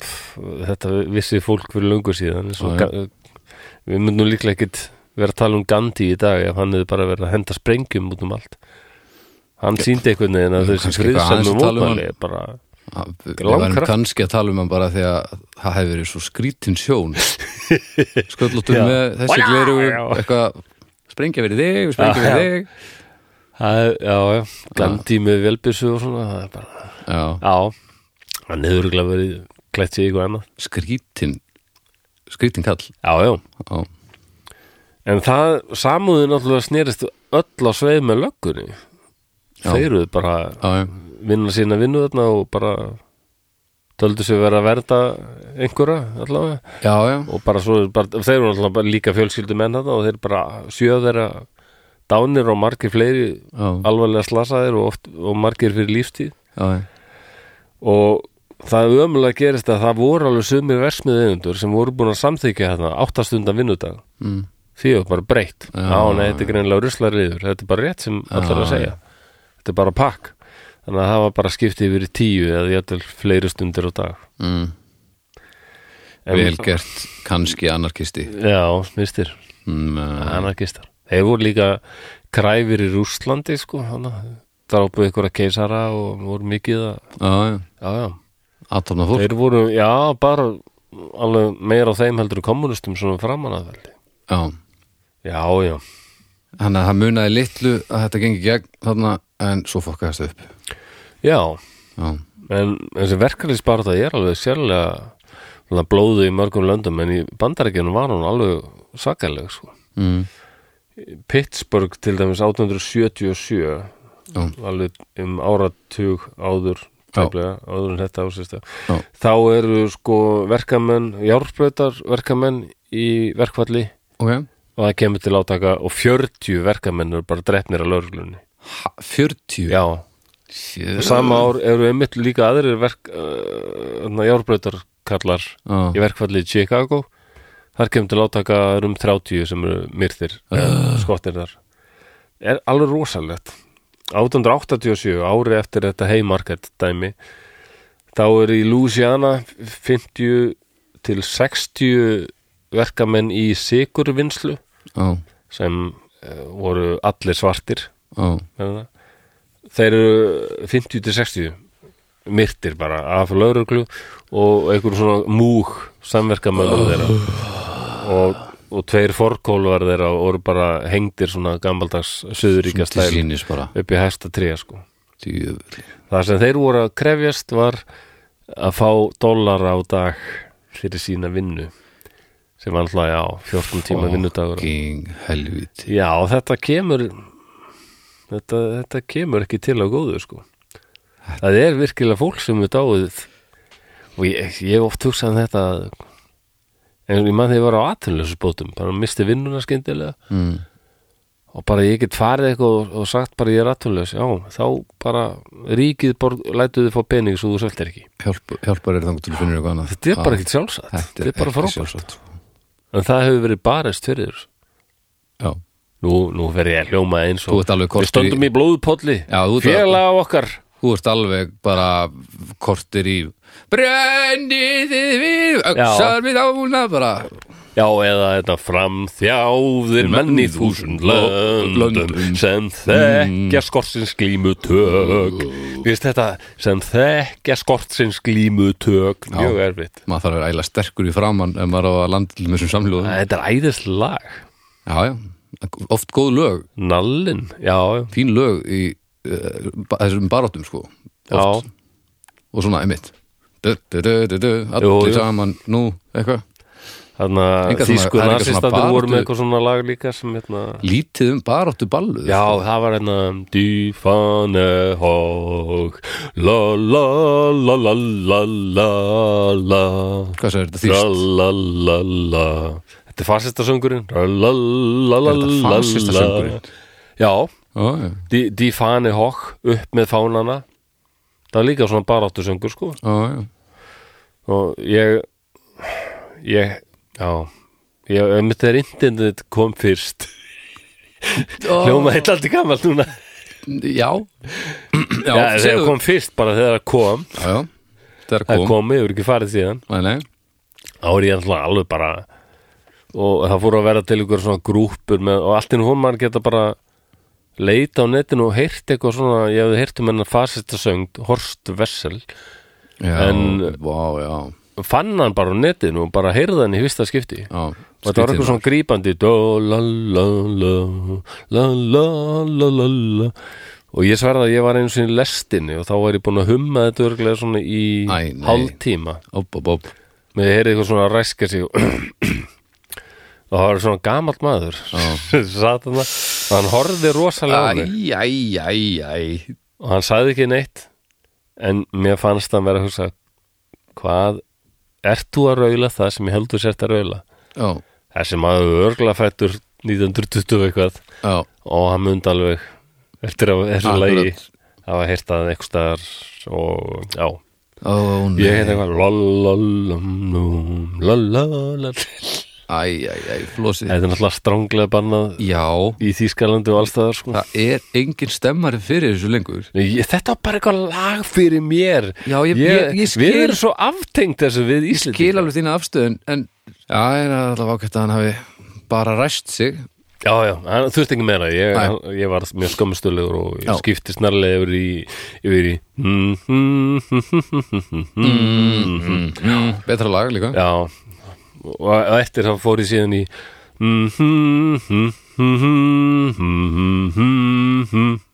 Speaker 1: pff, þetta vissi fólk fyrir löngu síðan svo,
Speaker 2: Já, já.
Speaker 1: ga- við myndum líklega ekkit vera að tala um Gandhi í dag ef hann hefði bara verið að henda sprengjum út um allt hann síndi einhvern veginn að
Speaker 2: Já,
Speaker 1: þessi
Speaker 2: kannski eitthvað aðeins
Speaker 1: friðsamlu
Speaker 2: að tala um hann.
Speaker 1: mótmæli bara,
Speaker 2: Ha,
Speaker 1: Ah,
Speaker 2: Við
Speaker 1: Langkraftur.
Speaker 2: varum kannski að tala um hann bara því að það hefði verið svo skrítin sjón Sköllóttur
Speaker 1: Já.
Speaker 2: með þessi
Speaker 1: Já,
Speaker 2: gleru
Speaker 1: já.
Speaker 2: eitthvað sprengja verið þig, sprengja
Speaker 1: Já,
Speaker 2: verið
Speaker 1: já.
Speaker 2: þig
Speaker 1: að, já, já, Gandhi með velbyrsu og svona það er bara,
Speaker 2: Já,
Speaker 1: já, hann hefur örugglega verið klætt sér í eitthvað annað
Speaker 2: skrítin skrítin kall
Speaker 1: Já, já,
Speaker 2: Já,
Speaker 1: En það samúðin náttúrulega snerist öll á sveið með löggunni
Speaker 2: Já.
Speaker 1: Þeir eru bara
Speaker 2: já, já.
Speaker 1: vinna sína vinnu þarna og bara töldu sig vera að verða einhverja allavega
Speaker 2: já, já.
Speaker 1: og bara svo, er bara, þeir eru náttúrulega bara líka fjölskyldu menn þarna og þeir bara sjöð þeirra dánir og margir fleiri
Speaker 2: Já.
Speaker 1: alvarlega slasaðir og, oft, og margir fyrir lífstíð
Speaker 2: já, já.
Speaker 1: og það ömulega gerist að það voru alveg sumir versmiðeigundur sem voru búin að samþykja þarna áttastundan vinnudag
Speaker 2: Mm.
Speaker 1: því var bara breytt
Speaker 2: Já,
Speaker 1: á nei, þetta er greinilega ruslariður þetta er bara rétt sem allar að
Speaker 2: Já,
Speaker 1: segja þetta er bara pakk þannig að það var bara skiptið yfir í tíu eða jættel fleiri stundir á dag
Speaker 2: Mm.
Speaker 1: En-
Speaker 2: Vel gert, kannski anarkisti
Speaker 1: já, smistir,
Speaker 2: mm, eh,
Speaker 1: anarkistar þeir voru líka kræfir í Rússlandi sko, hana, drápuð ykkur að keisara og voru mikið að
Speaker 2: Já, já,
Speaker 1: já, já,
Speaker 2: aðtofna fólk
Speaker 1: þeir voru, já, bara alveg meira á þeim heldur en kommunistum svona framan að veldi
Speaker 2: Já,
Speaker 1: já, já,
Speaker 2: hann að það munaði litlu að þetta gengi gegn þarna en svo fokkaðast upp
Speaker 1: já
Speaker 2: Já,
Speaker 1: En þessi verkalýsbarða er alveg sérlega svona blóðu í mörgum löndum en í bandarækjunum var hún alveg sakaleg sko.
Speaker 2: mm.
Speaker 1: Pittsburgh til dæmis 1877
Speaker 2: já,
Speaker 1: alveg um áratug áður
Speaker 2: Já.
Speaker 1: tæplega, áður en þetta ásista
Speaker 2: já,
Speaker 1: þá eru sko verkamenn járbreytar verkamenn í verkfalli
Speaker 2: ok
Speaker 1: og það kemur til átaka og 40 verkamenn eru bara drefnir að lögreglunni
Speaker 2: ha, 40
Speaker 1: Já,
Speaker 2: Sjö.
Speaker 1: sama ár eru einmitt líka aðrir verk uh, járbreytar kallar í
Speaker 2: Já,
Speaker 1: verkfalli í Chicago þar kemur til átaka það eru um 30 sem eru myrðir uh. skottir þar er alveg rosalegt 1887 ári eftir þetta heimarkett dæmi þá eru í Louisiana 50 til 60 verkamenn í sigurvinnslu
Speaker 2: já,
Speaker 1: sem uh, voru allir svartir
Speaker 2: já
Speaker 1: er það? þeir eru 50 til 60 myrtir bara af lauruglu og einhver svona múg samverkamönnum þeirra og, og tveir forkóluvar þeirra voru bara hengdir svona gammaldags söðuríkja
Speaker 2: Til
Speaker 1: stæl
Speaker 2: sínis bara
Speaker 1: upp í hæsta tríja sko
Speaker 2: Djöfull.
Speaker 1: það sem þeir voru að krefjast var að fá dollara á dag fyrir sína vinnu sem var alltaf já, 14 tíma vinnudagur
Speaker 2: Fucking helviti
Speaker 1: Já, þetta kemur þetta, þetta kemur ekki til á góðu sko. það er virkilega fólk sem er dáið og ég, ég hef oft hugsað um þetta að- en ég mann þegar ég var á atvinnlöfsbótum bara misti vinnuna skyndilega
Speaker 2: mm.
Speaker 1: og bara ég get farið eitthvað og, og sagt bara ég er atvinnlöfs já, þá bara ríkið borg, lætu þið fá pening svo þú sveltir ekki
Speaker 2: Hjálp, Hjálpar er þangur til að finna eitthvað annað
Speaker 1: þetta er bara
Speaker 2: Já,
Speaker 1: ekkit sjálfsagt,
Speaker 2: þetta
Speaker 1: þetta er bara
Speaker 2: ekki
Speaker 1: frábært
Speaker 2: sjálfsagt, sko.
Speaker 1: en það hefur verið barist fyrir þessu.
Speaker 2: Já,
Speaker 1: nú, nú verð ég að hljóma eins
Speaker 2: þú
Speaker 1: og
Speaker 2: ert alveg
Speaker 1: við
Speaker 2: kortur
Speaker 1: stöndum í blóðpolli
Speaker 2: Já, þú ert alveg
Speaker 1: félag okkar
Speaker 2: Þú ert alveg bara kortir í Brennið þið við Öxar við ána bara
Speaker 1: Já, eða þetta framþjáðir menn í þúsund löndum
Speaker 2: löndum.
Speaker 1: sem þekkja skortsins glímutök Vist þetta, sem þekkja skortsins glímutök Mjög erfitt
Speaker 2: Maður þarf að Mm. vera æla sterkur í framann ef maður á að landa til þessum samljóðum
Speaker 1: Þetta er æðislega lag
Speaker 2: Já, já, oft góð lög,
Speaker 1: Nallinn, já, já,
Speaker 2: fín lög í uh, ba- þessum baráttum sko
Speaker 1: já,
Speaker 2: oft. og svona einmitt du, du, du, du, du,
Speaker 1: Jú, jú.
Speaker 2: allir saman nú, eitthvað
Speaker 1: þannig að
Speaker 2: Engar svona-
Speaker 1: þýsku
Speaker 2: það er eitthvað svona
Speaker 1: nasistandi voru með
Speaker 2: baráttu-
Speaker 1: eitthvað svona lag líka sem hérna
Speaker 2: lítið um baráttu ballu
Speaker 1: Já, það var hérna Die Fahne hoch La la la la la la la
Speaker 2: hvað sagði þetta
Speaker 1: La
Speaker 2: þýst?
Speaker 1: la la la Þetta er fasistasöngurinn La la la la
Speaker 2: Er þetta
Speaker 1: la la
Speaker 2: fasistasöngurinn?
Speaker 1: Já,
Speaker 2: Ó, já,
Speaker 1: Die, die Fahne hoch upp með fánana Það er líka svona baráttusöngur sko
Speaker 2: ó, já.
Speaker 1: og ég ég, já ég, mitt er internet kom fyrst hljóma heitt aldrei gamalt núna
Speaker 2: já já,
Speaker 1: Já, þegar
Speaker 2: segðu-
Speaker 1: kom fyrst bara þegar það kom
Speaker 2: já, já. það er
Speaker 1: Það
Speaker 2: kom,
Speaker 1: kom, ég hefur ekki farið síðan
Speaker 2: Nei, nei.
Speaker 1: Þá er ég alltaf alveg bara Og það fóru að vera til ykkur svona grúpur með, Og allt inni hún mann geta bara Leita á netinu og heyrt eitthvað svona Ég hefði heyrt um hennar fasista söng Horst Vessel
Speaker 2: já,
Speaker 1: En-
Speaker 2: vá, já,
Speaker 1: Fann hann bara á netinu og bara heyrði hann í fyrsta skipti
Speaker 2: já
Speaker 1: Og þetta var eitthvað svona grípandi Dó, la, la, la, la, la, la, la, la. Og ég sverða að ég var einu sinni í lestinni og þá var ég búin að humma þetta örglega svona í
Speaker 2: Æ, nei.
Speaker 1: hálftíma
Speaker 2: op, op, op.
Speaker 1: með heyrið eitthvað svona ræska sig og og það var svona gamalt maður satt hann og hann horfði rosalega á
Speaker 2: æ,
Speaker 1: mig
Speaker 2: æ, æ, æ
Speaker 1: og hann sagði ekki neitt en mér fannst hann vera að hugsa hvað ert þú að raula það sem ég heldur sért að raula
Speaker 2: já,
Speaker 1: þessi maður örgla fættur 1920 eitthvað
Speaker 2: já
Speaker 1: og hann mundi alveg eftir að þessu
Speaker 2: Akkurat.
Speaker 1: lagi hafa heyrt að eitthvað staðar og já
Speaker 2: Ó, nei,
Speaker 1: ég heita eitthvað lalalalum lalalal
Speaker 2: æ, æ, æ, flósið
Speaker 1: Þetta er náttúrulega stránglega bannað
Speaker 2: Já,
Speaker 1: í Þýskalandi og allstaðar sko.
Speaker 2: það er engin stemmari fyrir þessu lengur
Speaker 1: Nei, ég, Þetta var bara eitthvað lag fyrir mér
Speaker 2: Já, ég- ég- ég skil-
Speaker 1: Við erum svo aftengt þessu við Íslandi
Speaker 2: Kýl alveg þína afstöðun en já, en það er alltaf ákvæmt að hann hafi bara ræst sig
Speaker 1: Já, já, hann- þú veist ekki meira Ég, ég var mjög skömmustulegur og ég
Speaker 2: Já.
Speaker 1: skipti snarlega yfir í, yfir í Mm-hmm.
Speaker 2: Mm. Betra lag líka
Speaker 1: Mm, Já og, og eftir hann fór ég síðan í "Mm, hm,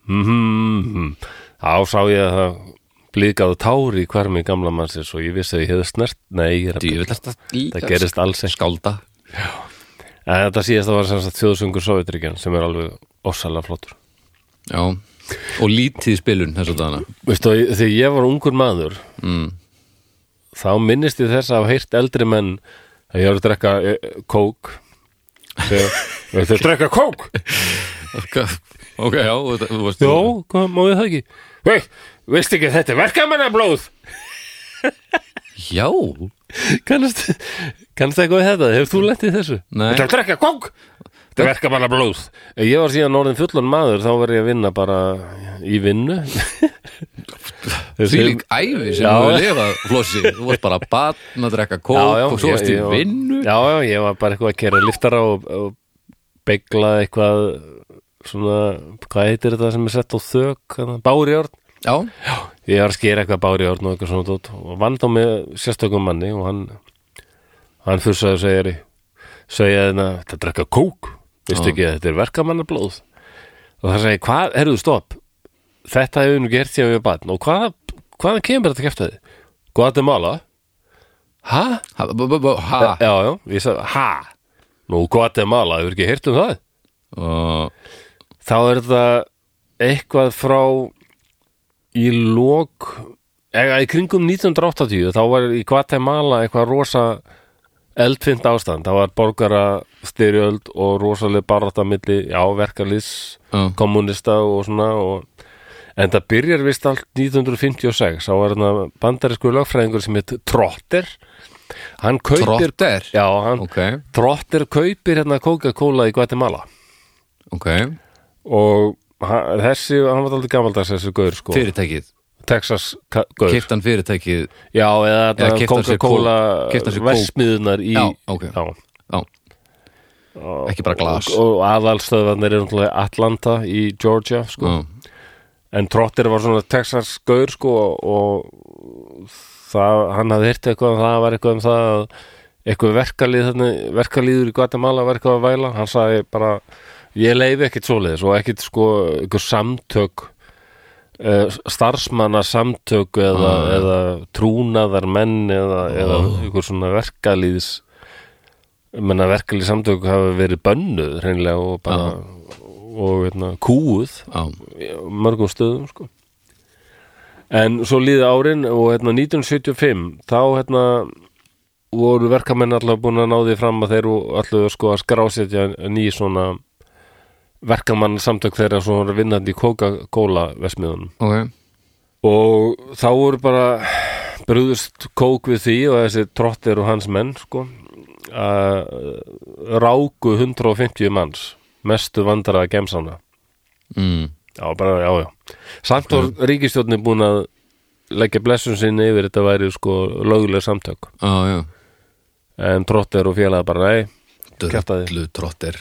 Speaker 1: hm, Þá sá ég að það blíkaðu tári í hvermi gamla mannsins og ég vissi að ég hefði snert Nei, ég er að það
Speaker 2: Það
Speaker 1: gerist alls ekki
Speaker 2: skálda
Speaker 1: en þetta síðast að var sem sagt þjóðsöngur Sovjetríkjan sem er alveg ossalega flottur
Speaker 2: Já, og lítið spilun þess að dana
Speaker 1: veistu, og þegar ég var ungur maður
Speaker 2: mm.
Speaker 1: þá minnist ég þess að hafa heyrt eldri menn að ég var að drekka eh, kók þegar Þegar að drekka kók?
Speaker 2: Ok, já, og þetta- þú varst
Speaker 1: Jó, hvað, má ég það ekki? Vei, veist ekki að þetta er verkamannablóð?
Speaker 2: Já,
Speaker 1: Kannast, kannast eitthvað við þetta? Hefur þú lent í þessu?
Speaker 2: Nei.
Speaker 1: Þetta er að drekka kók? Þetta er verkamannablóð Ég var síðan orðin fullan maður þá var ég að vinna bara í vinnu
Speaker 2: því lík æfi sem
Speaker 1: Já.
Speaker 2: þú hefur lifað flossi Þú varst bara batn að drekka kók og svo varst í
Speaker 1: ég- ég-
Speaker 2: vinnu
Speaker 1: Já, já, ég var bara eitthvað að kera liftara og, og begla eitthvað svona, hvað heitir þetta sem er sett á þök, hérna, bárjárn
Speaker 2: Já,
Speaker 1: Ég var að skera eitthvað bárjárn og eitthvað svona tótt og vann þá með sérstökum manni og hann hann fyrstaði og segir segja þeirna, þetta er eitthvað kók veistu ekki að þetta er verkamannablóð og það segi, hvað, herruðu, stopp þetta hefur nú gert síðan við batn og hvað, hvaðan kemur þetta keftaði? Guatemala? Hæ?
Speaker 2: Ha- b- b- b- ha
Speaker 1: Já, já, ég sagði, ha? Nú, Guatemala, hefur ekki heyrt um það?
Speaker 2: Og-
Speaker 1: Þá er þetta eitthvað frá í lok, eða í kringum 1980, þá var í Guatemala eitthvað rosa eldfint ástand, það var borgara styrjöld og rosaleg baráttamilli, já, verkarlýs,
Speaker 2: Já.
Speaker 1: kommunista og svona og En það byrjar vist allt 1956, þá var þarna bandarísku lögfræðingur sem heit Trotter, hann kaupir,
Speaker 2: Trotter
Speaker 1: já, hann,
Speaker 2: Ok,
Speaker 1: Trotter kaupir hérna Coca-Cola í Guatemala
Speaker 2: ok
Speaker 1: og ha- þessi, hann var aldrei gamaldags þessi gaur sko,
Speaker 2: Fyrirtækið
Speaker 1: Texas ka- gaur
Speaker 2: Keftan fyrirtækið
Speaker 1: já, eða
Speaker 2: Eða
Speaker 1: þetta
Speaker 2: keypti hann sér
Speaker 1: Coca-Cola
Speaker 2: kók- keypti hann sér kók.
Speaker 1: versmiðunar í
Speaker 2: Já, ok.
Speaker 1: já.
Speaker 2: Já Ekki bara glas
Speaker 1: og, og aðalstöðvarnir er náttúrulega Atlanta í Georgia sko.
Speaker 2: Já,
Speaker 1: en Trotter var svona Texas gaur sko, og það, hann hafði hirt eitthvað um það var eitthvað um það að eitthvað verkalið, þarna, verkalíður í Guatemala var eitthvað að væla hann sagði bara Ég leiði ekkit svoleiðis og ekkit sko ykkur samtök uh, starfsmanna samtök eða,
Speaker 2: Ah.
Speaker 1: eða trúnaðar menn eða, eða
Speaker 2: Ah.
Speaker 1: ykkur svona verkalýðs menna verkalýðs samtök hafa verið bönnuð hreinlega og bara
Speaker 2: Ah.
Speaker 1: og hérna, veitna, kúð
Speaker 2: Já,
Speaker 1: á mörgum stöðum sko. en svo líði árin og hérna 1975 þá hérna voru verkamenn allavega búin að ná því fram að þeir voru allavega sko að skrásetja ný svona verkamann samtök þeirra svo voru vinnandi í Coca-Cola vesmiðunum
Speaker 2: ok
Speaker 1: og þá voru bara brúðust kók við því og þessi trottir og hans menn sko að ráku 150 manns mestu vandaraða gemsana
Speaker 2: mm.
Speaker 1: Já, bara, já, já. Samt var ríkistjórnin búin að leggja blessun sinni yfir þetta væri sko löguleg samtök.
Speaker 2: Já, já
Speaker 1: En tróttir og félaga bara, nei. Kjaftaði.
Speaker 2: Drullu trottir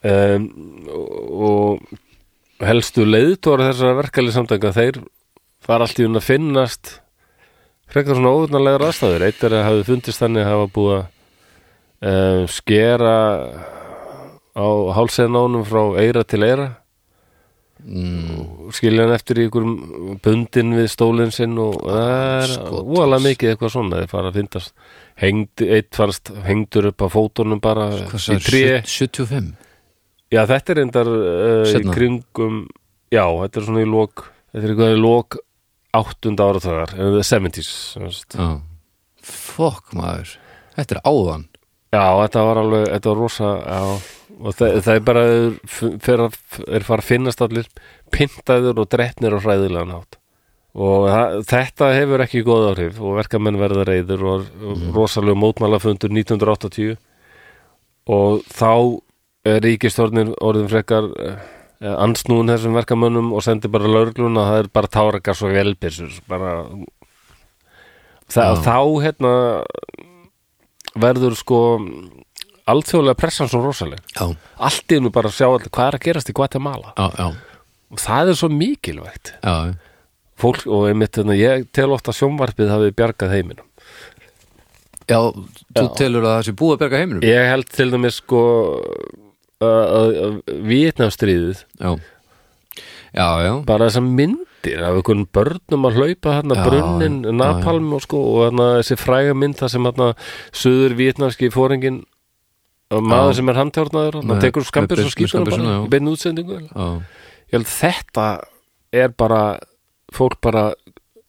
Speaker 1: Um, og og helstu leiðtóra þessara verkali samtöka, þeir fara allt í hún að finnast frekar svona óvunarlegar aðstæður. Eitt er að hafi fundist þannig að hafa búið að um, skera á hálseinónum frá eira til eira.
Speaker 2: mm.
Speaker 1: skilja hann eftir í einhverjum bundin við stólinn sinn og það er
Speaker 2: Skotans.
Speaker 1: óalega mikið eitthvað svona þeir fara að fyndast hengd, eitt fannst hengdur upp á fótunum bara
Speaker 2: Hvað
Speaker 1: í tré
Speaker 2: sagði, 75?
Speaker 1: já þetta er endar uh, í
Speaker 2: Seinna.
Speaker 1: kringum já þetta er svona í lok þetta er eitthvað í lok 8. áratöðar 70s sem sagt.
Speaker 2: Já Fokk maður Þetta er áðan
Speaker 1: já þetta var alveg þetta var rosa já, og það, það er bara fyrir að er fara að finnast allir pyntaður og drefnir og hræðilegan hátt og það, þetta hefur ekki góð áhrif og verkamenn verða reyður og mm. rosalegu mótmálafundur 1980 og þá er ríkistörnin orðin frekar eh, ansnúin þessum verkamönnum og sendir bara lauruglun að það er bara tárakar svo velbyrsur bara það,
Speaker 2: Já.
Speaker 1: þá hérna verður sko alþjóðlega pressan svo rosaleg
Speaker 2: Já,
Speaker 1: allt í nú bara að sjá allir hvað er að gerast í Guatemala
Speaker 2: já, já,
Speaker 1: og það er svo mikilvægt
Speaker 2: já.
Speaker 1: fólk og einmitt þannig ég tel ofta sjónvarpið hafi bjargað heiminum
Speaker 2: Já, þú
Speaker 1: Já.
Speaker 2: telur að það sé búið að berga heiminum
Speaker 1: ég held til dæmis sko Vietnamstríðið
Speaker 2: Já Já, já,
Speaker 1: bara þessar myndir af einhvern börnum að hlaupa hérna
Speaker 2: Já,
Speaker 1: brunnin,
Speaker 2: já,
Speaker 1: napalm og sko og hérna þessi fræga mynd það sem hérna suður vietnamski fóringin maður
Speaker 2: Já.
Speaker 1: sem er handtjórnaður hann
Speaker 2: Með-
Speaker 1: tekur skambir
Speaker 2: með-
Speaker 1: svo
Speaker 2: með
Speaker 1: skýtur hann
Speaker 2: skammbyssuna,
Speaker 1: bara
Speaker 2: já.
Speaker 1: í beinni útsendingu ég
Speaker 2: já.
Speaker 1: held þetta er bara fólk bara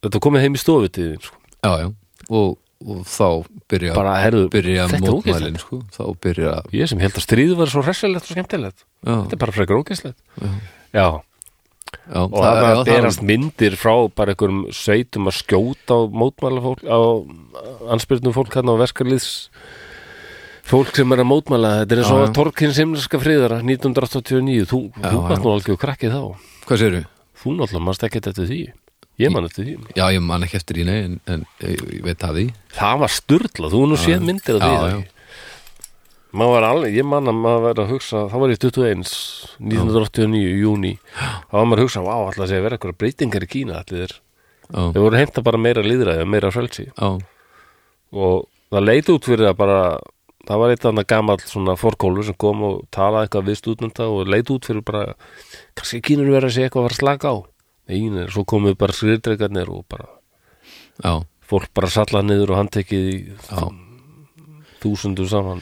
Speaker 1: þetta er komið heim í stofu til þín sko.
Speaker 2: já, já. Og, og þá byrja,
Speaker 1: bara herðu,
Speaker 2: byrja
Speaker 1: þetta er ógæslegt
Speaker 2: mótmælin sko. Þá byrja
Speaker 1: ég sem held að stríðu var svo hressilegt og skemmtilegt
Speaker 2: Já,
Speaker 1: þetta er bara frekar ógæslegt já,
Speaker 2: já,
Speaker 1: og það
Speaker 2: já,
Speaker 1: að berast myndir frá bara einhverjum sveitum að skjóta á mótmæla fólk á anspyrnum fólk hann á verkarlýðs fólk sem er að mótmæla þetta er eins og
Speaker 2: Já, já.
Speaker 1: að Torkin Simleska friðara 1989, þú, þú
Speaker 2: já.
Speaker 1: varst nú algjör krakkið þá,
Speaker 2: Hvað sérðu?
Speaker 1: þú náttúrulega manst ekkert eftir því, ég man eftir því
Speaker 2: Já, ég man ekki eftir í nei En, en ég, ég veit að því
Speaker 1: það var sturla, þú hefur nú séð myndir af því
Speaker 2: Já,
Speaker 1: já,
Speaker 2: já.
Speaker 1: Maður var alveg, ég man að maður verið að hugsa þá var ég 21, 1989 í júni, þá var maður að hugsa vá, alltaf sé að vera eitthvað breytingar í Kína allir.
Speaker 2: Já,
Speaker 1: þeir voru heimta bara meira líðræði og meira frelsi
Speaker 2: já,
Speaker 1: og það leit út fyrir að bara það var eitt annað gamall svona fórkólu sem kom og talaði eitthvað við stúdenta og leit út fyrir bara kannski kínur verið að sé eitthvað að fara að slaka á Nei, svo komu bara skriðdreikarnir og bara
Speaker 2: já
Speaker 1: fólk bara salla niður og handtekið í
Speaker 2: Já.
Speaker 1: þúsundum saman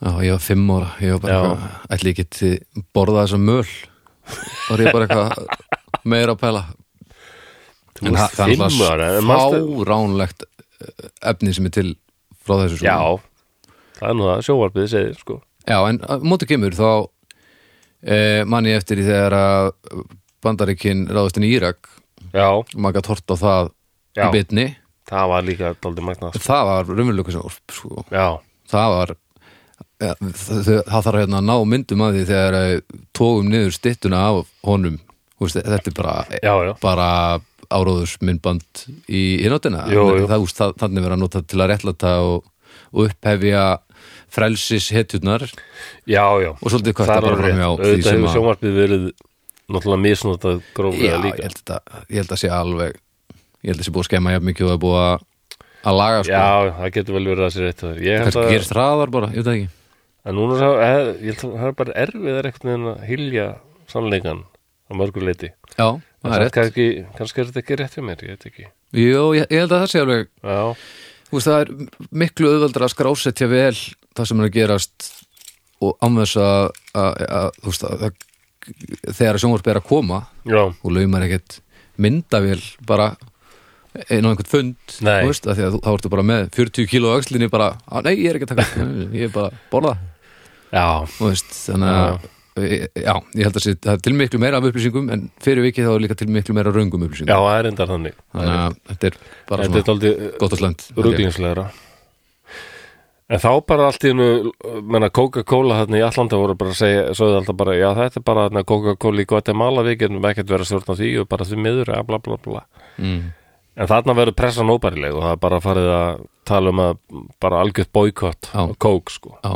Speaker 2: Já, ég var fimm ára, ég var bara
Speaker 1: Já.
Speaker 2: eitthvað, ætli ég geti borðað þessa möl og ég bara eitthvað meira að pæla
Speaker 1: Þú varst fimm ára, en manstu-
Speaker 2: fáránlegt eh, efni sem er til frá þessu
Speaker 1: Já,
Speaker 2: svona.
Speaker 1: það er nú það sjóvarpið segir sko
Speaker 2: Já, en á móti kemur þá e, manni eftir í þegar að bandaríkin ráðustin í Írak
Speaker 1: Já,
Speaker 2: og maður gætt hort á það
Speaker 1: Já.
Speaker 2: í bitni
Speaker 1: það var líka daldið magnað sko.
Speaker 2: það var raunveruleika sem orp sko.
Speaker 1: Já,
Speaker 2: það var ja, það, það þarf hérna að ná myndum að því þegar eh, tókum niður styttuna af honum Þú veist, þetta er bara,
Speaker 1: já, já
Speaker 2: bara áróðusmyndband í innáttina
Speaker 1: Jú, jú.
Speaker 2: Það, þú veist, það, þannig verið að nota til að réttlata og, og upphefja frelsis hetjurnar og
Speaker 1: Já, já
Speaker 2: svolítið hvað
Speaker 1: Það
Speaker 2: þetta
Speaker 1: er
Speaker 2: bara
Speaker 1: alveg
Speaker 2: fram
Speaker 1: rétt,
Speaker 2: hjá því
Speaker 1: auðvitað
Speaker 2: sem
Speaker 1: hefur
Speaker 2: að
Speaker 1: sjónvarpið verið náttúrulega misnotað
Speaker 2: Já,
Speaker 1: gróflega
Speaker 2: ég
Speaker 1: líka
Speaker 2: held, að, ég held að sé alveg ég held að sé búið að skemma jafn mikið og að búið að- að laga sko,
Speaker 1: Já, það getur vel verið að sér eitt og það. Ég held
Speaker 2: kannski
Speaker 1: að
Speaker 2: gerist hraðar bara, ég veit það ekki
Speaker 1: en núna sá, eh, ég held að það er bara erfiðar einhvern veginn að hylja sannleikan á mörgur leiti
Speaker 2: já, það er rétt
Speaker 1: kannski, kannski er þetta ekki rétt fyrir mér, ég veit ekki
Speaker 2: Jú, ég, ég held að það sé alveg
Speaker 1: já,
Speaker 2: Þú veist, það er miklu auðveldra að skrásetja vel það sem er að gerast og ánvegs að, að, að þú veist, að, að þegar sjónvarp er að koma
Speaker 1: já,
Speaker 2: og laumar ekkert myndavél bara inn á einhvern fund
Speaker 1: Nei.
Speaker 2: þú veist, að því að þú, þá ertu bara með 40 kíló öxlinni bara, að nei, ég er ekki að taka ég er bara að borða,
Speaker 1: já,
Speaker 2: þú veist þannig að, e, já, ég held að sé, það er til miklu meira af upplýsingum en fyrir vikið þá er líka til miklu meira röngum
Speaker 1: já,
Speaker 2: upplýsingum
Speaker 1: það er endar þannig
Speaker 2: þannig að þetta er bara
Speaker 1: þetta er
Speaker 2: svona
Speaker 1: daldið
Speaker 2: gott og slæmt held ég.
Speaker 1: ruglingslegra en þá bara allt í hennu menna Coca-Cola þarna í Allanda voru bara að segja, sögðu alltaf bara, já þetta er bara þarna Coca-Cola í Guatemala, við getum ekkert verið að stjórna því og bara því miður, ja, bla bla bla
Speaker 2: mm.
Speaker 1: en þarna verður pressan óbærileg og það er bara farið að tala um að bara algjörð boykott
Speaker 2: Já.
Speaker 1: og kók sko
Speaker 2: já,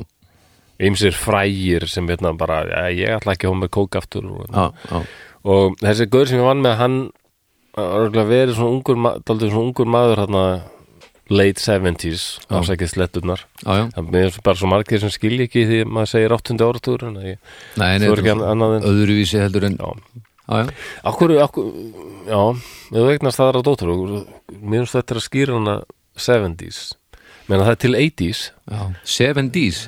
Speaker 1: ýmsir frægir sem veitna bara ja, ég ætla ekki að hóma með kók aftur og,
Speaker 2: já, já,
Speaker 1: og þessi gaur sem ég vann með hann örgulega verið svona ungur ma- dálítið svona ungur maður hérna late 70s,
Speaker 2: Já.
Speaker 1: ásækið sletturnar
Speaker 2: já, já.
Speaker 1: það er bara svo margir sem skilja ekki því maður segir 8. áratúr en ég,
Speaker 2: Nei, nei,
Speaker 1: þú er ekki
Speaker 2: þetta
Speaker 1: an- annað
Speaker 2: er
Speaker 1: en
Speaker 2: öðruvísi heldur en
Speaker 1: já,
Speaker 2: já, já,
Speaker 1: akkur, akkur já, ef þú eignast aðra dóttur og- mér finnst þetta er að skýra hana 70s, menna það er til 80s
Speaker 2: já. 7Ds,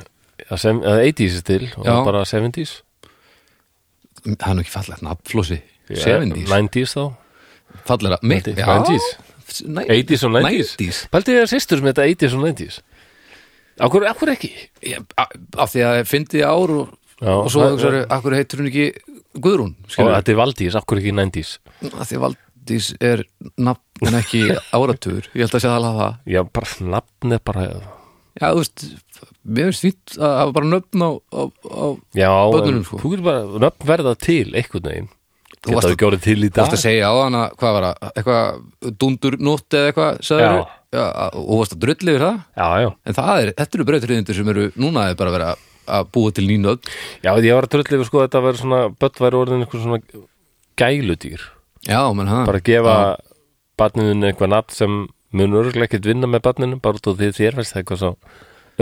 Speaker 1: að sem, að 80s er til og
Speaker 2: Já.
Speaker 1: bara 70s
Speaker 2: það er nú ekki fallegt nafnflósi,
Speaker 1: Já,
Speaker 2: 7Ds
Speaker 1: 90s þá
Speaker 2: fallera, mitt,
Speaker 1: 90s,
Speaker 2: já
Speaker 1: 90s.
Speaker 2: 90s.
Speaker 1: 80s og 90s. Paldið er sýstur sem þetta 80s og 90s Akkur, akkur ekki
Speaker 2: Já, a- af því að fyndi ár og,
Speaker 1: Já,
Speaker 2: og svo
Speaker 1: það-
Speaker 2: hugsaður, akkur heitur hún ekki Guðrún,
Speaker 1: Og
Speaker 2: skilur
Speaker 1: þetta er Valdís, akkur ekki 90s
Speaker 2: af því að Valdís er nafn en ekki áratugur, ég held að sé það alveg það
Speaker 1: Já, bara nafn er bara
Speaker 2: já, þú veist, mér finnst fýtt að hafa bara nöfn á, á, á
Speaker 1: Já,
Speaker 2: Börnunum,
Speaker 1: en
Speaker 2: sko.
Speaker 1: þú getur bara nöfn verða til einhvern veginn
Speaker 2: Þú varst
Speaker 1: Þetta
Speaker 2: að-
Speaker 1: er gjórið til í
Speaker 2: Þú
Speaker 1: dag
Speaker 2: varst að segja á hana, hvað var það, eitthvað dundurnótt eða eitthvað, sagður
Speaker 1: Já.
Speaker 2: Já, og þú varst að drulli yfir það
Speaker 1: Já, já,
Speaker 2: En það er, þetta eru breytriðindur sem eru núna er bara að vera að búa til nýn öll
Speaker 1: já, ég var að tröllið sko, þetta verður svona, börn væri orðin einhver svona gæludýr,
Speaker 2: Já, menn hann
Speaker 1: bara að gefa barninu eitthvað nafn sem mun örgulega ekkert vinna með barninu, bara út og því þér fæst það eitthvað svo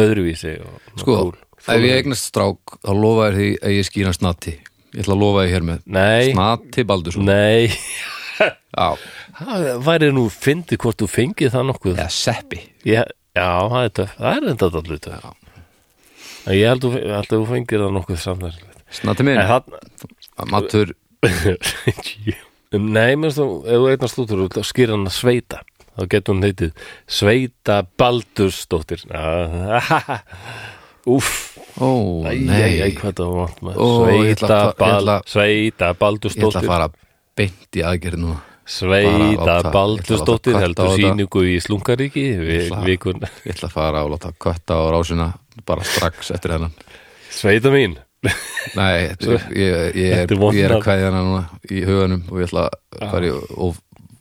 Speaker 1: öðruvísi og,
Speaker 2: Sko,
Speaker 1: og cool.
Speaker 2: ef ég eignast strák þá lofa ég því að ég skýra snati Ég ætla að lofa ég hér með
Speaker 1: Nei,
Speaker 2: Snati Baldursson
Speaker 1: nei
Speaker 2: Já,
Speaker 1: Það væri nú fyndið hvort þú fengið það nokkuð
Speaker 2: eða Seppi
Speaker 1: ég, Já, það er töff, það er enda allir töff En ég held, þú- ég held að þú fengir það nokkuð samverðilegt
Speaker 2: Snati minn,
Speaker 1: En það
Speaker 2: matur
Speaker 1: Nei, minnst þú, ef þú eignast út úr þá skýr hann að sveita þá getur hún heitið Sveita Baldursdóttir Úff
Speaker 2: Ó,
Speaker 1: Æ,
Speaker 2: nei
Speaker 1: æ, æ, hvað það var vont maður.
Speaker 2: Ó, ég ætla
Speaker 1: Sveita,
Speaker 2: að fa- ég
Speaker 1: bal,
Speaker 2: ætla-
Speaker 1: sveita
Speaker 2: Ég ætla að
Speaker 1: Baldursdóttir
Speaker 2: fara beint í aðgerð núna Bara
Speaker 1: Sveita
Speaker 2: láta-
Speaker 1: Baldursdóttir
Speaker 2: ég ætla að láta
Speaker 1: heldur
Speaker 2: kvarta á þetta.
Speaker 1: síningu í Slungaríki vi-
Speaker 2: ætla að-
Speaker 1: vikun
Speaker 2: Ég ætla að fara og láta kvötta á rásina bara strax eftir hennan
Speaker 1: Sveita mín
Speaker 2: Nei, þetta er- ég, ég, er,
Speaker 1: Þetta er vond
Speaker 2: ég er að
Speaker 1: nafn.
Speaker 2: kveðja hana núna í huganum og ég ætla að fara í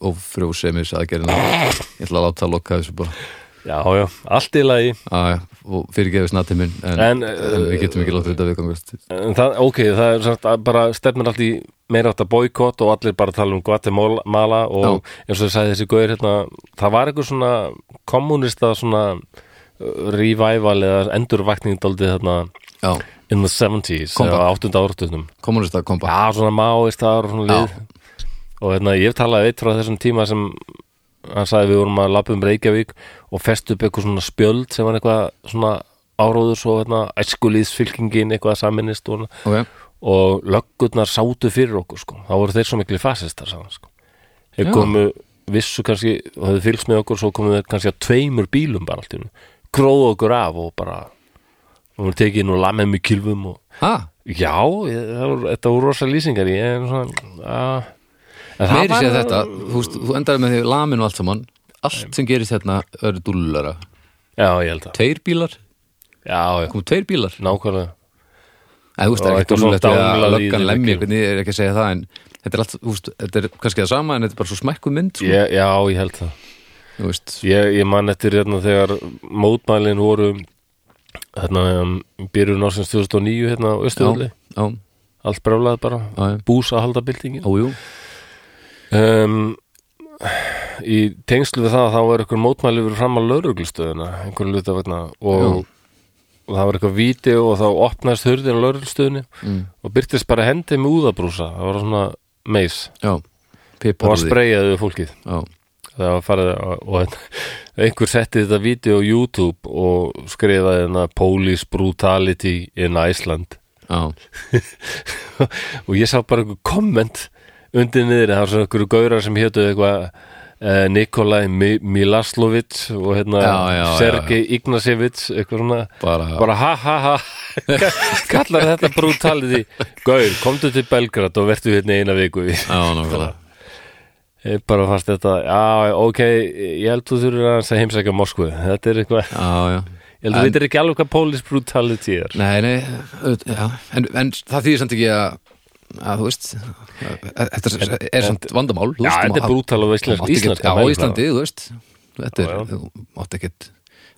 Speaker 2: ofrjósemis aðgerðina ég ætla að láta að lokka þessu bara
Speaker 1: Já, já, allt í lagi
Speaker 2: að, og fyrirgefi snatti minn en, en,
Speaker 1: En, uh,
Speaker 2: við getum ekki láta þetta við gangast
Speaker 1: En það, ok, það er samt að bara stefnir allt í meira átt að boykott og allir bara tala um Guatemala og eins og þið sagði þessi gauður hérna, það var einhver svona kommunista svona uh, revival eða endurvakning daldið þarna
Speaker 2: Já,
Speaker 1: in the 70s
Speaker 2: Kompa.
Speaker 1: eða 8. áratunum
Speaker 2: kommunista kompa
Speaker 1: Já, svona máistar og svona lið og hérna, ég talaði eitt frá þessum tíma sem hann sagði við vorum að labba um Reykjavík og fest upp eitthvað svona spjöld sem var eitthvað svona áróður svo hérna, æskulíðsfylkingin eitthvað að saminist og svona
Speaker 2: Ok,
Speaker 1: og löggurnar sátu fyrir okkur sko. þá voru þeir svo miklu fasistar sagði hann, sko. þeir
Speaker 2: Já.
Speaker 1: komu vissu kannski og hefðu fylgst með okkur svo komu þeir kannski að tveimur bílum bara allt í einu gróðu okkur af og bara og við tekið nú lamið með kylfum og
Speaker 2: ha,
Speaker 1: já, ég, það voru, þetta voru rosa lýsingar ég er svona að En það
Speaker 2: meiri
Speaker 1: var-
Speaker 2: sé þetta þú, veist, þú endar með því lamin og allt saman allt sem gerist hérna eru dúllara
Speaker 1: Já, ég held það
Speaker 2: Tveir bílar,
Speaker 1: Já, já,
Speaker 2: komu tveir bílar
Speaker 1: nákvæmlega
Speaker 2: En þú veist, það
Speaker 1: Og
Speaker 2: er
Speaker 1: eitthvað
Speaker 2: ekkert úrlegt
Speaker 1: svona
Speaker 2: að
Speaker 1: dánlað í
Speaker 2: löggan
Speaker 1: þeim,
Speaker 2: lemmi
Speaker 1: ekki?
Speaker 2: hvernig ég er ekki að segja það en þetta er, allt, þú veist, þetta er kannski það sama en þetta er bara svo smækkuð mynd sko,
Speaker 1: ég, Já, ég held það
Speaker 2: þú veist,
Speaker 1: Ég, ég man eftir hérna þegar mótmælin voru hérna um, byrjun ársins 2009 hérna á
Speaker 2: já,
Speaker 1: Östuðli
Speaker 2: já,
Speaker 1: allt brjálað bara,
Speaker 2: Já, já.
Speaker 1: bús að halda byltingin
Speaker 2: ójú
Speaker 1: um, í tengslu við það þá var einhver mótmæli verið fram á lauruglustöðuna einhver luta vegna og og það var eitthvað vídeo og þá opnaðist hurðin á laurulstöðunni
Speaker 2: Mm.
Speaker 1: og byrtist bara hendi með úðabrúsa það var svona meis
Speaker 2: já,
Speaker 1: og
Speaker 2: pipar
Speaker 1: það spreyjaði við fólkið
Speaker 2: já,
Speaker 1: það var farið að- og einhver setti þetta vídeo á YouTube og skrifaði hérna Police Brutality in Iceland
Speaker 2: já,
Speaker 1: og ég sá bara einhver komment undir niður, það var svona einhverju gaurar sem hétu eitthvað eh, Nikolai Mi Milaslovic og hérna
Speaker 2: Já, já, já,
Speaker 1: Sergei Ignasevic eitthvað svona
Speaker 2: bara,
Speaker 1: bara ha ha ha kallar þetta brutality Gaur, komdu til Belgrad og vertu hérna í eina viku
Speaker 2: já, nákvæmlega
Speaker 1: ég bara fannst þetta já, ok, ég held þú þurfur að segja heimsækja Moskvu, þetta er
Speaker 2: já,
Speaker 1: eitthvað
Speaker 2: já
Speaker 1: ég held þú veitir ekki alveg hvað police brutality er
Speaker 2: Nei, nei, auðvitað, já, en, en það þýðir samt ekki að, að þú veist, að- þetta er, er samt vandamál. þú
Speaker 1: já,
Speaker 2: veist, þú
Speaker 1: þetta
Speaker 2: mátt-
Speaker 1: er brutal á
Speaker 2: þú mátt
Speaker 1: íslensk
Speaker 2: ekkert- Já,
Speaker 1: íslenska
Speaker 2: á
Speaker 1: mælikvarða.
Speaker 2: Íslandi, þú veist, þetta
Speaker 1: Já,
Speaker 2: er,
Speaker 1: já.
Speaker 2: þú mátt ekkert,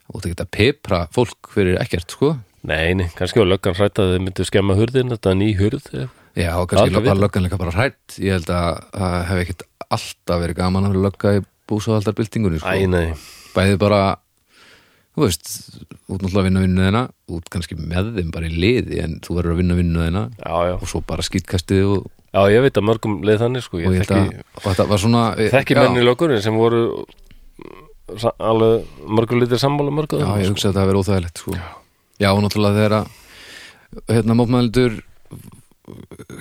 Speaker 2: þú mátt ekkert að pepra fólk fyrir ekkert, sko.
Speaker 1: nei, nei, kannski var löggan hrætt að þau myndu skemma hurðin þetta er ný hurð já,
Speaker 2: Já, og
Speaker 1: Aldrei
Speaker 2: kannski var
Speaker 1: vitað.
Speaker 2: lögganleika bara hrætt, ég held að það hef ekkert alltaf verið gaman að vera lögga í búsáhaldarbyltingunni, sko.
Speaker 1: æ, nei,
Speaker 2: Bæði bara, þú veist, út náttúrulega að vinna vinnuðina, út kannski með þeim bara í liði, en þú verður að vinna vinnuðina
Speaker 1: já, já
Speaker 2: og svo bara skýtkastið og
Speaker 1: já, ég veit að mörgum leið þannig sko,
Speaker 2: og
Speaker 1: ég
Speaker 2: ég held
Speaker 1: þekki,
Speaker 2: að og þetta var svona
Speaker 1: þekki
Speaker 2: já,
Speaker 1: menni löggunni sem voru mm, sa- alveg mörgum litir sammála mörgum
Speaker 2: já, ég hugsa að það verið óþægilegt sko. já, og náttúrulega þegar að hérna mópmælendur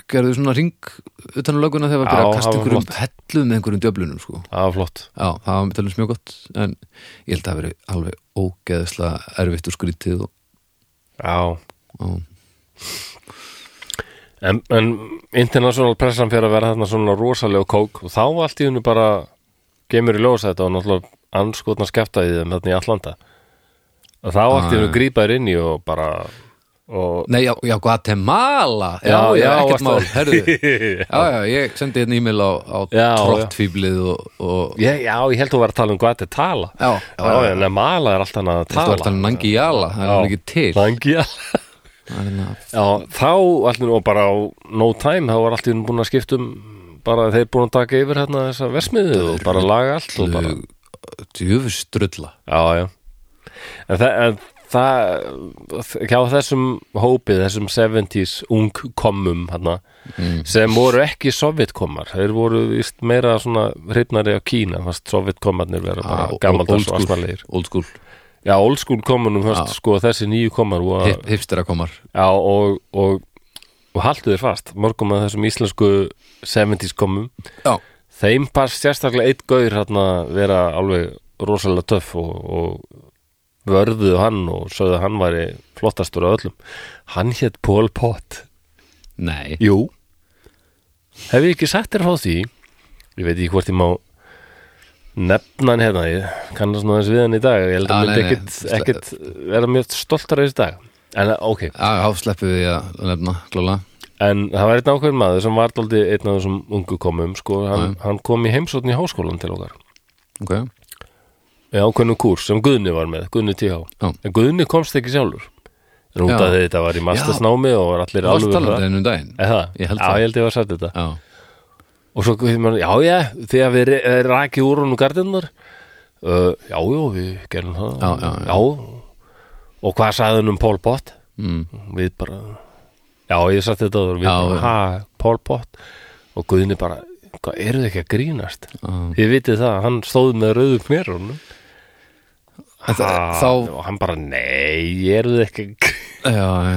Speaker 2: gerðu svona ring utan á löguna þegar var
Speaker 1: Já,
Speaker 2: byrjað að
Speaker 1: það
Speaker 2: kasta
Speaker 1: var
Speaker 2: einhverjum hellum með einhverjum djöflunum sko.
Speaker 1: já, flott
Speaker 2: já, það var með talum mjög gott en ég held að það verið alveg ógeðslega erfitt og skrítið og,
Speaker 1: já,
Speaker 2: og,
Speaker 1: En, en international pressan fyrir að vera þarna svona rosalega kók og þá allt í hennu bara gemur í ljósa þetta og náttúrulega anskotna skefta í þeim þarna í Atlanta og þá allt í hennu
Speaker 2: já.
Speaker 1: grípa þér inn í og bara og
Speaker 2: nei, já, já, Guatemala já, já,
Speaker 1: Já, já, varstu-
Speaker 2: ekkert mál, herðu já, já, ég sendi hérna e-mail á, á
Speaker 1: Já, já.
Speaker 2: trottfýblið og, og
Speaker 1: ég, já, ég held þú var að tala um hvað þetta er tala
Speaker 2: Já, já, já,
Speaker 1: já, en að mala er allt hann að
Speaker 2: Þetta var
Speaker 1: tala
Speaker 2: talað um Nangi Jala, það er
Speaker 1: Já.
Speaker 2: hann ekki til
Speaker 1: Langi, já.
Speaker 2: Það er hérna-
Speaker 1: já, þá allt í hennu og bara á no time, þá var allt í hennu búin að skipta um bara þeir búin að taka yfir hérna þessa versmiðu og bara laga allt og bara
Speaker 2: djöfustrulla
Speaker 1: Já, já En það, en það hjá þessum hópið, þessum 70s ungkommum hana,
Speaker 2: Mm.
Speaker 1: sem voru ekki sovjetkommar þeir voru víst meira svona hrifnari á Kína, fast sovjetkommarnir vera bara
Speaker 2: Ah, old
Speaker 1: gammaldags og
Speaker 2: school.
Speaker 1: asmalegir
Speaker 2: old school,
Speaker 1: Já, old school kommunum, fast, sko, þessi nýju kommar og,
Speaker 2: Hip, hipstera komar
Speaker 1: já, og, og, og haltu þér fast mörgum af þessum íslensku 70s kommum
Speaker 2: Já,
Speaker 1: þeim pass sérstaklega eitt gaur hérna vera alveg rosalega töff og, og vörðuðu hann og sögðu að hann væri flottastur af öllum hann hétt Paul Pott
Speaker 2: nei
Speaker 1: Jú Hef ég ekki sagt þér frá því ég veit ekki hvort ég má nefna hann hérna ég kannast nú aðeins við hann í dag ég held
Speaker 2: Já,
Speaker 1: að
Speaker 2: nei,
Speaker 1: myndi
Speaker 2: nei. eh,
Speaker 1: ekkit, ekkit vera mjög stoltar af þessi dag en eh, ok,
Speaker 2: Já, þá sleppum við að nefna klála
Speaker 1: en það var einn ákveðin maður sem var daldi einn af þessum ungu komum sko, hann, hann kom í heimsókn í háskólan til okkar
Speaker 2: Ok,
Speaker 1: Já, ákveðnum kúrs sem Guðni var með, Guðni TH
Speaker 2: Já.
Speaker 1: En Guðni komst ekki sjálfur Rúta
Speaker 2: Já.
Speaker 1: þegar þetta var í mastersnámi og var allir
Speaker 2: þú varst
Speaker 1: alveg
Speaker 2: talað einu daginn
Speaker 1: Er það?
Speaker 2: Ég held
Speaker 1: já,
Speaker 2: það.
Speaker 1: ég held ég var sagt þetta
Speaker 2: Já,
Speaker 1: Og svo hefði maður, já, já, þegar við re- eh, rakið úr honum gardinar uh, Já, já, við gerum það
Speaker 2: Já, já, já.
Speaker 1: Og hvað sagði hann um Pól Pott?
Speaker 2: mm.
Speaker 1: Við bara Já, ég sagt þetta áður, við
Speaker 2: Já,
Speaker 1: bara,
Speaker 2: já.
Speaker 1: ha, Pól Pott Og Guðni bara, hvað eru þið ekki að grínast?
Speaker 2: Já.
Speaker 1: Ég vitið það, hann stóð með rauðum knérunum
Speaker 2: En þa-
Speaker 1: Ha,
Speaker 2: þá-
Speaker 1: og hann bara, nei, ég er það ekki
Speaker 2: já já.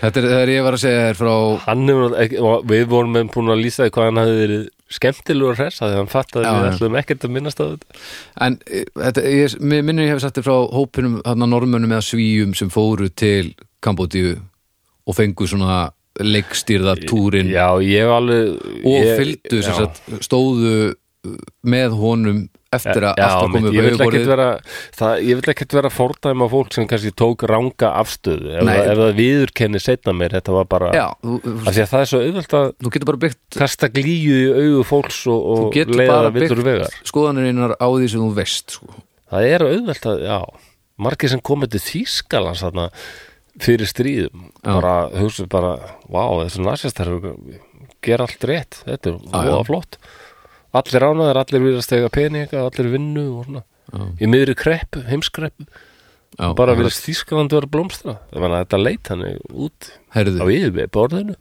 Speaker 2: Þetta er þegar ég var að segja þér frá
Speaker 1: hann hefur ekki, og við vorum með búin að lýsa því hvað hann hefði verið skemmtilegur hress að hann fattaði
Speaker 2: Já,
Speaker 1: að við
Speaker 2: já.
Speaker 1: ætlum ekkert að minnast á þetta
Speaker 2: En e, þetta, ég, mér minnir ég hef sagt þér frá hópinum, þarna normönnum eða svíjum sem fóru til Kambodíu og fengu svona leikstýrða túrin
Speaker 1: já, ég hef alveg
Speaker 2: og
Speaker 1: ég,
Speaker 2: fylgdu sem
Speaker 1: já.
Speaker 2: sagt, stóðu uh, með honum eftir að
Speaker 1: Já,
Speaker 2: allt var
Speaker 1: mitt,
Speaker 2: komið upp
Speaker 1: ég
Speaker 2: á
Speaker 1: vil ekkert
Speaker 2: yfirborðið.
Speaker 1: vera það, ég vil ekkert vera fórdæma fólk sem kannski tók ranga afstöðu ef,
Speaker 2: Nei.
Speaker 1: það- ef það viðurkenni setna mér þetta var bara,
Speaker 2: Já, þú,
Speaker 1: af því að það er svo auðvelt að
Speaker 2: þú getur bara byggt
Speaker 1: kasta glíju í augu fólks og,
Speaker 2: þú
Speaker 1: og
Speaker 2: getur
Speaker 1: leiða
Speaker 2: bara
Speaker 1: það villur vegar
Speaker 2: byggt skoðanir einar á því sem þú veist sko.
Speaker 1: Það er auðvelt að, já, margir sem komið til Þýskalans þarna fyrir stríðum, bara, hugsa bara, vá, þessi nasistar gera allt rétt, þetta er
Speaker 2: já.
Speaker 1: voða flott. Allir ánaðir, allir vilja stega peninga, allir vinnu og svona. Í miðri kreppu, heimskreppu.
Speaker 2: Já,
Speaker 1: bara virðist Þískaland vera blómstra það var að þetta leit hann út á
Speaker 2: Herðu,
Speaker 1: yfir borðinu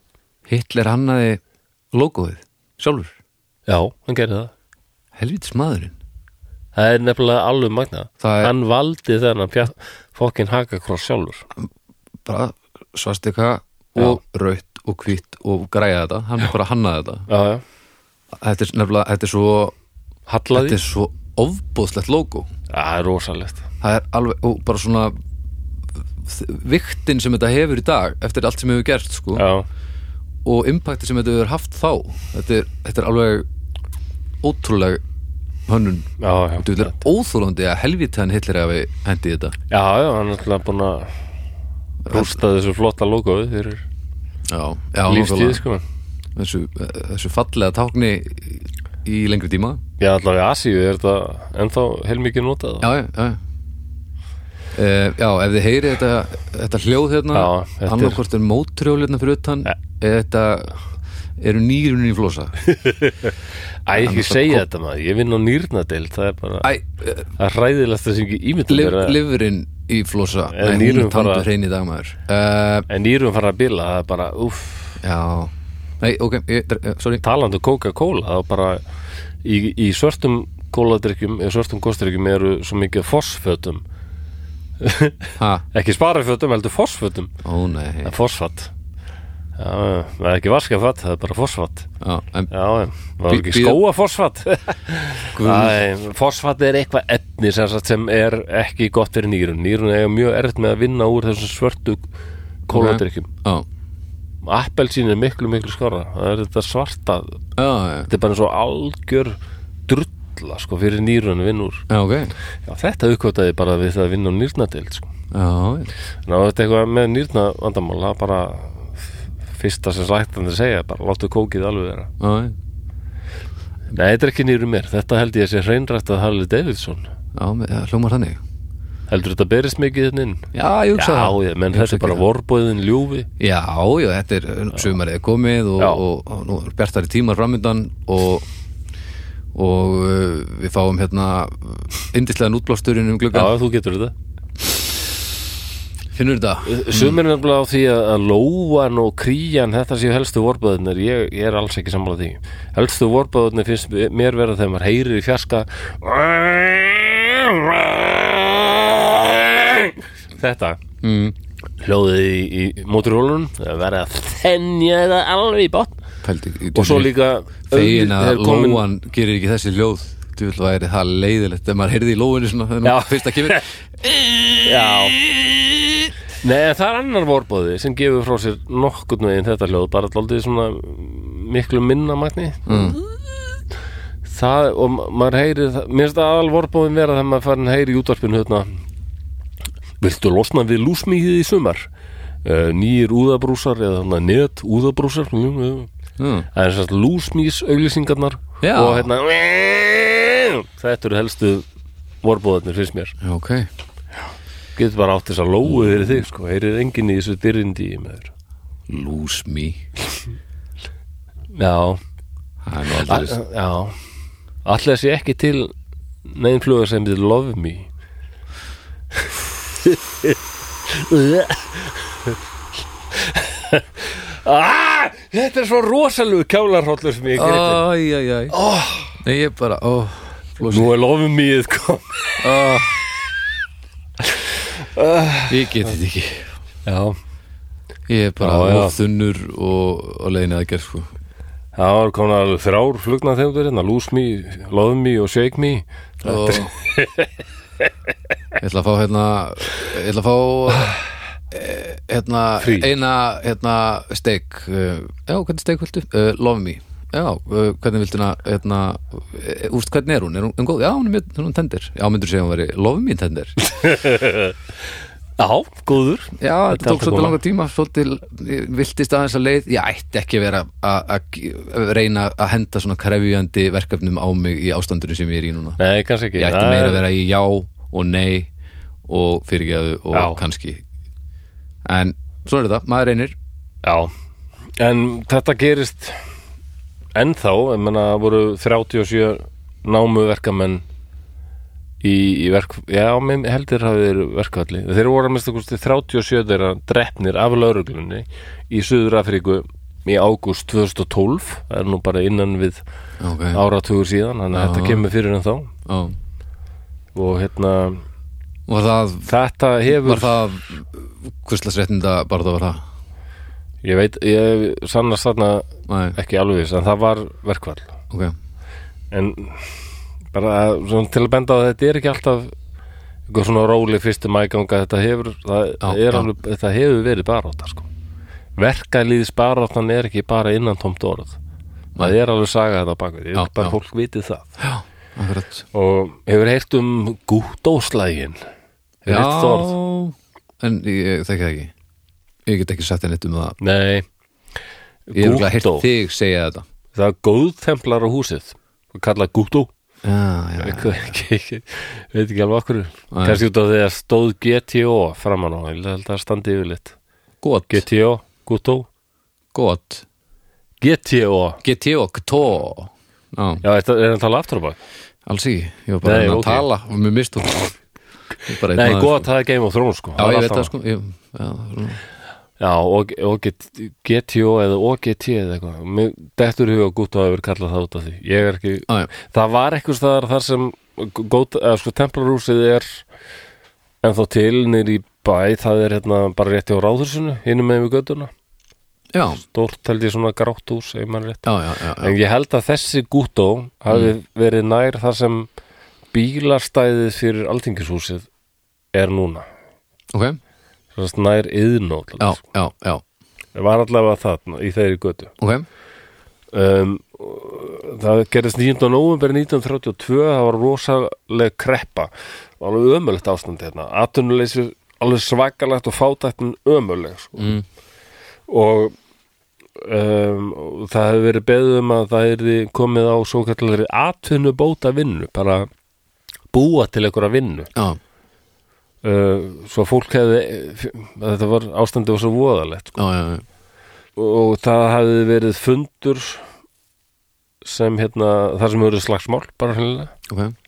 Speaker 2: Hitler hannaði logoið sjálfur,
Speaker 1: já, hann gerði það
Speaker 2: helvítis maðurinn
Speaker 1: það er nefnilega alveg magna
Speaker 2: Það er-
Speaker 1: hann valdi þennan pjá- fokkin hakakross sjálfur
Speaker 2: bara svastika og raut og hvitt og græja þetta, hann bara hannaði þetta
Speaker 1: já, já.
Speaker 2: þetta er nefnilega, þetta er svo þetta
Speaker 1: hallaði,
Speaker 2: er svo ofbóðslegt logo
Speaker 1: það er rosalegt
Speaker 2: það er alveg, og bara svona þ- viktin sem þetta hefur í dag eftir allt sem hefur gert sko
Speaker 1: já,
Speaker 2: og impakti sem þetta hefur haft þá þetta er, þetta er alveg ótrúleg hönnun
Speaker 1: já, já
Speaker 2: Þú er óþólandi að helvita hann Hitler hafi hendi þetta
Speaker 1: já, já, hann er alltaf búin að rústa þessu flotta logoðu fyrir
Speaker 2: Já, já
Speaker 1: lífstíð,
Speaker 2: nákvæmlega.
Speaker 1: sko
Speaker 2: þessu, þessu fallega tákni í lengri tíma
Speaker 1: já, allavega í Asíu er þetta ennþá heilmikið notað
Speaker 2: Já, já, já Uh, já, ef þið heyri þetta, þetta hljóð hérna,
Speaker 1: Já, þetta er-
Speaker 2: annarkvort er mótrjóð hérna fyrir utan,
Speaker 1: Ja.
Speaker 2: eða þetta eru nýrun í flosa
Speaker 1: Æ, ekki segja þetta maður, ég vinn á nýrnadeild það er bara,
Speaker 2: Æ, eh,
Speaker 1: það er hræðilegt það sem ekki ímyndum
Speaker 2: liv,
Speaker 1: vera
Speaker 2: livurinn í flosa
Speaker 1: Eða
Speaker 2: Nei, hún
Speaker 1: nýrun
Speaker 2: er tandur
Speaker 1: fara-
Speaker 2: hrein í dag maður uh,
Speaker 1: en nýrum fara að bila, það er bara, uff
Speaker 2: Já Nei, ok, ég, eh, sorry
Speaker 1: talandi um Coca-Cola, það er bara í, í svörtum kóladrykkjum eða svörtum kostrykkjum eru svo mikið af fosfötum,
Speaker 2: ha,
Speaker 1: ekki sparafötum, heldur fosfötum
Speaker 2: Ó nei
Speaker 1: en fosfat Já, já, það er ekki vaskafat, það er bara fosfat
Speaker 2: já, en,
Speaker 1: Já, já, var
Speaker 2: Bí-
Speaker 1: ekki
Speaker 2: bí-
Speaker 1: skóa fosfat
Speaker 2: guð,
Speaker 1: Fosfat er eitthvað efni sem, sagt sem er ekki gott fyrir nýrun Nýrun er mjög erfitt með að vinna úr þessum svörtu kóladrykkjum
Speaker 2: Já,
Speaker 1: Appelsín er miklu, miklu skora Það er þetta svarta
Speaker 2: já,
Speaker 1: Þetta
Speaker 2: já,
Speaker 1: er bara eins og algjör drulla sko, fyrir nýrun að vinna úr
Speaker 2: já, ok
Speaker 1: Já, þetta uppkvæmtaði bara við það að vinna úr nýrnadeild sko.
Speaker 2: Já,
Speaker 1: Ná, þetta er eitthvað með nýrna vandamál það er bara fyrsta sem slættandi segja bara láttu kókið alveg vera
Speaker 2: já, já
Speaker 1: Nei, þetta er ekki nýru mér, þetta held ég að sé hreinrætt að Harley Davidson
Speaker 2: Já, með- já, hljómar þannig
Speaker 1: heldur þetta berist mikið þinn inn
Speaker 2: Já, ég hugsa
Speaker 1: Já,
Speaker 2: það
Speaker 1: ég, menn
Speaker 2: Ég
Speaker 1: þetta
Speaker 2: hugsa
Speaker 1: er bara
Speaker 2: það.
Speaker 1: vorbóðin ljúfi
Speaker 2: Já, já, þetta er sumarið er komið og,
Speaker 1: Já.
Speaker 2: og, og nú er bjartari tímar framundan og, og uh, við fáum hérna indislegan útblásturinn um
Speaker 1: Já,
Speaker 2: glugga
Speaker 1: þú getur þetta
Speaker 2: Finnur þetta?
Speaker 1: Sumir er nefnilega á því að að lóan og krían þetta séu helstu vorbóðinir ég, ég er alls ekki sammála því Helstu vorbóðinir finnst mér vera þegar maður heyrir í fjarska Þetta
Speaker 2: Mm,
Speaker 1: hljóðið í, í móturhólunum það er verið að þennja þetta alveg í botn
Speaker 2: pældi í
Speaker 1: og svo líka
Speaker 2: Fegin
Speaker 1: þegar
Speaker 2: að
Speaker 1: komin-
Speaker 2: lóan gerir ekki þessi ljóð Þú vil væri það leiðilegt Ef maður heyrði í lóinu svona þegar
Speaker 1: Já.
Speaker 2: hún fyrst að kemur
Speaker 1: Já Nei, en það er annar vorbóði sem gefur frá sér nokkurn veginn þetta hljóð bara alltaf svona miklu minna magni
Speaker 2: Mm.
Speaker 1: Það, og ma- maður heyri mér finnst að aðal vorbóðin vera þegar maður farin heyri í útvarpinu hérna Viltu losna við lúsmíðið í sumar? Uh, nýjir úðabrúsar eða þarna net úðabrúsar Það
Speaker 2: Mm,
Speaker 1: er sérst lúsmís auglýsingarnar
Speaker 2: Já.
Speaker 1: og hérna Þetta eru helstu vorbóðarnir finnst mér
Speaker 2: Já, ok
Speaker 1: getur bara átt þess að lóu fyrir þig sko, heyrir enginn í þessu dyrrindi í maður
Speaker 2: Lose me
Speaker 1: Já,
Speaker 2: Það er nú
Speaker 1: a-
Speaker 2: aldrei
Speaker 1: já Allir sé ekki til neginn fluga sem þið love me ah, Þetta er svo rosalegu kjálarhóllur sem ég gerði
Speaker 2: Æ, æ, æ Nei, ég bara, ó Lose
Speaker 1: Nú er love meið kom
Speaker 2: Ég geti þetta ekki
Speaker 1: Já,
Speaker 2: Ég er bara
Speaker 1: Já, já.
Speaker 2: of þunnur og, og leiðin að gerð sko.
Speaker 1: það var konar alveg þrjár flugna þegar þetta Lose me, love me og shake me
Speaker 2: og ég ætla að fá hérna ég ætla að fá eh, hérna
Speaker 1: Frí.
Speaker 2: eina hérna steik eh, já, hvernig steik viltu? Uh, love me já, uh, hvernig viltu hana hérna, eh, úrst hvernig er hún? Er hún, er hún góð? Já, hún er mjög, hún er tendir já, myndur segja hún veri love me tendir
Speaker 1: Já, góður
Speaker 2: já,
Speaker 1: Þetta er
Speaker 2: þetta
Speaker 1: alltaf
Speaker 2: tók svolítið
Speaker 1: koma.
Speaker 2: langa tíma svolítið ég viltist aðeins að leið ég ætti ekki að vera að- að að reyna að henda svona krefjandi verkefnum á mig í ástandinu sem ég er í núna
Speaker 1: Nei, kannski ekki
Speaker 2: ég ætti
Speaker 1: Það
Speaker 2: meira
Speaker 1: er-
Speaker 2: að vera í já og nei og fyrirgeðu og
Speaker 1: Já.
Speaker 2: kannski en svona er þetta, maður reynir
Speaker 1: Já, en þetta gerist ennþá, ég menna voru 37 námuverkamenn í, í verk, já, mér heldur hafi þeir verkvalli, þeir voru að mista kosti 37 þeirra drefnir af lauruglunni í Suður Afríku í ágúst 2012 það er nú bara innan við
Speaker 2: ok,
Speaker 1: áratugur síðan þannig að
Speaker 2: Já.
Speaker 1: þetta kemur fyrir en þá
Speaker 2: já
Speaker 1: og hérna,
Speaker 2: Var það,
Speaker 1: þetta hefur
Speaker 2: var það hvurslagsréttinda bara það var það?
Speaker 1: ég veit, ég sannast þarna
Speaker 2: Nei,
Speaker 1: ekki alveg viss, en það var verkvall
Speaker 2: ok,
Speaker 1: en bara að- svona, til að benda á að þetta er ekki alltaf eitthvað svona róli fyrstum mæganga þetta hefur, það
Speaker 2: Já,
Speaker 1: er
Speaker 2: já.
Speaker 1: alveg þetta hefur verið baráta sko verkalýðis baráttan er ekki bara innan tómt orð það er alveg saga þetta á bakvið, ég
Speaker 2: Já,
Speaker 1: vil bara
Speaker 2: já.
Speaker 1: fólk vitið það
Speaker 2: akkurat
Speaker 1: og hefur heyrt um gútóslægin hefur heyrt það orð
Speaker 2: en ég þekki það ekki Ég get ekki sagt þér neitt um það
Speaker 1: nei,
Speaker 2: Ég hef ekki
Speaker 1: gútó
Speaker 2: heyrt þig segja þetta
Speaker 1: það er góðtemplar á húsið og kallað gútó
Speaker 2: Já, já,
Speaker 1: Ekki- ekki- ekki- veit ekki alveg okkur
Speaker 2: Nei.
Speaker 1: kannski út af því að stóð GTO framan á, ég held að það standi yfir lit
Speaker 2: gott,
Speaker 1: GTO, Gutó
Speaker 2: gott
Speaker 1: GTO,
Speaker 2: Get ég okk tó Já,
Speaker 1: já, er það er að tala aftur á bak?
Speaker 2: alls ekki, ég var bara
Speaker 1: Nei,
Speaker 2: að reyna
Speaker 1: ok.
Speaker 2: að tala og mér mist hún
Speaker 1: Nei, gott, það er Game of Thrones sko
Speaker 2: Já,
Speaker 1: er
Speaker 2: ég
Speaker 1: allt
Speaker 2: veit það
Speaker 1: annað.
Speaker 2: sko ég, já, svona.
Speaker 1: Já, og, og get- GTO eða OGT eða eitthvað Mér dettur í hug að Gutó hefur kallað það út af því ég er ekki,
Speaker 2: Á, já.
Speaker 1: það var eitthvað staðar þar sem góð, eða, sko, Templarúsið er ennþá til nýr í bæ, það er hérna bara rétti á ráðursinu, hinum með við göttuna
Speaker 2: já,
Speaker 1: stórt held ég svona grátt hús ef maður rétt.
Speaker 2: já, Mm. já, já, já.
Speaker 1: en ég held að þessi gútó hafi verið nær þar sem bílastæðið fyrir altingishúsið er núna
Speaker 2: ok
Speaker 1: Sannst nær yðnótt
Speaker 2: Já, já, já,
Speaker 1: var allavega það í þeirri götu
Speaker 2: ok
Speaker 1: um, og það gerðist 19. november 1932 það var rosaleg kreppa og alveg ömulegt ástandi hérna atvinnuleysi alveg svakalegt og fátættin ömuleg sko.
Speaker 2: mm.
Speaker 1: og um, og það hefur verið beðið um að það er komið á svo kallari atvinnubóta vinnu bara búa til einhverja vinnu
Speaker 2: Já,
Speaker 1: uh, svo að fólk hefði þetta var ástandi var svo voðalegt
Speaker 2: já, já, já.
Speaker 1: og það hefði verið fundur sem hérna þar sem hefur verið slagsmál bara hreinlega
Speaker 2: ok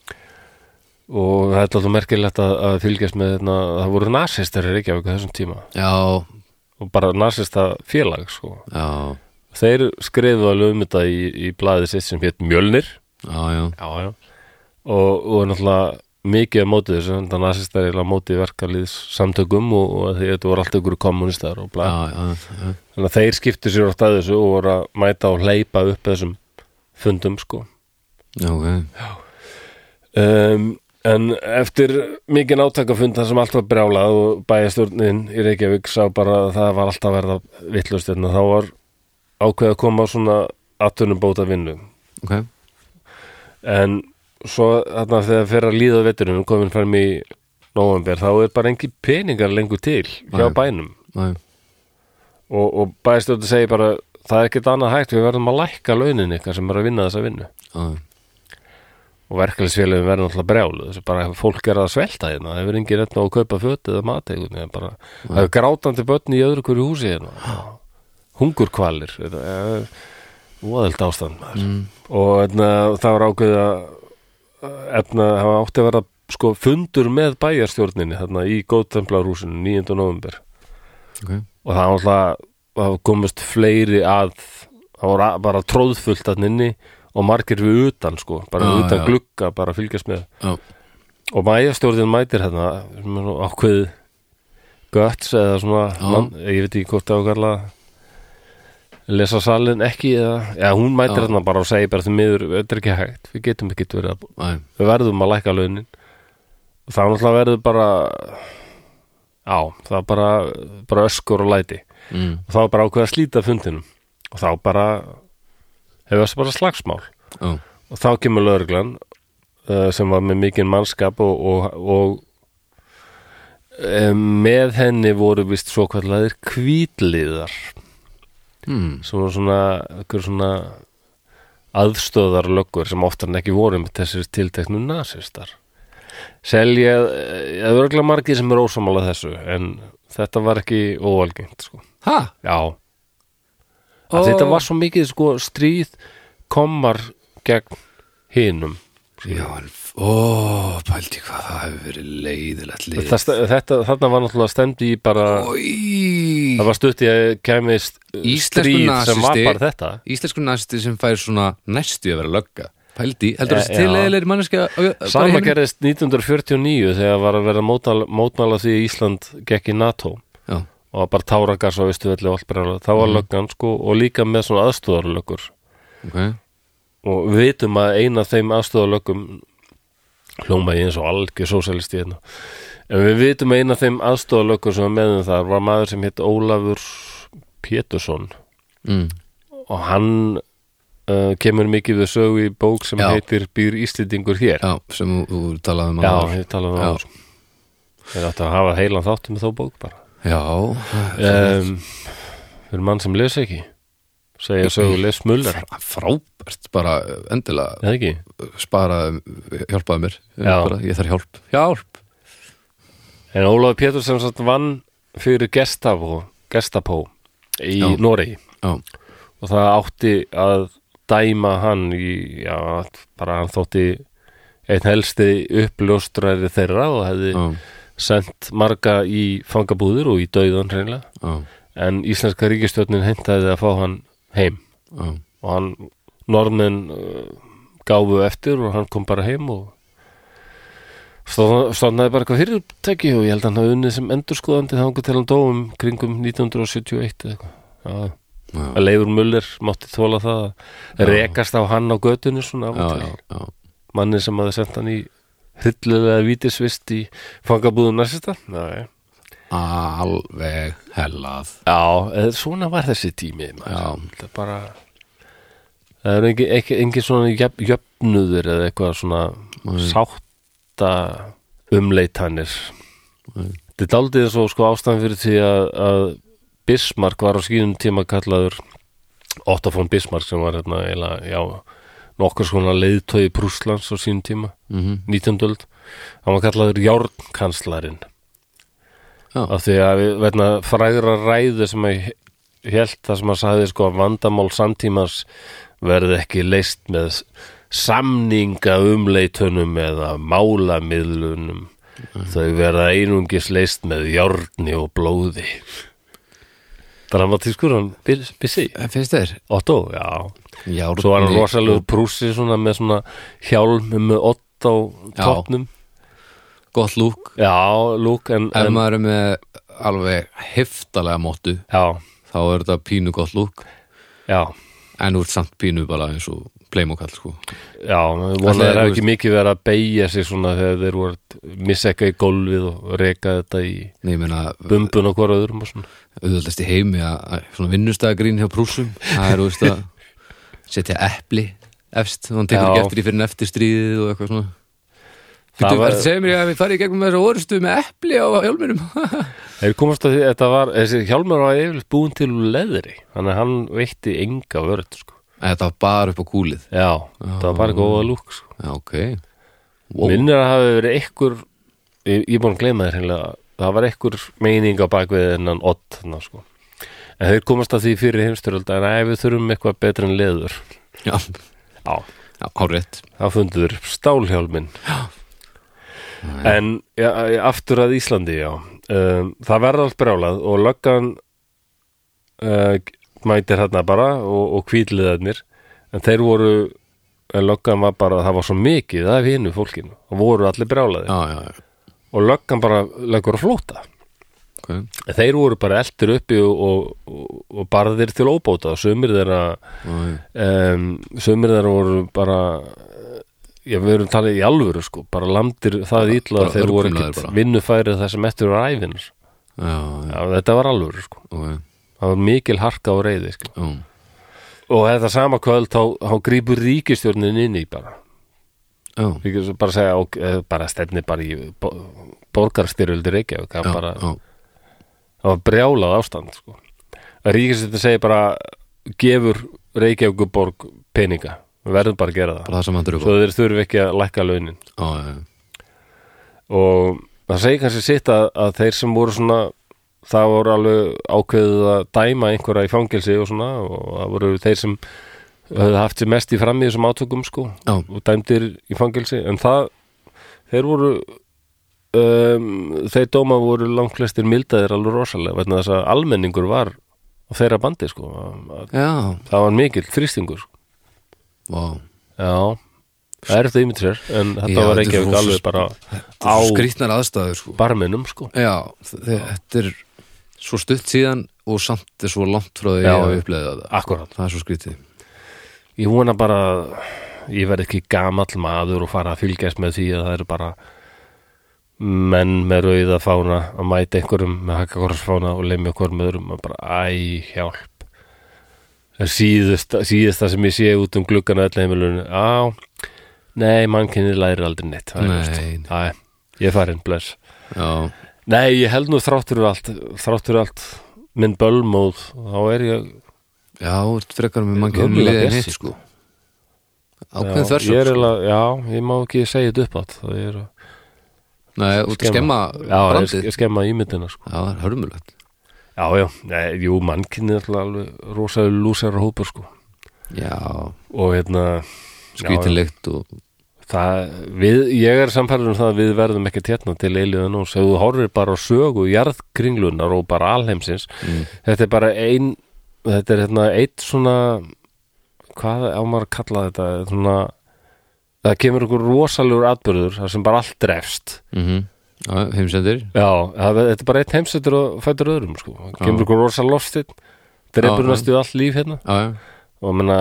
Speaker 1: og það er alltaf merkilegt að, að fylgjast með hérna, það voru nasistar í Reykjavík á þessum tíma
Speaker 2: Já,
Speaker 1: og bara nasista félag sko
Speaker 2: já,
Speaker 1: Þeir skrifu alveg um þetta í, í blaðið sitt sem hétt Mjölnir
Speaker 2: já, já
Speaker 1: já, já. Og, og náttúrulega mikið að móti þessu þannig að nasistar er að móti verkalýðs samtökum og, og því þetta voru allt ykkur kommunistar og blað
Speaker 2: Já, já, já,
Speaker 1: þannig að þeir skiptu sér átt að þessu og voru að mæta og hleypa upp þessum fundum sko
Speaker 2: já, ok
Speaker 1: um, en eftir mikið átakafund þar sem allt var brjálað og bæjastjórnin í Reykjavík sá bara að það var alltaf að verða vittlust en þá var ákveð að koma á svona atvinnubóta vinnu
Speaker 2: Ok,
Speaker 1: en svo þarna þegar fer að líða vetturum komin fram í nóvember þá er bara engi peningar lengur til hjá
Speaker 2: Nei.
Speaker 1: bænum
Speaker 2: næ,
Speaker 1: og, og bæjastjórnin segir bara það er ekkert annað hægt, við verðum að lækka launin ykkar sem er að vinna þessa vinnu
Speaker 2: já,
Speaker 1: og verkefnisfélagin verður náttúrulega brjálu þessu bara fólk er að svelta hérna það hefur engin efna á að kaupa fötu eða mati það er bara, það er grátandi börn í öðru hverju húsi hérna hungurkvalir óðelt ástand maður
Speaker 2: Mm.
Speaker 1: og hérna, það var ákveð að efna, það var átti að vera sko fundur með bæjarstjórninni þarna í góðtemplarhúsinu 9. november
Speaker 2: ok
Speaker 1: og það var alltaf það komist fleiri að það var að- bara tróðfullt að nynni og margir við utan sko bara
Speaker 2: Já,
Speaker 1: utan
Speaker 2: já.
Speaker 1: glugga, bara fylgjast með
Speaker 2: Já,
Speaker 1: og mæjastjórðin mætir hérna sem er nú ákveð guts eða svona
Speaker 2: Já.
Speaker 1: land, ég veit ekki hvort það var kallað lesa salin ekki eða, eða hún mætir
Speaker 2: Já.
Speaker 1: hérna bara og segir bara því miður, þetta er ekki hægt við getum ekki verið að
Speaker 2: næ,
Speaker 1: við verðum að lækka launin og það náttúrulega verður bara á, það er bara, bara öskur og læti
Speaker 2: mm,
Speaker 1: og það var bara ákveð að slíta fundinum og þá bara hefur þessi bara slagsmál
Speaker 2: já,
Speaker 1: og þá kemur lögreglan uh, sem var með mikinn mannskap og, og, og um, með henni voru vist svo kvallaðir kvítliðar
Speaker 2: mm,
Speaker 1: sem voru svona, einhver svona aðstöðar löggur sem oftar en ekki voru með þessir tilteknu nasistar selja, eh, það eru örugglega margir sem er ósamála þessu en þetta var ekki óalgengt sko.
Speaker 2: ha,
Speaker 1: Já Af
Speaker 2: Ó.
Speaker 1: Þetta var svo mikið sko stríð komar gegn hinum
Speaker 2: Já, en, ó, pældi hvað það hefur verið leiðilegt lið
Speaker 1: Þetta, þetta, þarna var náttúrulega stemdi í bara
Speaker 2: Í,
Speaker 1: það var stutt í að kemist
Speaker 2: Íslenskur
Speaker 1: stríð sem var
Speaker 2: nasisti.
Speaker 1: bara þetta
Speaker 2: Íslensku næsti sem fær svona næstu að vera lögga Pældi, heldur
Speaker 1: Eh,
Speaker 2: þessi
Speaker 1: já.
Speaker 2: til leiðilegri manneskja á- bara í
Speaker 1: Sama
Speaker 2: heiminum?
Speaker 1: gerðist 1949 þegar var að vera mótmæla, mótmæla því að Ísland gekk í NATO
Speaker 2: Já,
Speaker 1: og bara táragas á Ístuvelli og allt brjála þá
Speaker 2: Mhm.
Speaker 1: var löggan sko og líka með svona aðstóðarlöggur
Speaker 2: ok
Speaker 1: og við vitum að eina af þeim aðstóðarlöggum hljóma ég eins og algjör sósælisti hérna en við vitum að eina af þeim aðstóðarlöggum sem var meðum þar var maður sem hitt Ólafur Pétursson
Speaker 2: mm.
Speaker 1: og hann uh, kemur mikið við sögu í bók sem
Speaker 2: Já.
Speaker 1: heitir Býr Íslendingur hér
Speaker 2: Já, sem þú, þú talaði um
Speaker 1: Já,
Speaker 2: áður.
Speaker 1: ég talaði um
Speaker 2: Já.
Speaker 1: það Þeir áttu að hafa heilan þáttum með þá bók bara
Speaker 2: Já,
Speaker 1: um, Fyrir mann sem les ekki segja sögu les mullar
Speaker 2: frábært bara endilega
Speaker 1: eða ekki?
Speaker 2: sparaði, hjálpaði mér
Speaker 1: Já.
Speaker 2: bara, Ég þarf hjálp Hjálp
Speaker 1: En Ólafur Pétur sem sagt vann fyrir Gestapo, Gestapo í
Speaker 2: Já.
Speaker 1: Noregi
Speaker 2: Já,
Speaker 1: og það átti að dæma hann í, já, bara hann þótti einn helsti uppljóstræði þeirra og hefði
Speaker 2: já,
Speaker 1: sendt marga í fangabúður og í dauðan hreinlega
Speaker 2: já,
Speaker 1: en íslenska ríkistjórnin heimtaði að fá hann heim
Speaker 2: já
Speaker 1: og hann norðmenn uh, gáfu eftir og hann kom bara heim og stofnaði bara eitthvað fyrirtæki og ég held að hann hafi unnið sem endurskoðandi þá til hann dóum kringum 1971 eða eitthvað. Já,
Speaker 2: Já,
Speaker 1: að Leifur Muller mátti þóla það að rekast á hann á götunni svona af
Speaker 2: já,
Speaker 1: og
Speaker 2: já,
Speaker 1: til.
Speaker 2: já.
Speaker 1: manni sem hafði sendt hann í hryllulega vítisvist í fangabúðum næsista Já,
Speaker 2: Alveg hellað
Speaker 1: eða eh, svona var þessi tími maður.
Speaker 2: Já.
Speaker 1: það er bara það er engin, ekki, engin svona jöf, jöfnuður eða eitthvað svona sátta umleitanir þetta er daldið svo sko ástæðan fyrir því að, að Bismarck var á skýnum tíma kallaður Otto von Bismarck sem var hérna eila, já, nokkur skona leiðtói Prúslands á sínum tíma
Speaker 2: mm
Speaker 1: 19. öld hann var kallaður Járnkanslarinn
Speaker 2: Já.
Speaker 1: af því að við- vegna frægra ræðu sem að held það sem að sagði sko að vandamál samtímans verði ekki leist með samninga umleitunum eða málamiðlunum þau verða einungis leist með járni og blóði dramatískur hann byrsi,
Speaker 2: Finnst þér?
Speaker 1: Otto, já
Speaker 2: Járni
Speaker 1: Svo var hann rosalegur prúsi svona með svona hjálm með ott á
Speaker 2: Já.
Speaker 1: toppnum.
Speaker 2: Gott lúk
Speaker 1: Já, lúk, en,
Speaker 2: Ef
Speaker 1: en
Speaker 2: maður er með alveg heftalega móttu
Speaker 1: já,
Speaker 2: þá er þetta pínu gott lúk
Speaker 1: já,
Speaker 2: en úr samt pínu bara eins og pleimokall sko
Speaker 1: já,
Speaker 2: Ætli,
Speaker 1: vonaði það
Speaker 2: þú
Speaker 1: ekki mikið verið að beigja sig svona þegar þeir voru missekka í gólfið og reka þetta í
Speaker 2: Nei, ég meina,
Speaker 1: bumbun og hvora öðrum og svona.
Speaker 2: auðvöldast í heimi að að svona vinnustagrín hjá prúsum það er, þú veist, að setja epli efst, þannig tekur
Speaker 1: Já.
Speaker 2: ekki eftir í fyrir en eftir stríðið og eitthvað svona Þú
Speaker 1: var-
Speaker 2: var... segir mér að við farið í gegnum þessa orustu með epli á hjálminum
Speaker 1: Þeir komast að því, þetta var, þessi hjálmur var yfirleitt búin til úr leðri, þannig að hann veitti enga vörð, sko.
Speaker 2: Þetta var bara upp á kúlið
Speaker 1: Já, það var bara góða lúk, sko.
Speaker 2: Já, ok
Speaker 1: Wow. Minnir að hafi verið einhver ég, ég er búin að gleyma þér hreinlega það var einhver meining á bakvið ennan odd þarna sko en þeir komast að því fyrir heimstyröld að ef við þurfum eitthvað betra en leður
Speaker 2: Já,
Speaker 1: á,
Speaker 2: já hárétt
Speaker 1: það fundur stálhjálmin en ja, aftur að Íslandi já um, það verða allt brjálað og löggan uh, mætir hérna bara og, og kvítliðarnir en þeir voru en löggan var bara, það var svo mikið af hinu fólkinu, það voru allir brjálaði
Speaker 2: Já, já, já,
Speaker 1: og löggan bara leggur að flóta
Speaker 2: ok
Speaker 1: þeir voru bara eldir uppi og, og- og, og barðir til óbóta og sömur þeirra
Speaker 2: Já,
Speaker 1: um, sömur þeirra voru bara já, við erum talið í alvöru sko, bara landir það ítla
Speaker 2: bara
Speaker 1: að þeir voru
Speaker 2: örkumlaðir
Speaker 1: ekkit
Speaker 2: bara.
Speaker 1: vinnufærið það sem eftir var æfinur
Speaker 2: já, já,
Speaker 1: já, þetta var alvöru sko
Speaker 2: ok
Speaker 1: það var mikil harka og reyði sko.
Speaker 2: Já,
Speaker 1: og þetta sama kvöld þá, þá grípur ríkistjórnin inn í bara
Speaker 2: já,
Speaker 1: Ríkis- bara segja, ok, eh, bara stefni bara í borgarstyrjöldi Reykjavík það
Speaker 2: já,
Speaker 1: bara
Speaker 2: já,
Speaker 1: það var brjálað ástand sko. að ríkisveitin segir bara gefur Reykjavíkuborg peninga, við verðum bara að gera það
Speaker 2: bara það sem hann drögu
Speaker 1: svo þeir þurfi ekki að lækka launin
Speaker 2: Já, já, já,
Speaker 1: og það segir kannski sitt að, að þeir sem voru svona það voru alveg ákveðið að dæma einhverja í fangelsi og svona og það voru þeir sem höfðu haft sér mest í fram í þessum átökum sko
Speaker 2: Já.
Speaker 1: og dæmdir í fangelsi en það, þeir voru um, þeir dóma voru langflestir mildaðir alveg rosalega vegna þess að almenningur var á þeirra bandi sko Að-
Speaker 2: Já,
Speaker 1: það var mikill þrýstingur sko.
Speaker 2: vá
Speaker 1: já, það er þetta ímynd sér en þetta
Speaker 2: Já,
Speaker 1: var
Speaker 2: þetta er
Speaker 1: ekki
Speaker 2: rosa-
Speaker 1: alveg bara
Speaker 2: Þetta
Speaker 1: á
Speaker 2: er svo Skrýtnar aðstæður sko
Speaker 1: barminum sko
Speaker 2: Já, þe- þetta er svo stutt síðan og samt er svo langt frá því
Speaker 1: Já.
Speaker 2: að við upplega þetta
Speaker 1: akkurat
Speaker 2: Það er svo skrýtið
Speaker 1: ég vona bara að ég verð ekki gamall maður og fara að fylgjast með því að það eru bara menn með rauða fána að mæta einhverjum með hakakorsfána og lemja okkur með öðrum að bara, æ, hjálp það er síðasta, síðasta sem ég sé út um gluggan að öll heimilun á, nei, mannkinni læri aldrei neitt það er
Speaker 2: Nei,
Speaker 1: ljóst.
Speaker 2: nei.
Speaker 1: Æ, ég er farin, bless
Speaker 2: Já,
Speaker 1: nei, ég held nú þráttur allt þráttur allt minn bölmóð þá er ég
Speaker 2: já, þú ert frekar með mannkjörnum
Speaker 1: Ömurlega
Speaker 2: liðin
Speaker 1: bjartsýnn.
Speaker 2: hitt sko Ákveðin
Speaker 1: Já, ég
Speaker 2: þversögn
Speaker 1: er
Speaker 2: sko.
Speaker 1: eiginlega- Já, ég má ekki segja þetta upp átt Það er að
Speaker 2: Nei, út að skemma
Speaker 1: já,
Speaker 2: brandið
Speaker 1: ég skemma ímyndina sko.
Speaker 2: Já, það er hörmulegt
Speaker 1: Já, já, nei, jú, mannkynni er alltaf alveg rosalega lúsara hópur sko.
Speaker 2: Já,
Speaker 1: og hérna já,
Speaker 2: skrýtinlegt og
Speaker 1: það, við, ég er samfærður um það að við verðum ekki tjarna til eilíðan og þú horfir bara á sögu jarðkringlunar og bara alheimsins
Speaker 2: Mm.
Speaker 1: þetta er bara ein þetta er hérna eitt svona hvað á maður að kalla þetta svona, það kemur einhver rosalegur atbyrður þar sem bara allt drefst
Speaker 2: mm Já, heimsendir
Speaker 1: Já, það, þetta er bara eitt heimsættur og fættur öðrum sko. Það kemur ykkur rosa loftið
Speaker 2: Já,
Speaker 1: drefur
Speaker 2: já.
Speaker 1: næstu allt líf hérna
Speaker 2: Já, já,
Speaker 1: og menna,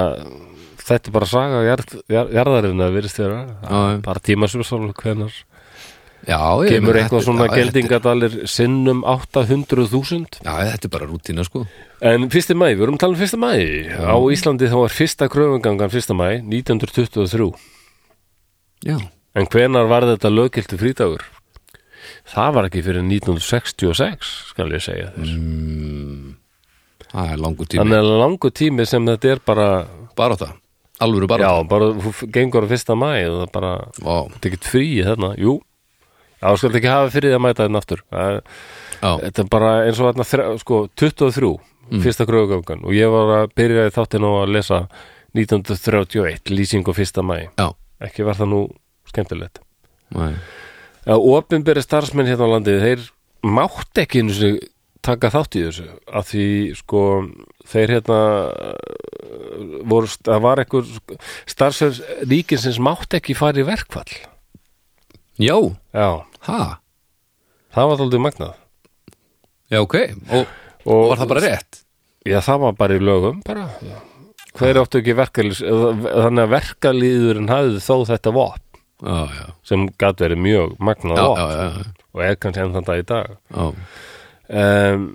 Speaker 1: þetta er bara saga jarð, jarð, jarðarinn að virðist þér
Speaker 2: Já, já.
Speaker 1: bara tímasumsál hvenar
Speaker 2: já ég
Speaker 1: kemur
Speaker 2: meina,
Speaker 1: eitthvað
Speaker 2: þetta-
Speaker 1: svona
Speaker 2: já, þetta-
Speaker 1: geldingadalir sinnum 800.000
Speaker 2: Já, þetta er bara rútína sko
Speaker 1: en fyrsti mæ, við erum að tala um fyrsta mæ á
Speaker 2: Mm.
Speaker 1: Íslandi þá var fyrsta kröfungangan fyrsta mæ 1923
Speaker 2: Já,
Speaker 1: en hvenar var þetta lögiltu frítagur? Það var ekki fyrir 1966 skal ég segja þér
Speaker 2: Mm. það er langur tími
Speaker 1: Þannig að langu tími sem þetta er bara
Speaker 2: Bara það, alvöru bara
Speaker 1: Já, bara, þú f- gengur á fyrsta mæ og það er bara,
Speaker 2: Vá,
Speaker 1: þetta er ekkert frí þarna, jú Já, þú skalt ekki hafa fyrir því að mæta þarna aftur Það-
Speaker 2: já, Mm.
Speaker 1: Þetta er bara eins og þarna, þre- sko, 23 fyrsta kröfugangan og ég var að byrja í þáttin og að lesa 1931, lýsing á fyrsta mæ
Speaker 2: já
Speaker 1: Ekki var það nú skemmtilegt
Speaker 2: Nei.
Speaker 1: að opinberi starfsmenn hérna á landið þeir mátt ekki einu sinni taka þátt í þessu að því sko þeir hérna eh, voru, það var ekkur starfsmenn ríkinsins mátt ekki fara í verkfall
Speaker 2: Já,
Speaker 1: já,
Speaker 2: ha,
Speaker 1: það var þáldið magnað
Speaker 2: já ok Og, og var það bara rétt?
Speaker 1: já, það var bara í lögum bara hver áttu ekki verkalýs þannig að verkalýðurinn hafði þó þetta vopn
Speaker 2: Já, já,
Speaker 1: sem gat verið mjög magnað
Speaker 2: já,
Speaker 1: vopn
Speaker 2: já, já, já.
Speaker 1: og er kannski enn þann dag í dag
Speaker 2: já.
Speaker 1: um,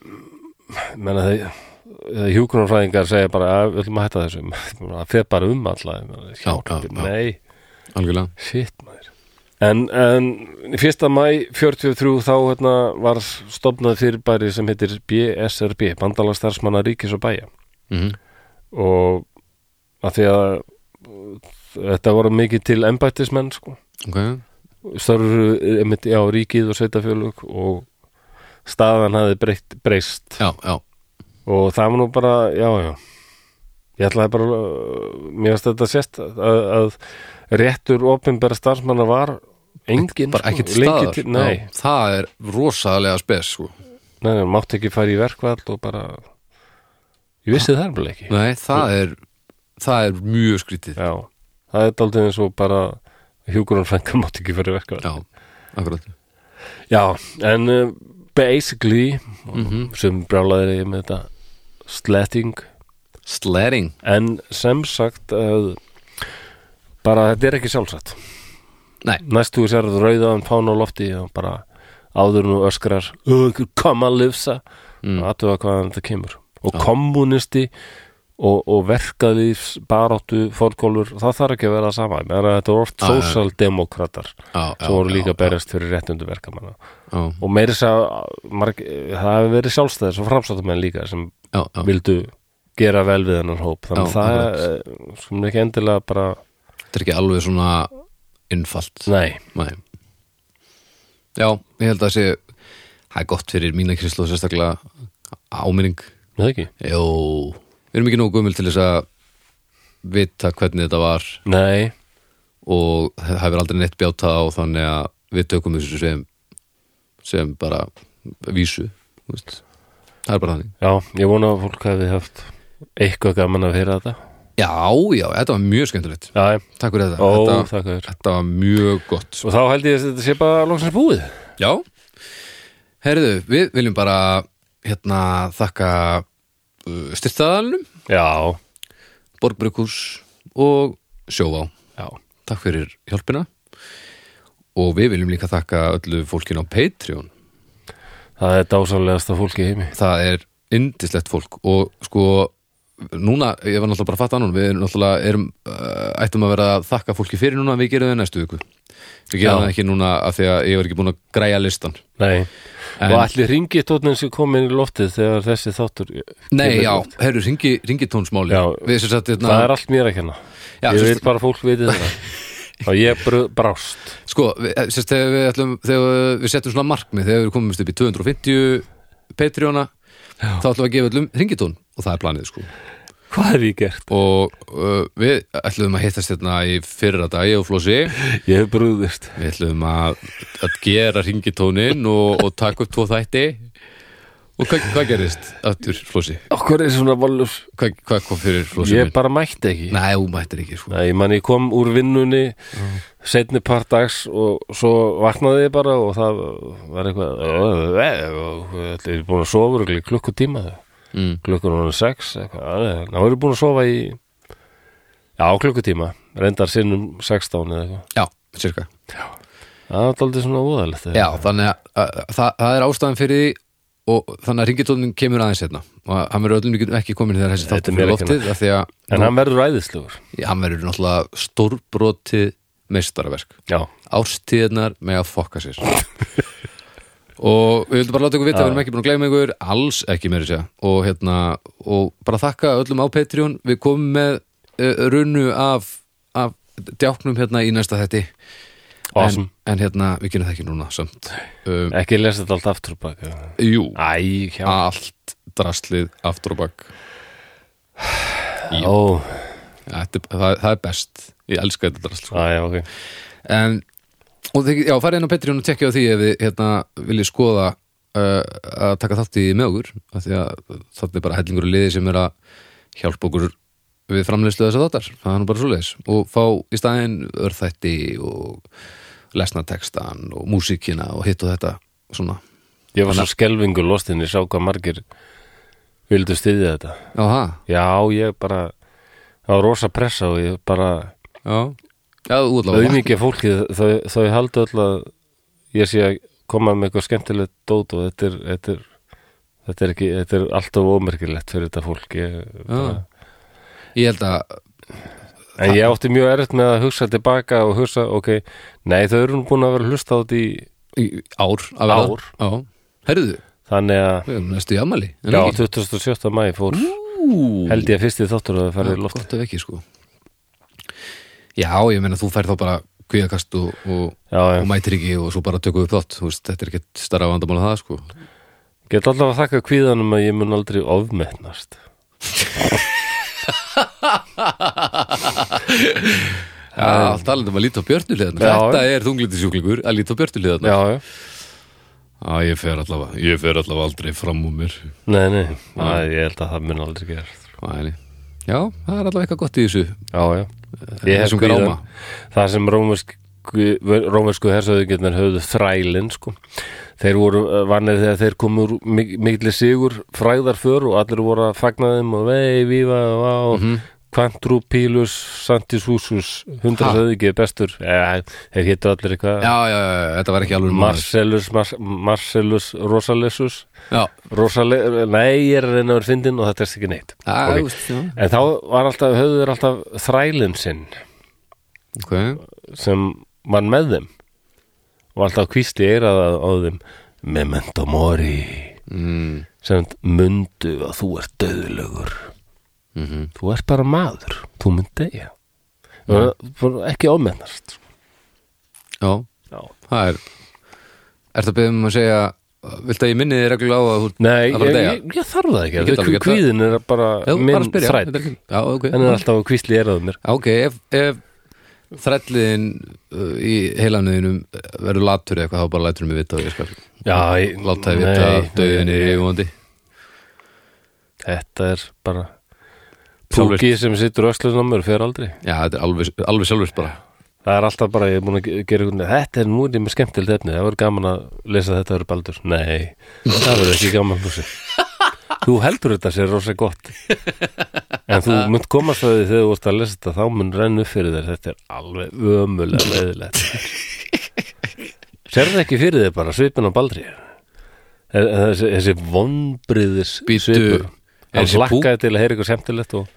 Speaker 1: menna þeir hjúkunarfræðingar segja bara að við ætlum að hætta þessu það fer bara um alltaf
Speaker 2: já,
Speaker 1: hjálpi,
Speaker 2: já.
Speaker 1: nei,
Speaker 2: Algjörlega
Speaker 1: shit maður en, en í fyrsta mæ 43 þá hérna, var stofnað fyrirbæri sem heitir BSRB bandalagstarfsmanna ríkis og bæja
Speaker 2: mm
Speaker 1: og að því að þetta voru mikið til embættismenn sko
Speaker 2: Ok,
Speaker 1: störfur einmitt á ríkið og sveitafjölug og staðan hafði breytt, breyst
Speaker 2: já, já,
Speaker 1: og það var nú bara, já, já ég ætlaði bara uh, mér varst þetta sérst að, að réttur opinbera starfsmanna var engin,
Speaker 2: bara ekkert
Speaker 1: lengi
Speaker 2: staðar sko.
Speaker 1: til, nei,
Speaker 2: Já, Það er rosalega spes sko
Speaker 1: nei, nei, mátti ekki fara í verkvall og bara ég vissi það er bara ekki
Speaker 2: Nei, það er, það er mjög skrítið
Speaker 1: já, það er daldið eins og bara hjúkurinn frængar mátti ekki fara í verkvall
Speaker 2: Já, akkurat
Speaker 1: Já, en uh, basically sem brjálaðir ég með þetta sletting
Speaker 2: Slering
Speaker 1: en sem sagt uh, bara þetta er ekki sjálfsagt
Speaker 2: Nei,
Speaker 1: næstu þú sér rauðaðan fána á lofti og bara áður nú öskrar "Ö, ykkur koma að lifsa mm. og aðtöða hvaðan þetta kemur og kommunisti og, og verkaðlífs baráttu fórkólfur, það þarf ekki að vera það sama meðan að þetta voru oft
Speaker 2: Já, já.
Speaker 1: sósaldemokratar
Speaker 2: já, já,
Speaker 1: svo voru
Speaker 2: já,
Speaker 1: líka að
Speaker 2: já,
Speaker 1: berjast fyrir réttundu verkamanna
Speaker 2: já,
Speaker 1: og meiri þess að marg, það hefur verið sjálfstæðis og framsáttumenn líka sem
Speaker 2: já, já.
Speaker 1: vildu gera vel við hennar hóp þannig
Speaker 2: Já,
Speaker 1: að það eh, skulum ekki endilega bara,
Speaker 2: Þetta er ekki alveg svona innfalt
Speaker 1: nei
Speaker 2: Nei Já, ég held að sé það er gott fyrir mína krislu sérstaklega áminning
Speaker 1: er það ekki,
Speaker 2: Jó, við erum ekki nógu gömul til þess að vita hvernig þetta var
Speaker 1: Nei,
Speaker 2: og það hefur aldrei neitt bjáta á þannig að við tökum þessu sem sem bara vísu þú veist. það er bara þannig
Speaker 1: já, ég vona að fólk hefði haft eitthvað gaman að heyra þetta
Speaker 2: já, já, þetta var mjög skemmtilegt
Speaker 1: Já,
Speaker 2: takk fyrir þetta,
Speaker 1: ó,
Speaker 2: þetta,
Speaker 1: þakka þér
Speaker 2: þetta var mjög gott
Speaker 1: Og þá held ég að þetta sé bara loksins búið
Speaker 2: já, herðu, við viljum bara hérna þakka uh, styrtaðalunum,
Speaker 1: Já,
Speaker 2: borgbrukus og sjóvá
Speaker 1: já,
Speaker 2: takk fyrir hjálpina og við viljum líka þakka öllu fólkinu á Patreon
Speaker 1: það er dásalegasta fólki í heimi
Speaker 2: það er indislegt fólk og sko núna, ég var náttúrulega bara að fatta annum við erum náttúrulega erum, uh, ættum að vera að þakka fólki fyrir núna, við gerum það næstu viku við
Speaker 1: Já.
Speaker 2: gerum það ekki núna af því að ég var ekki búin að græja listan
Speaker 1: Nei,
Speaker 2: En-
Speaker 1: og allir ringi tónin sem kom inn í loftið þegar þessi þáttur
Speaker 2: Nei,
Speaker 1: kemur í
Speaker 2: já,
Speaker 1: loftið.
Speaker 2: herru, ringi, ringi tónsmáli
Speaker 1: Já.
Speaker 2: við sem sagt,
Speaker 1: Það
Speaker 2: hérna,
Speaker 1: er allt mér að kenna
Speaker 2: Já, sem
Speaker 1: Ég vil
Speaker 2: sagt-
Speaker 1: bara að fólk viti það Og ég br- brást
Speaker 2: sko við, eh, sem sagt, þegar við, ætlum, þegar við setjum svona markmið þegar við komumst upp í 250 Patreona, þá ætlum við að gefa öllum ringitón og það er planið sko
Speaker 1: Hvað hef ég gert?
Speaker 2: og uh, við ætlum að hittast hérna í fyrra dag ég og Flósi
Speaker 1: Ég hef brúðist
Speaker 2: við ætlum að, að gera ringitónin og, og taka upp tvo þætti og hvað, hvað gerist aftur Flósi?
Speaker 1: Okkur er svona vallur
Speaker 2: Hvað, hvað kom fyrir Flósi?
Speaker 1: Ég
Speaker 2: Ég...
Speaker 1: bara mætti ekki
Speaker 2: Nei, hún mættir ekki sko.
Speaker 1: Nei, ég man ég kom úr vinnunni setni par dags og svo vaknaði ég bara og það var eitthvað "Ö, og þetta er búin að sofa örugglega í klukkutíma
Speaker 2: Mm.
Speaker 1: klukkur hún er sex eitthvað, "Ö, þá er ég búin að sofa í já, klukkutíma reyndar sinnum 16 eða eitthvað
Speaker 2: Já, cirka
Speaker 1: það var aldrei svona óðalegt
Speaker 2: Já, þannig að, að, að það, það er ástæðan fyrir því og þannig að ringitónin kemur aðeins hérna og hann verður öllum líkjum ekki komin þegar þessi
Speaker 1: Þetta er
Speaker 2: þáttur
Speaker 1: mér
Speaker 2: fyrir
Speaker 1: ekki
Speaker 2: loftið af því að
Speaker 1: en hann verður æðislegur
Speaker 2: Já, hann verður náttúrulega stórbrotið meistaraverk
Speaker 1: já,
Speaker 2: ástíðnar með að fokka sér og við vildum bara láta ykkur vita við erum ekki búin að gleyma ykkur, alls ekki meiri sér og hérna, og bara þakka öllum á Patreon, við komum með uh, runnu af, af djáknum hérna í næsta þetti
Speaker 1: awesome
Speaker 2: en, en hérna, við gerum það ekki núna samt um,
Speaker 1: ekki lesa þetta allt aftur og baka
Speaker 2: Jú,
Speaker 1: æ, hjá
Speaker 2: allt draslið aftur og bak
Speaker 1: ó,
Speaker 2: Þetta er- það, það er best, ég elska þetta drasl sko.
Speaker 1: á, já, ok
Speaker 2: en og þið, já, farið inn á Patreon og tekja á því ef þið hérna, viljið skoða uh, að taka þátt í með okkur af því að það er bara hellingur og liði sem er að hjálpa okkur við framleiðslu þess að þáttar, það er nú bara svoleiðis og fá í staðinn örþætti og lesna textan og músíkina og hitt og þetta svona,
Speaker 1: Ég var svo skelfingu lostinn, ég sá hvað margir vildu styðja þetta.
Speaker 2: já það
Speaker 1: Já, ég bara, það var rosa pressa og ég bara,
Speaker 2: já, já, útláfa
Speaker 1: auðmikið fólkið, þau, þau haldi öll að ég sé að koma með eitthvað skemmtilegt dót og þetta er, þetta er, þetta er ekki, þetta er alltaf ómerkilegt fyrir þetta fólk. Ég, bara,
Speaker 2: ég held að,
Speaker 1: en ég átti mjög erfitt með að hugsa tilbaka og hugsa, ok, nei, þau eru nú búin að vera að hlusta á þetta í,
Speaker 2: í ár að verða-
Speaker 1: Ár?
Speaker 2: já, herruðu,
Speaker 1: þannig að,
Speaker 2: við erum næstu í amali
Speaker 1: já, 27. mæ fór, held ég að fyrsti þáttur að það
Speaker 2: Já,
Speaker 1: færði loft.
Speaker 2: gott ef ekki sko já, ég meina þú færð þá bara kvíðakast og, og,
Speaker 1: Já, já.
Speaker 2: og mætir ekki og svo bara tökum við upp þátt þú veist, þetta er ekkert starra vandamál að það sko
Speaker 1: Get allavega að þakka kvíðanum að ég mun aldrei ofmetnast
Speaker 2: ja, allt talandi um að líta á björnulegðarna
Speaker 1: Já,
Speaker 2: þetta er þunglindisjúklingur að líta á björnulegðarna já,
Speaker 1: Já, já
Speaker 2: ég fer allavega, ég fer allavega aldrei fram úr mér
Speaker 1: Nei, nei,
Speaker 2: Ah.
Speaker 1: nei, ég held að það mun aldrei gerast
Speaker 2: Æli. já, það er allavega eitthvað gott í þessu
Speaker 1: Já, já Ég hef
Speaker 2: Þessum
Speaker 1: kvíða-
Speaker 2: gráma.
Speaker 1: Það sem rómversk rómversku hersöðingarnir höfðu þrælinn sko. þeir voru eh, vanir þegar þeir komu úr mik mikli sigur fræðar för og allir voru að fagna þeim og vei, víva, vá
Speaker 2: Mhm.
Speaker 1: Quantrupilus, Santis Húsus hundra
Speaker 2: Ha?
Speaker 1: höfðingi bestur eh, þeir hétu allir
Speaker 2: já,
Speaker 1: eitthvað
Speaker 2: já, já, já, þetta var ekki alveg
Speaker 1: Marcellus, Mar Marcellus Rosalessus
Speaker 2: já,
Speaker 1: rosaleg, nei ég er að reyna að vera fyndin og það er ekki neitt
Speaker 2: já,
Speaker 1: Ok.
Speaker 2: þú veist, já.
Speaker 1: en þá var alltaf, höfðu þeir alltaf þrælinn sinn
Speaker 2: Okay.
Speaker 1: sem var með þeim og alltaf kvísli eirað á á þeim memento mori
Speaker 2: Mm,
Speaker 1: sem mundu að þú ert döðlögur
Speaker 2: mm
Speaker 1: þú ert bara maður, þú mynd degja mm. ekki ámennast
Speaker 2: já,
Speaker 1: já,
Speaker 2: það er Ertu að byrja um að segja Viltu að ég minni þið reglulega á að þú
Speaker 1: Nei,
Speaker 2: Það
Speaker 1: ég,
Speaker 2: var að deyja.
Speaker 1: ég, ég þarf það
Speaker 2: Ég get
Speaker 1: ekki
Speaker 2: alveg
Speaker 1: Kví-
Speaker 2: gert það.
Speaker 1: Kvíðin er bara
Speaker 2: Já, bara
Speaker 1: minn
Speaker 2: að spyrja,
Speaker 1: þræll
Speaker 2: þetta er ekki- Já, ok
Speaker 1: Hann er alltaf að kvísli er að mér
Speaker 2: Já, Ok, ef, ef þrætliðin uh, í heilanuðinum uh, verður latur eða eitthvað, þá bara lætur mig vita og ég skal
Speaker 1: Já, ég,
Speaker 2: láta þið vita
Speaker 1: nei,
Speaker 2: að döðin er yfirvóndi
Speaker 1: Þetta er bara
Speaker 2: Sjálfvirkt.
Speaker 1: Púki sem sittur öslun á mér fer aldrei
Speaker 2: Já, þetta er alveg, alveg sjálfur bara
Speaker 1: Það er alltaf bara, ég er búin að ge- gera einhvern Þetta er nú er ég með skemmtilegt efni, það verður gaman að lesa þetta verður baldur, nei það verður ekki gaman húsi Þú heldur þetta sér rosa gott en þú munt komast að því þegar þú vorst að lesa þetta, þá mun rennu fyrir þér þetta er alveg ömulega leðilegt Serðu ekki fyrir þér bara svipin á baldri þessi, þessi vonbriðis
Speaker 2: Bíddu, er
Speaker 1: svipur Hann
Speaker 2: þessi pú-
Speaker 1: lakkaði til að heyra eitthvað skemmtilegt og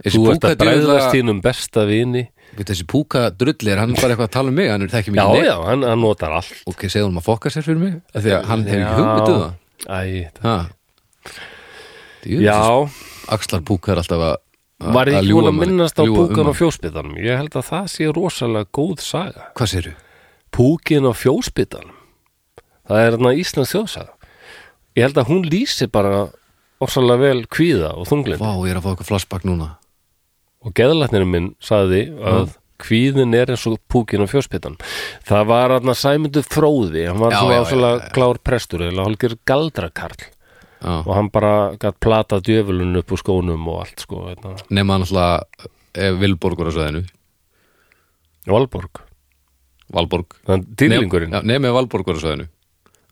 Speaker 2: Þessi
Speaker 1: þú ert að bregðast
Speaker 2: púkadrulla-
Speaker 1: þínum besta vini
Speaker 2: Veit, Þessi púka drulli, er hann bara eitthvað að tala um mig hann er þekki
Speaker 1: Já,
Speaker 2: mikið neitt.
Speaker 1: já, hann, hann notar allt
Speaker 2: Ok, segðu hann að fokka sér fyrir mig af Því að hann hefur ekki
Speaker 1: Já.
Speaker 2: hugmynduð það
Speaker 1: Æ, það-
Speaker 2: Ha. Djú,
Speaker 1: Já,
Speaker 2: Axlar púka er alltaf að að-
Speaker 1: var
Speaker 2: að
Speaker 1: ég
Speaker 2: ljúga
Speaker 1: búin að
Speaker 2: manni-
Speaker 1: minnast á
Speaker 2: ljúga um
Speaker 1: púkan á
Speaker 2: mann.
Speaker 1: fjósbytanum Ég held að það sé rosalega góð saga
Speaker 2: Hvað sérðu?
Speaker 1: Púkin á fjósbytanum Það er þarna Íslands þjóðsaga Ég held að hún lýsi bara orsalega vel kvíða og þunglind
Speaker 2: Vá, ég er að fá eitthvað flashback núna
Speaker 1: og geðlæknirinn minn saði að kvíðin er eins og púkin á fjósbytanum Það var þarna sæmyndu fróði Hann var
Speaker 2: Já,
Speaker 1: svona
Speaker 2: já, já,
Speaker 1: orsalega klár prestur eða hálfur galdrakarl
Speaker 2: Já.
Speaker 1: og hann bara gætt platað djöfulun upp úr skónum og allt sko, hérna.
Speaker 2: nema náttúrulega eh, Vilborgur á sveðinu,
Speaker 1: Valborg
Speaker 2: Valborg
Speaker 1: Þann dýrlingurinn
Speaker 2: Já, nema Valborgur á sveðinu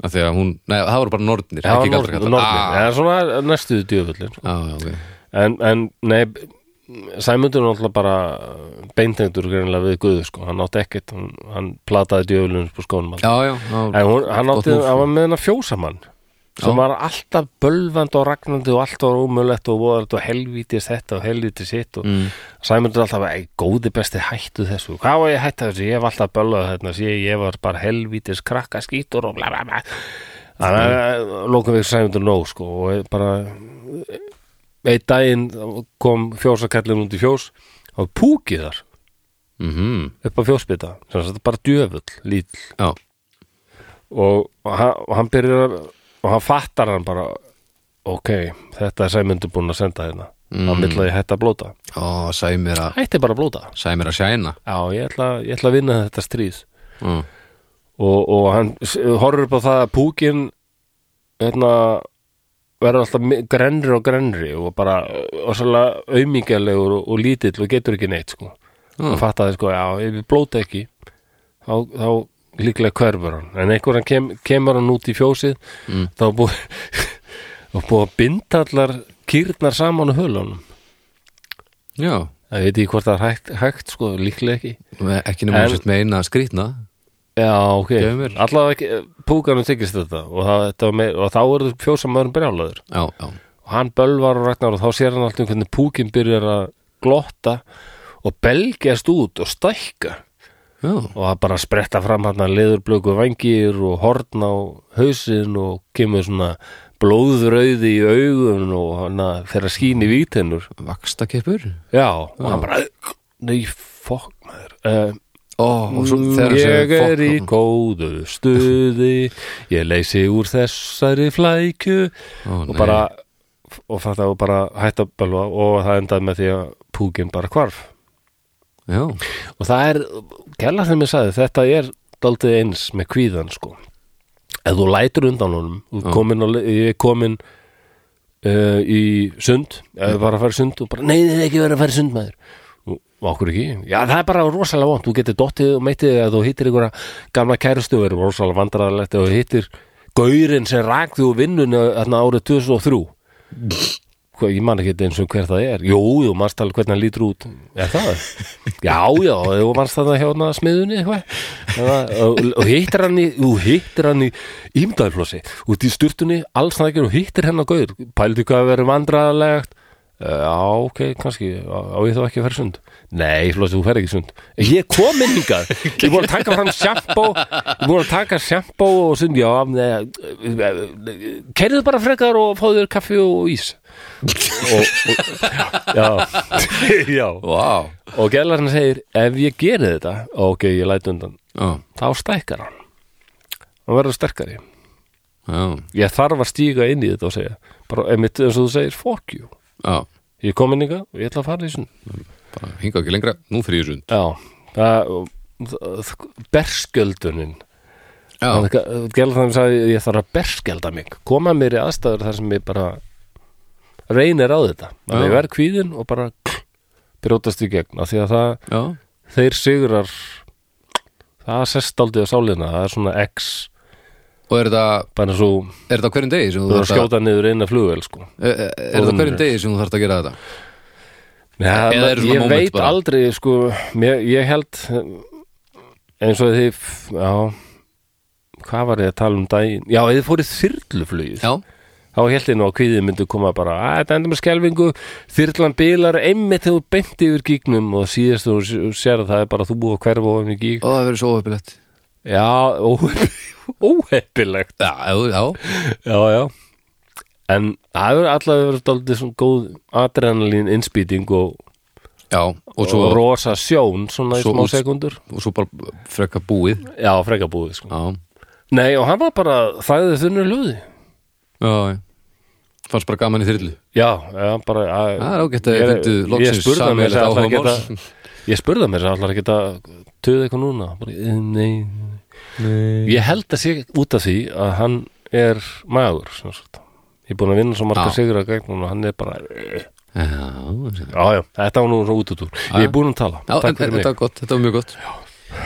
Speaker 2: af því að hún, nei það voru bara nornir
Speaker 1: Já,
Speaker 2: ekki
Speaker 1: nornir,
Speaker 2: galdrakarlar.
Speaker 1: nornir.
Speaker 2: Ah,
Speaker 1: Það er svona næstuðu djöfullin sko.
Speaker 2: Já, já, ok
Speaker 1: en, en nei, Sæmundur er náttúrulega bara beintengdur greinlega við Guðu sko. hann átti ekkert, hann, hann plataði djöfullin på skónum alltaf
Speaker 2: Já, já, já,
Speaker 1: en hún, hann
Speaker 2: Gott
Speaker 1: átti,
Speaker 2: múf.
Speaker 1: hann var með hennar fjósamann sem
Speaker 2: Já.
Speaker 1: var alltaf bölvand og ragnandi og alltaf ómjölegt og voðalegt og helvítist þetta og helvítist sitt og
Speaker 2: Mm.
Speaker 1: Sæmundur alltaf að góði besti hættu þessu hvað var ég að hætta þessu, ég var alltaf bölvað þarna sé ég, ég var bara helvítist krakka skítur og bla bla bla þannig að lókum við Sæmundur nóg sko og bara eh, einn daginn kom fjósakallin út í fjós og púkið þar
Speaker 2: mhm,
Speaker 1: upp á fjósbytta sem þetta bara djöfull, lítill
Speaker 2: já
Speaker 1: og, og, hann, og hann byrjar að- og hann fattar hann bara ok, þetta er sæmundur búin að senda hérna mm. á milla ég hætti að blóta
Speaker 2: Ó, sæmir að
Speaker 1: hætti bara að blóta
Speaker 2: sæmir að sjæna
Speaker 1: já, ég ætla, ég ætla að vinna þetta stríð
Speaker 2: Já,
Speaker 1: og, og hann s- horfir upp á það að púkin hérna verður alltaf mi- grenri og grenri og bara og svolga aumingjalegur og, og lítill og getur ekki neitt sko
Speaker 2: Mm.
Speaker 1: og fattaði sko, já, ef við blóta ekki þá, þá líklega hverfur hann en einhver hann kem, kemur hann út í fjósið mm. þá er búið og búið að binda allar kýrnar saman á hölunum
Speaker 2: já
Speaker 1: það veit ég hvort það er hægt, hægt sko, líklega ekki
Speaker 2: Nei, ekki nema
Speaker 1: En-
Speaker 2: en... með eina skrýtna
Speaker 1: Já, ok,
Speaker 2: Gefum mér.
Speaker 1: allavega ekki púkanum þykist þetta og, það, þetta var meir, og þá er þetta fjósamöðurinn brjálaður
Speaker 2: Já, já,
Speaker 1: og hann bölvar og ragnar og þá sér hann alltaf hvernig púkin byrjar að glotta og belgjast út og stækka
Speaker 2: já
Speaker 1: og það bara spretta fram hann að leðurblöku vangir og horn á hausinn og kemur svona blóðrauði í augun og hann að þeirra skín í vítennur
Speaker 2: Vaksta keppur
Speaker 1: Já, og hann bara Nei, fokk maður uh,
Speaker 2: Ó, og svo þegar
Speaker 1: Mm, Ég
Speaker 2: þessi-
Speaker 1: er í
Speaker 2: fokk-
Speaker 1: góðu stuði Ég leysi úr þessari flækju
Speaker 2: Ó,
Speaker 1: og
Speaker 2: nei.
Speaker 1: bara og þetta var bara hætt að bölva og það endaði með því að púkin bara hvarf
Speaker 2: Já,
Speaker 1: og það er, kella þegar mér sagði þetta er daldið eins með kvíðan sko ef þú lætur undan honum þú ert komin á, le- ég er komin uh, í sund ef ég var að fara í sund og bara, nei þið er ekki verið að fara í sund maður og og okkur ekki, já það er bara rosalega vont þú getur dottið og meitið þig að þú hittir einhverja gamla kærustu og verður rosalega vandræðalegt og hittir gaurinn sem rak því úr vinnunni þarna árið 2003 Hvað, ég man ekki eins og hver það er Jú, jú, manst alveg hvernig hann lítur út Er það? Já, já, þú manst það hérna smiðunni eitthvað Það- og, og hittir hann í Þú hittir hann í ímdaðflossi Út í sturtunni, alls það ekki og hittir hennar gauður, pældi hvað að vera vandræðalegt Eh, Já, ok, kannski Á á ég þá ekki að fara í sund Nei, flossi, þú fer ekki í sund Ég er komin hingað, ég er búin að taka fram sjampó Ég er búin að taka sjampó og sund Já, eh, kerðu eh, bara frekar og fáðu þér kaffi og ís og, og, já, já.
Speaker 2: vá
Speaker 1: og gælarinn segir ef ég geri þetta, ok, ég læt undan
Speaker 2: Já,
Speaker 1: þá stækkar hann hann verður sterkari
Speaker 2: já,
Speaker 1: ég þarf að stíga inn í þetta og segja bara einmitt eins og þú segir fuck you
Speaker 2: já,
Speaker 1: ég kom inn ykkar og ég ætla að fara í sund
Speaker 2: bara hinga ekki lengra nú fyrir ég sund
Speaker 1: já, það berskjöldunin
Speaker 2: já,
Speaker 1: Gjelð þannig sagði ég þarf að berskjelda mig koma mér í aðstæður þar sem ég bara reynir á þetta að
Speaker 2: Já.
Speaker 1: ég verð kvíðin og bara brjótast í gegn af því að það,
Speaker 2: já,
Speaker 1: þeir sigrar það sest aldrei á sálinna það er svona X
Speaker 2: og er þetta
Speaker 1: bara svo
Speaker 2: er þetta á hverjum degi sem
Speaker 1: þú
Speaker 2: þú
Speaker 1: þarf að
Speaker 2: þarft að
Speaker 1: skjóta niður eina flugvel sko
Speaker 2: er er þetta á hverjum degi sem þú þarft að gera þetta
Speaker 1: Já,
Speaker 2: Eða eru svona
Speaker 1: ég
Speaker 2: moment
Speaker 1: veit
Speaker 2: bara?
Speaker 1: aldrei sko, mér, ég held um, eins og þið f- já, hvað var ég að tala um daginn já, ef þið fórið þyrluflugið
Speaker 2: já,
Speaker 1: þá held ég nú að kvíðið myndi koma bara að þetta endur með skelfingu, þyrlan bilar einmitt þegar þú bent yfir gíknum og síðast þú s- sér að það er bara þú búið að hverfa ofan í gík
Speaker 2: og það verður svo óhefilegt
Speaker 1: já, óheppilegt
Speaker 2: já, já, já,
Speaker 1: já, já en það hefur allavega verið daldið svona góð adrenalín innspýting og,
Speaker 2: já og
Speaker 1: og
Speaker 2: svo,
Speaker 1: rosa sjón svona í
Speaker 2: Svo
Speaker 1: smá
Speaker 2: úts-
Speaker 1: sekundur
Speaker 2: og svo bara frekka búið
Speaker 1: Já, frekabúið sko.
Speaker 2: já,
Speaker 1: Nei, og hann var bara þæðið þunnu hlöði
Speaker 2: já, já fannst bara gaman í þyrlu
Speaker 1: Já, já, bara að,
Speaker 2: Það er ágætt að þið
Speaker 1: Ég-
Speaker 2: fundu
Speaker 1: Ég
Speaker 2: loksins
Speaker 1: spurði
Speaker 2: sameiginlegt
Speaker 1: mér sem allar að
Speaker 2: áhuga máls.
Speaker 1: geta Ég spurði mér sem allar að geta Töðu eitthvað núna bara, eh, nei. nei Ég held að sé út af því að hann er magur sem sagt. Ég er búin að vinna svo marga
Speaker 2: Já.
Speaker 1: sigur að gegnum og hann er bara Já,
Speaker 2: já,
Speaker 1: já, þetta var nú svo út út úr Ég er búin að tala
Speaker 2: Já, en,
Speaker 1: Takk
Speaker 2: en,
Speaker 1: fyrir mig
Speaker 2: þetta var gott, þetta var mjög gott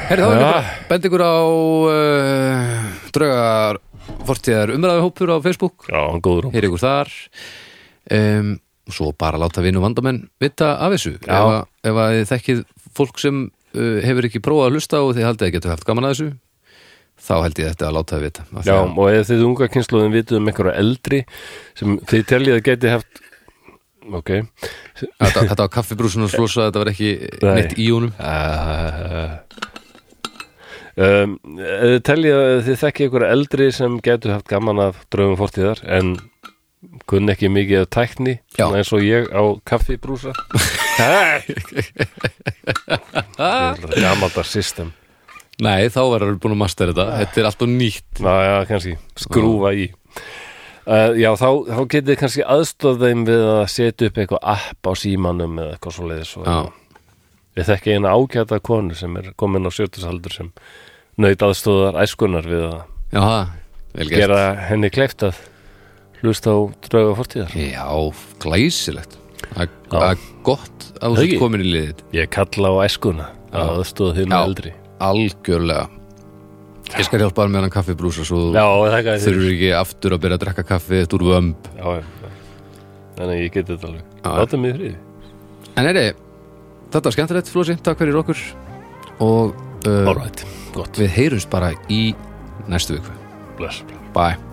Speaker 2: Herri, þá er
Speaker 1: Já.
Speaker 2: ykkur, bend ykkur á uh, draugar fortíðar umræðu hópur á Facebook
Speaker 1: Já, hann er góður hópur.
Speaker 2: Heyri ykkur þar um, Svo bara láta vinu vandamenn vita af þessu Ef, að, ef að þið þekkið fólk sem uh, hefur ekki prófað að hlusta og þið haldið að getur haft gaman að þessu þá held ég þetta að láta þið vita Af því
Speaker 1: Já,
Speaker 2: að-
Speaker 1: og ef þið unga kynsluðum vitið um einhverja eldri sem þið teljið að geti haft ok
Speaker 2: Þetta, þetta var kaffibrúsun og slosa, þetta var ekki
Speaker 1: Nei.
Speaker 2: neitt í honum
Speaker 1: uh, um, ef þið teljið að þið þekki einhverja eldri sem getur haft gaman af draugum fortíðar en kunni ekki mikið af tækni
Speaker 2: Já.
Speaker 1: svona eins og ég á kaffibrúsa Hey! gamalda system
Speaker 2: Nei, þá verður búin að mastera þetta Þetta er allt og nýtt
Speaker 1: Já, já, kannski, skrúfa í uh, Já, þá, þá getið þið kannski aðstóð þeim við að setja upp eitthvað app á símanum eða eitthvað svo leiðis og
Speaker 2: Já,
Speaker 1: Ég þekki eina ágæta konu sem er komin á sjötusaldur sem naut aðstóðar æskunar við að
Speaker 2: já, það, vel gert
Speaker 1: gera henni kleift að hlusta á drauga fortíðar
Speaker 2: Já, glæsilegt Það
Speaker 1: Já.
Speaker 2: það er gott að þú
Speaker 1: Ekki?
Speaker 2: sér komin í liðið
Speaker 1: Ég kalla á æskuna að aðstóða hinn
Speaker 2: Já.
Speaker 1: eldri
Speaker 2: Algjörlega Ég skal hjálpa hann með hann kaffibrúsa svo
Speaker 1: Já, það er
Speaker 2: þú
Speaker 1: gæði
Speaker 2: þurfur ekki aftur að byrja að drekka kaffi þetta úr vömb
Speaker 1: Já, já, já. þannig að ég geti þetta alveg
Speaker 2: Já.
Speaker 1: Láta mig í friði
Speaker 2: En er þetta var skemmtilegt Flósi, takk fyrir okkur og uh,
Speaker 1: All right, gott,
Speaker 2: við heyrums bara í næstu viku
Speaker 1: bless
Speaker 2: Bye